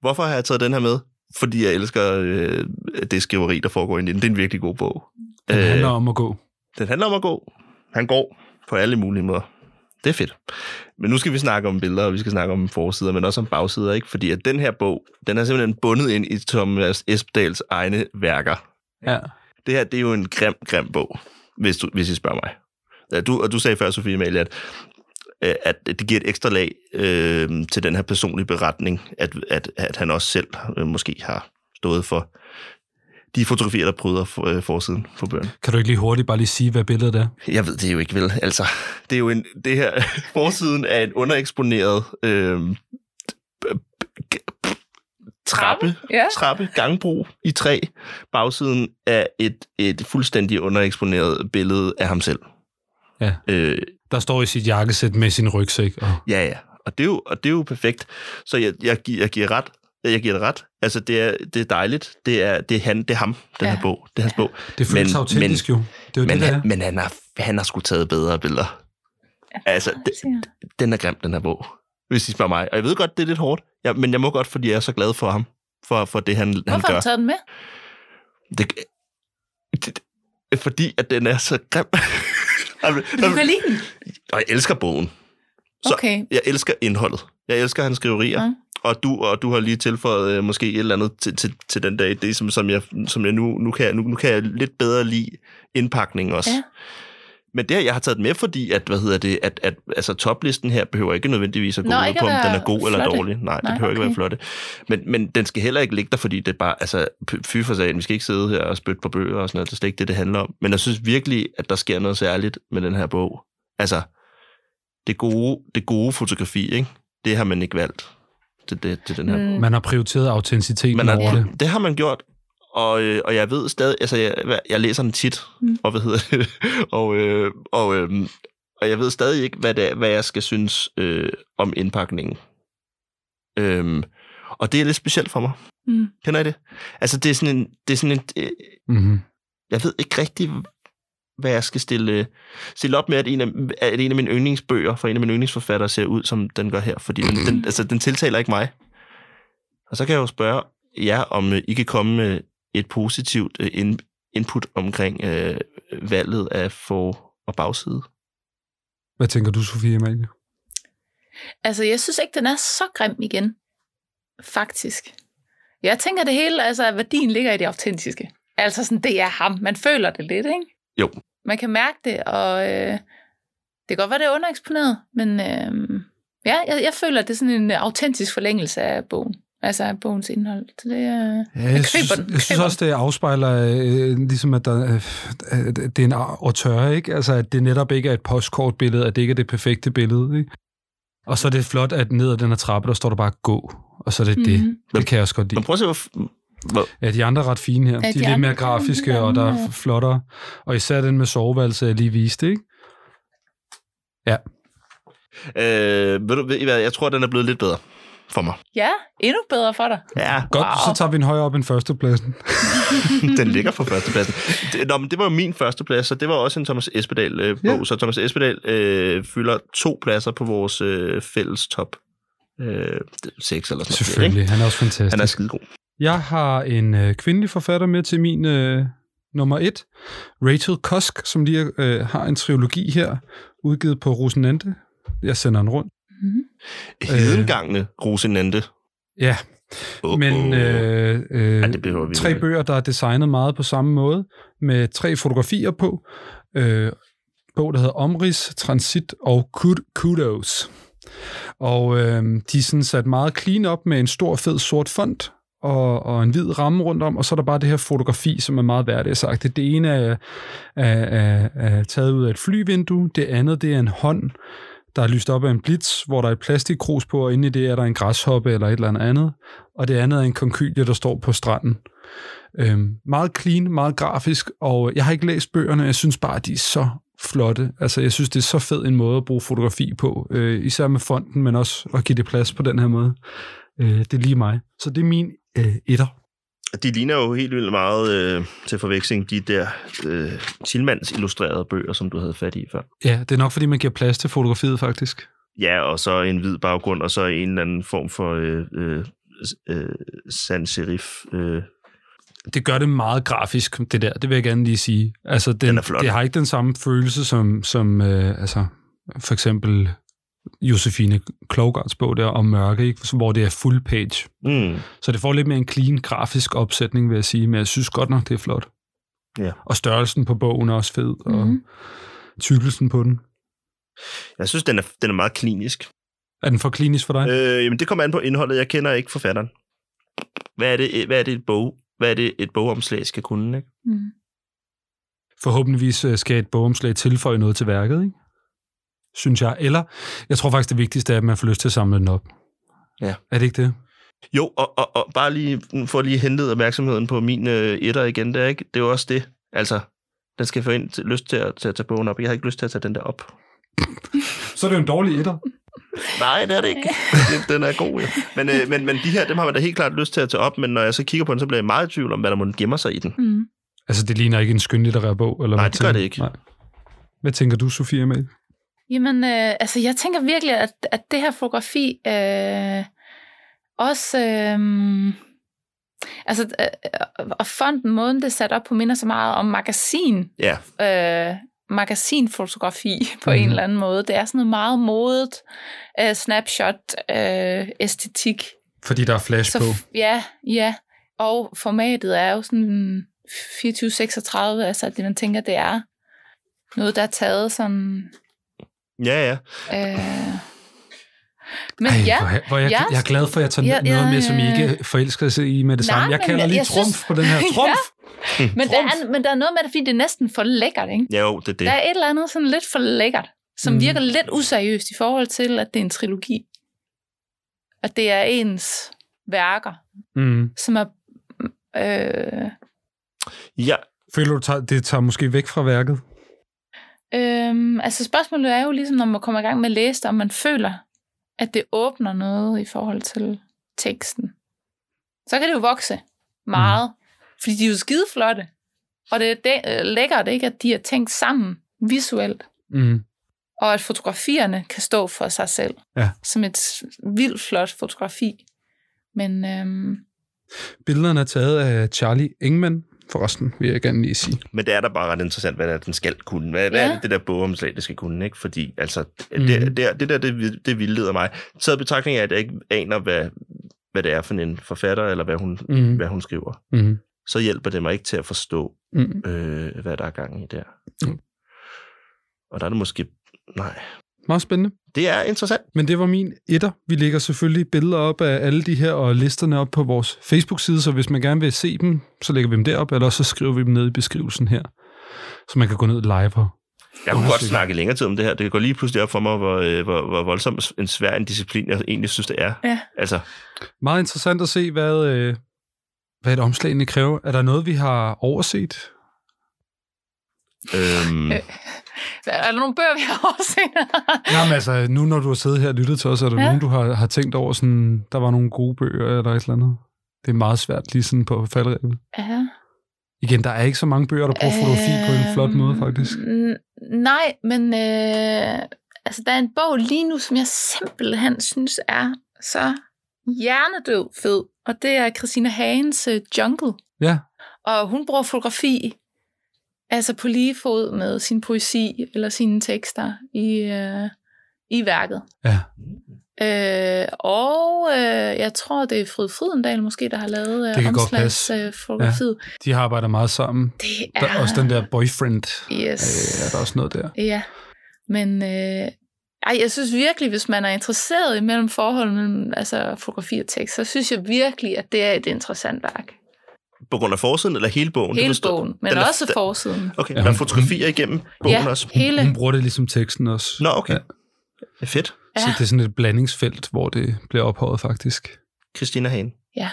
Hvorfor har jeg taget den her med? Fordi jeg elsker øh, det skriveri, der foregår inde i den. Det er en virkelig god bog.
Det
Øh.
handler om at gå.
den handler om at gå. Han går på alle mulige måder. Det er fedt. Men nu skal vi snakke om billeder, og vi skal snakke om forsider, men også om bagsider, ikke? Fordi at den her bog, den er simpelthen bundet ind i Thomas Espedals egne værker.
Ja.
Det her, det er jo en grim, grim bog, hvis, du, hvis I spørger mig. Ja, du, og du sagde før, Sofie Amalie, at, øh, at det giver et ekstra lag øh, til den her personlige beretning, at, at, at han også selv øh, måske har stået for de fotografier, der bryder for, øh, forsiden på bøgerne.
Kan du ikke lige hurtigt bare lige sige, hvad billedet er?
Jeg ved det jo ikke, vel? Altså, det er jo en, det her, forsiden er en undereksponeret øh, trappe,
Ja.
trappe, gangbro i træ. Bagsiden er et, et fuldstændig undereksponeret billede af ham selv.
Ja.
Øh,
Der står i sit jakkesæt med sin rygsæk. Og...
ja, ja. Og det er jo, og det er jo perfekt. Så jeg, jeg, gi- jeg giver ret. Jeg giver det ret. Altså, det er, det er dejligt. Det er, det er, han, det er ham, den
Ja.
her bog. Det er hans bog.
Det føles
Men-
autentisk jo. Det er jo
Men,
det, der er.
han, men han, har, han har sgu taget bedre billeder. Altså, det, den er grim, den her bog, hvis I spørger mig. Og jeg ved godt, det er lidt hårdt, ja, men jeg må godt, fordi jeg er så glad for ham, for, for det, han, han
Hvorfor har
gør.
du taget den med?
Det, det, det, fordi at den er så grim. Jamen,
Men Du kan
jamen,
lide den.
og jeg elsker bogen. Så-
Okay.
Jeg elsker indholdet. Jeg elsker hans skriverier.
Ja.
Og du, og du har lige tilføjet øh, måske et eller andet til, til, til den dag. Det er som, som jeg, som jeg nu, nu, kan, nu, nu kan jeg lidt bedre lide indpakningen også.
Ja.
Men det her, jeg har taget den med, fordi at, hvad hedder det, at, at altså, toplisten her behøver ikke nødvendigvis at gå
Nå,
ud
ikke
på, om
at
den
være
er god eller
flotte.
dårlig. Nej, den
Nej,
behøver ikke være
okay.
flotte. Men, men den skal heller ikke ligge der, fordi det er bare, altså, p- fy for sagen, vi skal ikke sidde her og spytte på bøger og sådan noget. Det er slet ikke det, det handler om. Men jeg synes virkelig, at der sker noget særligt med den her bog. Altså, det gode, det gode fotografi, ikke? det har man ikke valgt til, det, til den her
Mm.
Man har prioriteret autenticiteten
men
over det.
har, det har man gjort, og, øh, og jeg ved stadig, altså jeg, hvad- jeg læser den tit, mm.
Mm.
og hvad hedder det, og, øh, og, øh, og jeg ved stadig ikke, hvad, det, er- hvad jeg skal synes øh, om indpakningen. Øhm, og det er lidt specielt for mig.
Mm.
Kender I det? Altså det er sådan en, det er sådan en øh,
Mm-hmm.
jeg ved ikke rigtig, hvad jeg skal stille, stille op med, at en, af, at en af mine yndlingsbøger fra en af mine yndlingsforfattere ser ud, som den gør her, fordi den, den, altså, den tiltaler ikke mig. Og så kan jeg jo spørge jer, om øh, I kan komme med et positivt øh, in, input omkring øh, valget af for- og bagside.
Hvad tænker du, Sofie Amalie?
Altså, jeg synes ikke, den er så grim igen. Faktisk. Jeg tænker det hele, altså, at værdien ligger i det autentiske. Altså sådan, det er ham. Man føler det lidt, ikke?
Jo.
Man kan mærke det, og øh, Det kan godt være, det er undereksponeret, men øh, ja, jeg, jeg føler, at det er sådan en øh, autentisk forlængelse af bogen. Altså af bogens indhold. Så det, øh, ja, jeg,
Ja, jeg, synes,
køber den.
jeg synes også, det afspejler, øh, ligesom at der, øh, at det er en auteur, ikke? Altså, at det netop ikke er et postkortbillede, at det ikke er det perfekte billede, ikke? Og så er det flot, at ned ad den her trappe, der står der bare gå, og så er det det.
Mhm.
Det kan jeg også godt lide.
Men prøv at se, hvor... f- hvor
Ja, de andre er ret fine her.
de
de, er lidt
andre
mere
er
grafiske,
lidt
og der
andre,
er
ja.
flottere. Og især den med soveværelse, jeg lige viste, ikke?
øh, ved du, ved I hvad, jeg tror, den er blevet lidt bedre for mig.
Ja, endnu bedre for dig.
Ja,
Godt, wow. så tager vi en højere op end førstepladsen.
den ligger på førstepladsen. Det, nå, men det var jo min førsteplads, så det var også en Thomas Espedal-bog. Øh,
Ja.
bog. Så Thomas Espedal øh, fylder to pladser på vores øh, fælles top. Øh, 6 eller sådan noget. Ikke?
Selvfølgelig, han er også fantastisk.
Han er skidegod.
Jeg har en øh, kvindelig forfatter med til min øh, nummer et, Rachel Kosk, som lige øh, har en trilogi her, udgivet på Rosenante. Jeg sender den rundt.
Mm-hmm.
Hedengangene Rosinante.
Ja,
Oh,
men
oh.
øh, øh,
ja, det behøver vi
tre
ikke.
bøger, der er designet meget på samme måde, med tre fotografier på. Øh, bog, der hedder Omrids, Transit og Kud- Kudos. Og øh, de er sådan sat meget clean op med en stor, fed sort font og, og en hvid ramme rundt om, og så er der bare det her fotografi, som er meget hverdagsagtigt. Det ene er, er, er, er taget ud af et flyvindue, det andet det er en hånd, der er lyst op af en blitz, hvor der er et plastikkrus på, og inde i det er der en græshoppe eller et eller andet andet, og det andet er en konkylie, der står på stranden. Øhm, meget clean, meget grafisk, og jeg har ikke læst bøgerne, jeg synes bare, at de er så flotte. Altså, jeg synes, det er så fed en måde at bruge fotografi på, øh, især med fonden, men også at give det plads på den her måde. Øh, det er lige mig. Så det er min øh, etter.
De ligner jo helt vildt meget øh, til forveksling de der øh, Tilmans illustrerede bøger, som du havde fat i før.
Ja, det er nok, fordi man giver plads til fotografiet, faktisk.
Ja, og så en hvid baggrund, og så en eller anden form for øh, øh, s- øh, sans serif. Øh.
Det gør det meget grafisk, det der. Det vil jeg gerne lige sige. Altså, den,
Den er flot.
Det har ikke den samme følelse som, som øh, altså, for eksempel Josefine Klogards bog der om mørke, ikke? hvor det er full page.
Mm.
Så det får lidt mere en clean grafisk opsætning, vil jeg sige, men jeg synes godt nok, det er flot.
Ja.
Og størrelsen på bogen er også fed, og
Mhm.
tykkelsen på den.
Jeg synes, den er, den er meget klinisk.
Er den for klinisk for dig?
Øh, jamen, det kommer an på indholdet. Jeg kender ikke forfatteren. Hvad er det, hvad er det, et, bog, hvad er det et bogomslag skal kunne? Ikke?
Mm.
Forhåbentligvis øh, skal et bogomslag tilføje noget til værket, ikke? synes jeg. Eller, jeg tror faktisk, det vigtigste er, at man får lyst til at samle den op.
Ja.
Er det ikke det?
Jo, og, og, og bare lige mm, for at lige hentet opmærksomheden på min øh, etter igen, der, ikke? det er jo også det. Altså, den skal få ind til, lyst til at, til at tage bogen op. Jeg har ikke lyst til at tage den der op.
Så er det jo en dårlig etter.
Nej, det er det ikke. Det- Den er god, jo. Men, øh, men, men de her, dem har man da helt klart lyst til at tage op, men når jeg så kigger på den, så bliver jeg meget i tvivl om, hvad der må gemmer sig i den.
Mm.
Altså, det ligner ikke en skønlitterær bog? Eller
Nej,
hvad
det gør
tænker-
det ikke.
Nej. Hvad tænker du, Sofie med?
Jamen, øh, altså jeg tænker virkelig, at, at det her fotografi øh, også... Øh, altså, øh, og fonden, måden det er sat op på, minder så meget om magasin.
Ja.
Øh, magasinfotografi på
Mhm.
en eller anden måde. Det er sådan noget meget modet øh, snapshot-æstetik.
Fordi der er flash på.
så, ja, ja. Og formatet er jo sådan 24-36, altså det man tænker, det er noget, der er taget sådan...
Ja, ja.
Øh, men
Ej,
ja,
hvor, er- hvor er jeg,
ja.
jeg er glad for, at jeg tager
Ja,
ja, noget
ja,
med, som I
ja, ja.
ikke forelsker sig i med det
Nej,
samme. Jeg
men
kalder
jeg-
lige
jeg
trumf
synes-
på den her.
Ja.
Trumf!
men der, er, men der er noget med det, fordi det er næsten for lækkert, ikke?
Ja, jo, det er det.
Der er et eller andet sådan lidt for lækkert, som
Mm.
mm. virker lidt useriøst i forhold til, at det er en trilogi. At det er ens værker,
Mm.
som er... Øh,
Ja,
Føler du, tager- det tager måske væk fra værket?
Øhm, altså spørgsmålet er jo ligesom, når man kommer i gang med at læse det, om man føler, at det åbner noget i forhold til teksten. Så kan det jo vokse meget, mm. fordi de er jo skideflotte. Og det er de- øh, lækkert, ikke, at de er tænkt sammen visuelt,
Mm.
og at fotografierne kan stå for sig selv.
Ja.
Som et s- vildt flot fotografi. Men øhm,
Billederne er taget af Charlie Engman, forresten, vil jeg gerne lige sige.
men det er da bare ret interessant, hvad det er, den skal kunne. Hvad, hvad er
Ja.
det, det der bogomslag, det skal kunne, ikke? Fordi, altså,
Mhm.
det, det, er- det der, det, vil- det vildleder mig. Så i betragtning af, at jeg ikke aner, hvad, hvad det er for en forfatter, eller hvad hun,
Mm.
hvad hun skriver,
Mm.
så hjælper det mig ikke til at forstå,
Mm.
øh, hvad der er gang i der.
Mm.
Og der er det måske Nej.
Meget spændende.
Det er interessant.
Men det var min etter. Vi lægger selvfølgelig billeder op af alle de her og listerne op på vores Facebook-side, så hvis man gerne vil se dem, så lægger vi dem derop, eller så skriver vi dem ned i beskrivelsen her, så man kan gå ned live og
Jeg kunne godt snakke længere tid om det her. Det går lige pludselig op for mig, hvor, øh, hvor, hvor voldsom en svær en disciplin, jeg egentlig synes, det er.
Ja.
Altså,
Meget interessant at se, hvad, øh, hvad et omslag egentlig kræver. Er der noget, vi har overset?
øhm,
Øh. Er der nogle bøger, vi har overset?
Jamen altså, nu når du har siddet her og lyttet til os, er der ja.
Ja.
nogen, du har, har tænkt over, sådan, der var nogle gode bøger eller et eller andet? Det er meget svært lige sådan på faldrebet.
ja.
Igen, der er ikke så mange bøger, der bruger fotografi på en flot måde, faktisk.
Øhm, N- nej, men øh, altså, der er en bog lige nu, som jeg simpelthen synes er så hjernedød fed, og det er Christina Hagens øh, Jungle.
Ja,
Og hun bruger fotografi altså på lige fod med sin poesi eller sine tekster i, øh, i værket.
Ja.
Øh, og øh, jeg tror, det er Frid Fridendal måske, der har lavet
Det
øh,
kan godt
omslags,
passe.
øh, fotografiet. Ja.
de har arbejdet meget sammen.
Det
Der er også den der boyfriend.
Yes.
Øh, er der også noget der?
Ja, men øh, ej, jeg synes virkelig, hvis man er interesseret i mellem forhold mellem altså, fotografi og tekst, så synes jeg virkelig, at det er et interessant værk.
på grund af forsiden, eller hele bogen? Det
Hele
forstår-
bogen, men
Den er-
også forsiden.
Okay,
Ja,
ja, der er
hun-
fotografier igennem bogen
ja,
også.
hele.
Hun bruger det ligesom teksten også.
Nå, okay.
Ja.
Ja. Det er fedt.
Ja.
Så det er sådan et blandingsfelt, hvor det bliver ophøjet faktisk.
Christina Hagen.
Ja.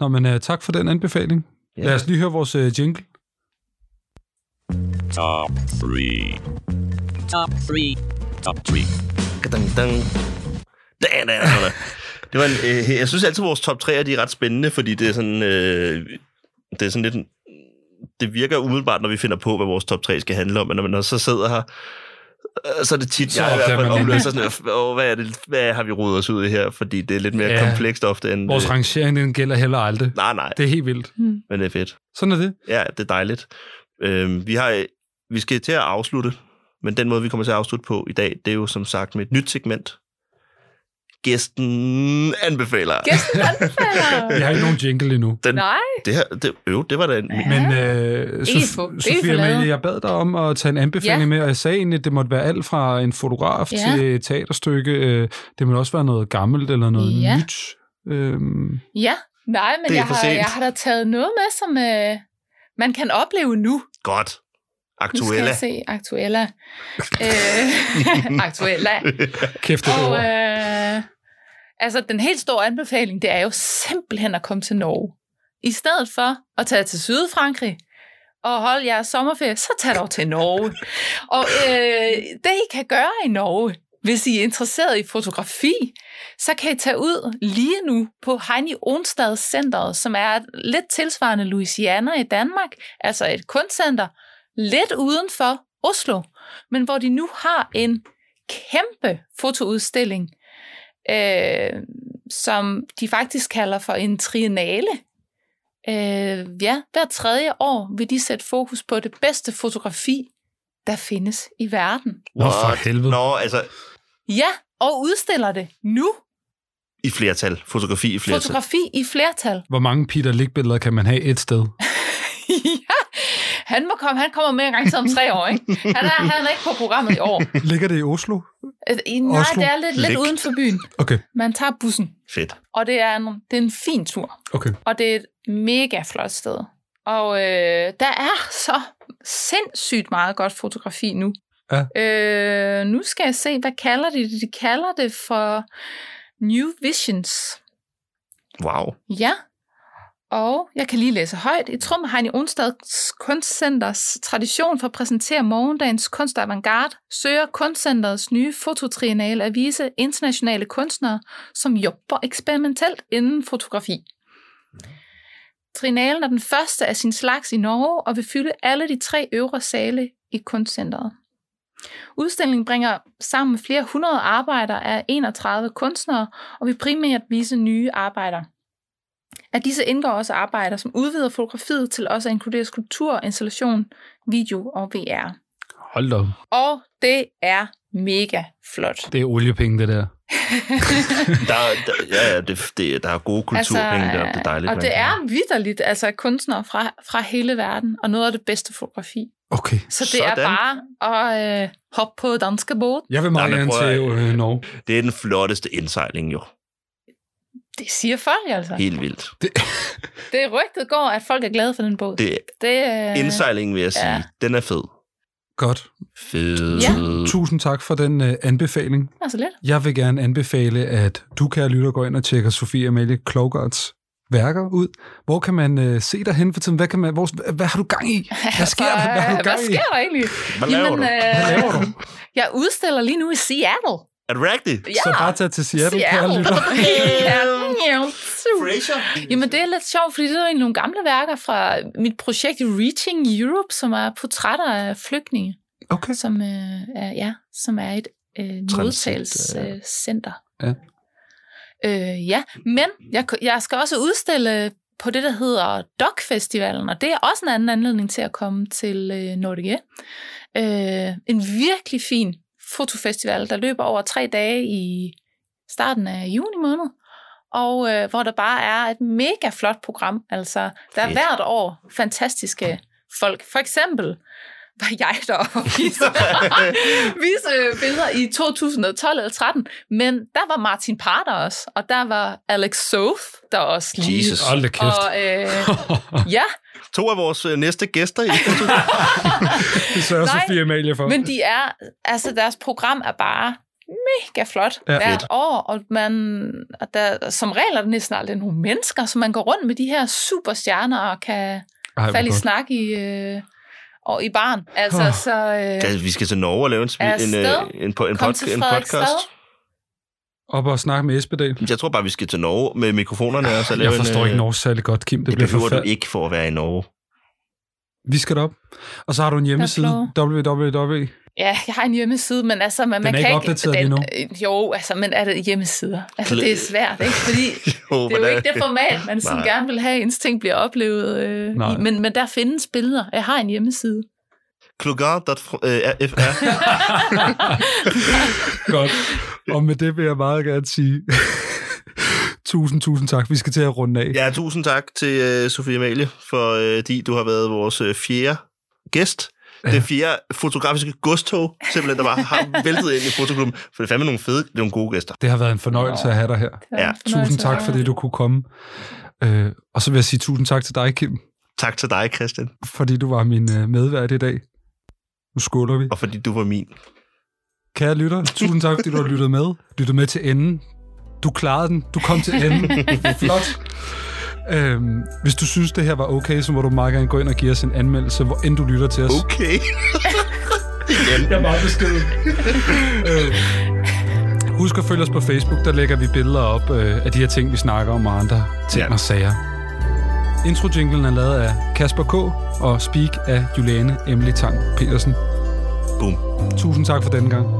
Nå, men uh, tak for den anbefaling. Ja.
Ja.
Lad os lige høre vores uh, jingle.
Dang, dang. Dang, dang, dang. Det var en, øh, jeg synes altid, at vores top 3'er de er ret spændende, fordi det er sådan, øh, det er sådan lidt... en- Det virker umiddelbart, når vi finder på, hvad vores top 3 skal handle om, men når man så sidder her, øh, så er det tit,
Så
så jeg i
opdager
hvert fald
man lige-
oplever sig sådan, åh, hvad, er det, hvad har vi rodet os ud i her? Fordi det er lidt mere
Ja.
ja. komplekst ofte end...
Vores
øh,
rangering, den gælder heller aldrig.
Nej, nej,
Det er helt vildt.
Hmm.
men det er fedt.
Sådan er det.
Ja, det er dejligt. Øhm, vi, har, øh, vi skal til at afslutte, men den måde, vi kommer til at afslutte på i dag, det er jo som sagt med et nyt segment. Gæsten anbefaler.
Gæsten anbefaler.
Jeg har ikke nogen jingle endnu.
Den,
Nej,
det, her, det, øv, det var da en...
Ja.
Men øh, Sof-
få- ikke
Sofie
få lavet.
Amalie, jeg bad dig om at tage en anbefaling ja.
Ja.
med, og jeg sagde egentlig, at det måtte være alt fra en fotograf ja.
Ja.
til et teaterstykke. Øh, Det må også være noget gammelt eller noget ja.
Ja.
nyt. Øhm,
ja. Nej, men
Det er
jeg
for
har,
sent.
jeg har da taget noget med, som øh, man kan opleve nu.
Godt.
Nu skal
Aktuelle.
jeg se Aktuella. øh, aktuella.
kæft, det
Og
oh,
øh, altså, den helt store anbefaling, det er jo simpelthen at komme til Norge. I stedet for at tage til Sydfrankrig og holde jeres sommerferie, så tag dog til Norge. Og øh, det, I kan gøre i Norge, hvis I er interesseret i fotografi, så kan I tage ud lige nu på Heini Onstad Centeret, som er et lidt tilsvarende Louisiana i Danmark, altså et kunstcenter lidt uden for Oslo, men hvor de nu har en kæmpe fotoudstilling, øh, som de faktisk kalder for en triennale. Øh, ja, hver tredje år vil de sætte fokus på det bedste fotografi, der findes i verden.
Nå, for helvede.
Nå, altså
Ja, og udstiller det nu.
i flertal. Fotografi i flertal.
Fotografi i flertal.
Hvor mange Peter Lick-billeder kan man have et sted?
ja, han, må komme, han kommer med en gang til om tre år, ikke? Han er, han er ikke på programmet i år.
Ligger det i Oslo?
Øh, i- Nej,
Oslo?
det er lidt, lidt
Læk.
uden for byen.
Okay,
Man tager bussen,
Fedt.
og det er en, det er en fin tur.
okay.
Og det er et mega flot sted. Og øh, der er så sindssygt meget godt fotografi nu. Ja. Øh, nu skal jeg se, hvad kalder de det? De kalder det for New Visions.
Wow.
Ja. Og jeg kan lige læse højt. I Trum har i Onsdags Kunstcenters tradition for at præsentere morgendagens kunst avantgarde, søger Kunstcenterets nye fototrienale at vise internationale kunstnere, som jobber eksperimentelt inden fotografi. Triennalen er den første af sin slags i Norge og vil fylde alle de tre øvre sale i kunstcenteret. Udstillingen bringer sammen med flere hundrede arbejder af 31 kunstnere og vil primært vise nye arbejder. Af disse indgår også arbejder, som udvider fotografiet til også at inkludere skulptur, installation, video og VR.
Hold da op.
Og det er mega flot.
Det er oliepenge, det der.
Der, der, ja, ja, det, det, der er gode kulturpenge altså, der. Det er dejligt.
øh, og
man
det
kan-
er vidderligt, altså kunstnere fra, fra hele verden, og noget af det bedste fotografi,
Okay.
Så det Sådan. er bare at øh, hoppe på danske båd.
Jeg vil meget
Nej, men
gerne
prøv at-
til øh, Norge.
Det er den flotteste indsejling jo.
Det siger folk altså.
Helt vildt.
Det rygtet går, at folk er glade for den båd.
Det er
det øh,
indsejlingen, vil jeg sige.
ja.
Den er fed.
Godt.
Fed.
Ja.
Tusind tak for den øh, anbefaling.
er så altså lidt.
Jeg vil gerne anbefale, at du, kære lytter, går ind og tjekker Sofie Amalie Klogards værker ud. Hvor kan man øh, se dig hen for tiden? Hvad, kan man, hvor, hvad har du gang i? Hvad sker der? Hvad har du
Altså, Hvad, hvad
gang i?
sker der egentlig?
Hvad laver du?
øh,
Hvad laver du?
Jeg udstiller lige nu i Seattle.
Er det rigtigt?
Ja,
Så bare tag til Seattle, kære
Seattle.
lytter.
Frasier?
Jamen, det er lidt sjovt, fordi det er jo egentlig nogle gamle værker fra mit projekt Reaching Europe, som er portrætter af flygtninge,
Okay.
som, øh, er, ja, som er et øh,
ja.
modtagelsescenter.
Ja.
Øh, ja, men jeg, jeg skal også udstille på det, der hedder Dog-festivalen, og det er også en anden anledning til at komme til øh, Nordique. Øh, en virkelig fin fotofestival, der løber over tre dage i starten af juni måned, og øh, hvor der bare er et mega flot program. Altså, der er
Fedt.
hvert år fantastiske folk. For eksempel var jeg deroppe og vise, vise øh, billeder i 2012 eller 13, men der var Martin Parter også, og der var Alex Soth der også lige.
Jesus.
Hold da kæft.
Og øh, ja,
To af vores øh, næste gæster i
Det sørger
Nej,
Sofie Amalie for.
Men de er, altså deres program er bare mega flot
Ja.
ja, hvert
Fedt.
år, og man, og der, som regel er der næsten aldrig nogle mennesker, så man går rundt med de her superstjerner og kan
Ej, hvor
falde i
godt.
snak i, øh, og i barn. Altså,
Åh.
oh. så øh,
Altså, vi skal til Norge og lave en, smi-
Er
en,
afsted.
øh, en, po- en,
kom
pod-
til
en podcast.
Frederiksstad.
Op og snakke med Espedal.
Jeg tror bare, vi skal til Norge med mikrofonerne og så lave
Jeg forstår
en, øh,
ikke Norge særlig godt, Kim. Det,
Det,
det bliver
behøver du
forfærdeligt.
ikke for at være i Norge.
Vi skal op. Og så har du en hjemmeside, www.
Ja, jeg har en hjemmeside, men altså... Man, man
er
kan
ikke opdateret lige nu.
øh, Jo, altså, men er det hjemmesider? Altså,
Kl-
det er svært, ikke? Fordi
Jo,
det er jo ikke det format, man sådan
Nej.
gerne vil have, ens ting bliver oplevet. Øh,
Nej.
i, men, men der findes billeder. Jeg har en hjemmeside.
øh, Klogard.fr.
Godt. Og med det vil jeg meget gerne sige... tusind, tusind tak. Vi skal til at runde af.
Ja, tusind tak til øh, Sofie Amalie, for øh, di, du har været vores øh, fjerde gæst. Det fjerde fotografiske godstog, simpelthen, der bare har væltet ind i fotoklubben. For det er fandme nogle fede, det er nogle gode gæster.
Det har været en fornøjelse at have dig her.
Det var
Ja,
en fornøjelse
Tusind tak,
at-
fordi du kunne komme. Øh, og så vil jeg sige tusind tak til dig, Kim,
Tak til dig, Christian,
fordi du var min øh, medvært i dag. Nu skåler vi.
og fordi du var min.
Kære lytter, tusind tak, fordi du har lyttet med. Lyttet med til enden. Du klarede den. Du kom til enden. Flot. Øhm, hvis du synes, det her var okay, så må du meget gerne gå ind og give os en anmeldelse, hvor end du lytter til os.
Okay. Igen.
Jeg er meget beskeden. øh, husk at følge os på Facebook, der lægger vi billeder op øh, af de her ting, vi snakker om og andre ting
Ja.
og sager. Intro-jinglen er lavet af Kasper K. og Speak af Juliane Emily Tang Petersen.
Boom.
Tusind tak for denne gang.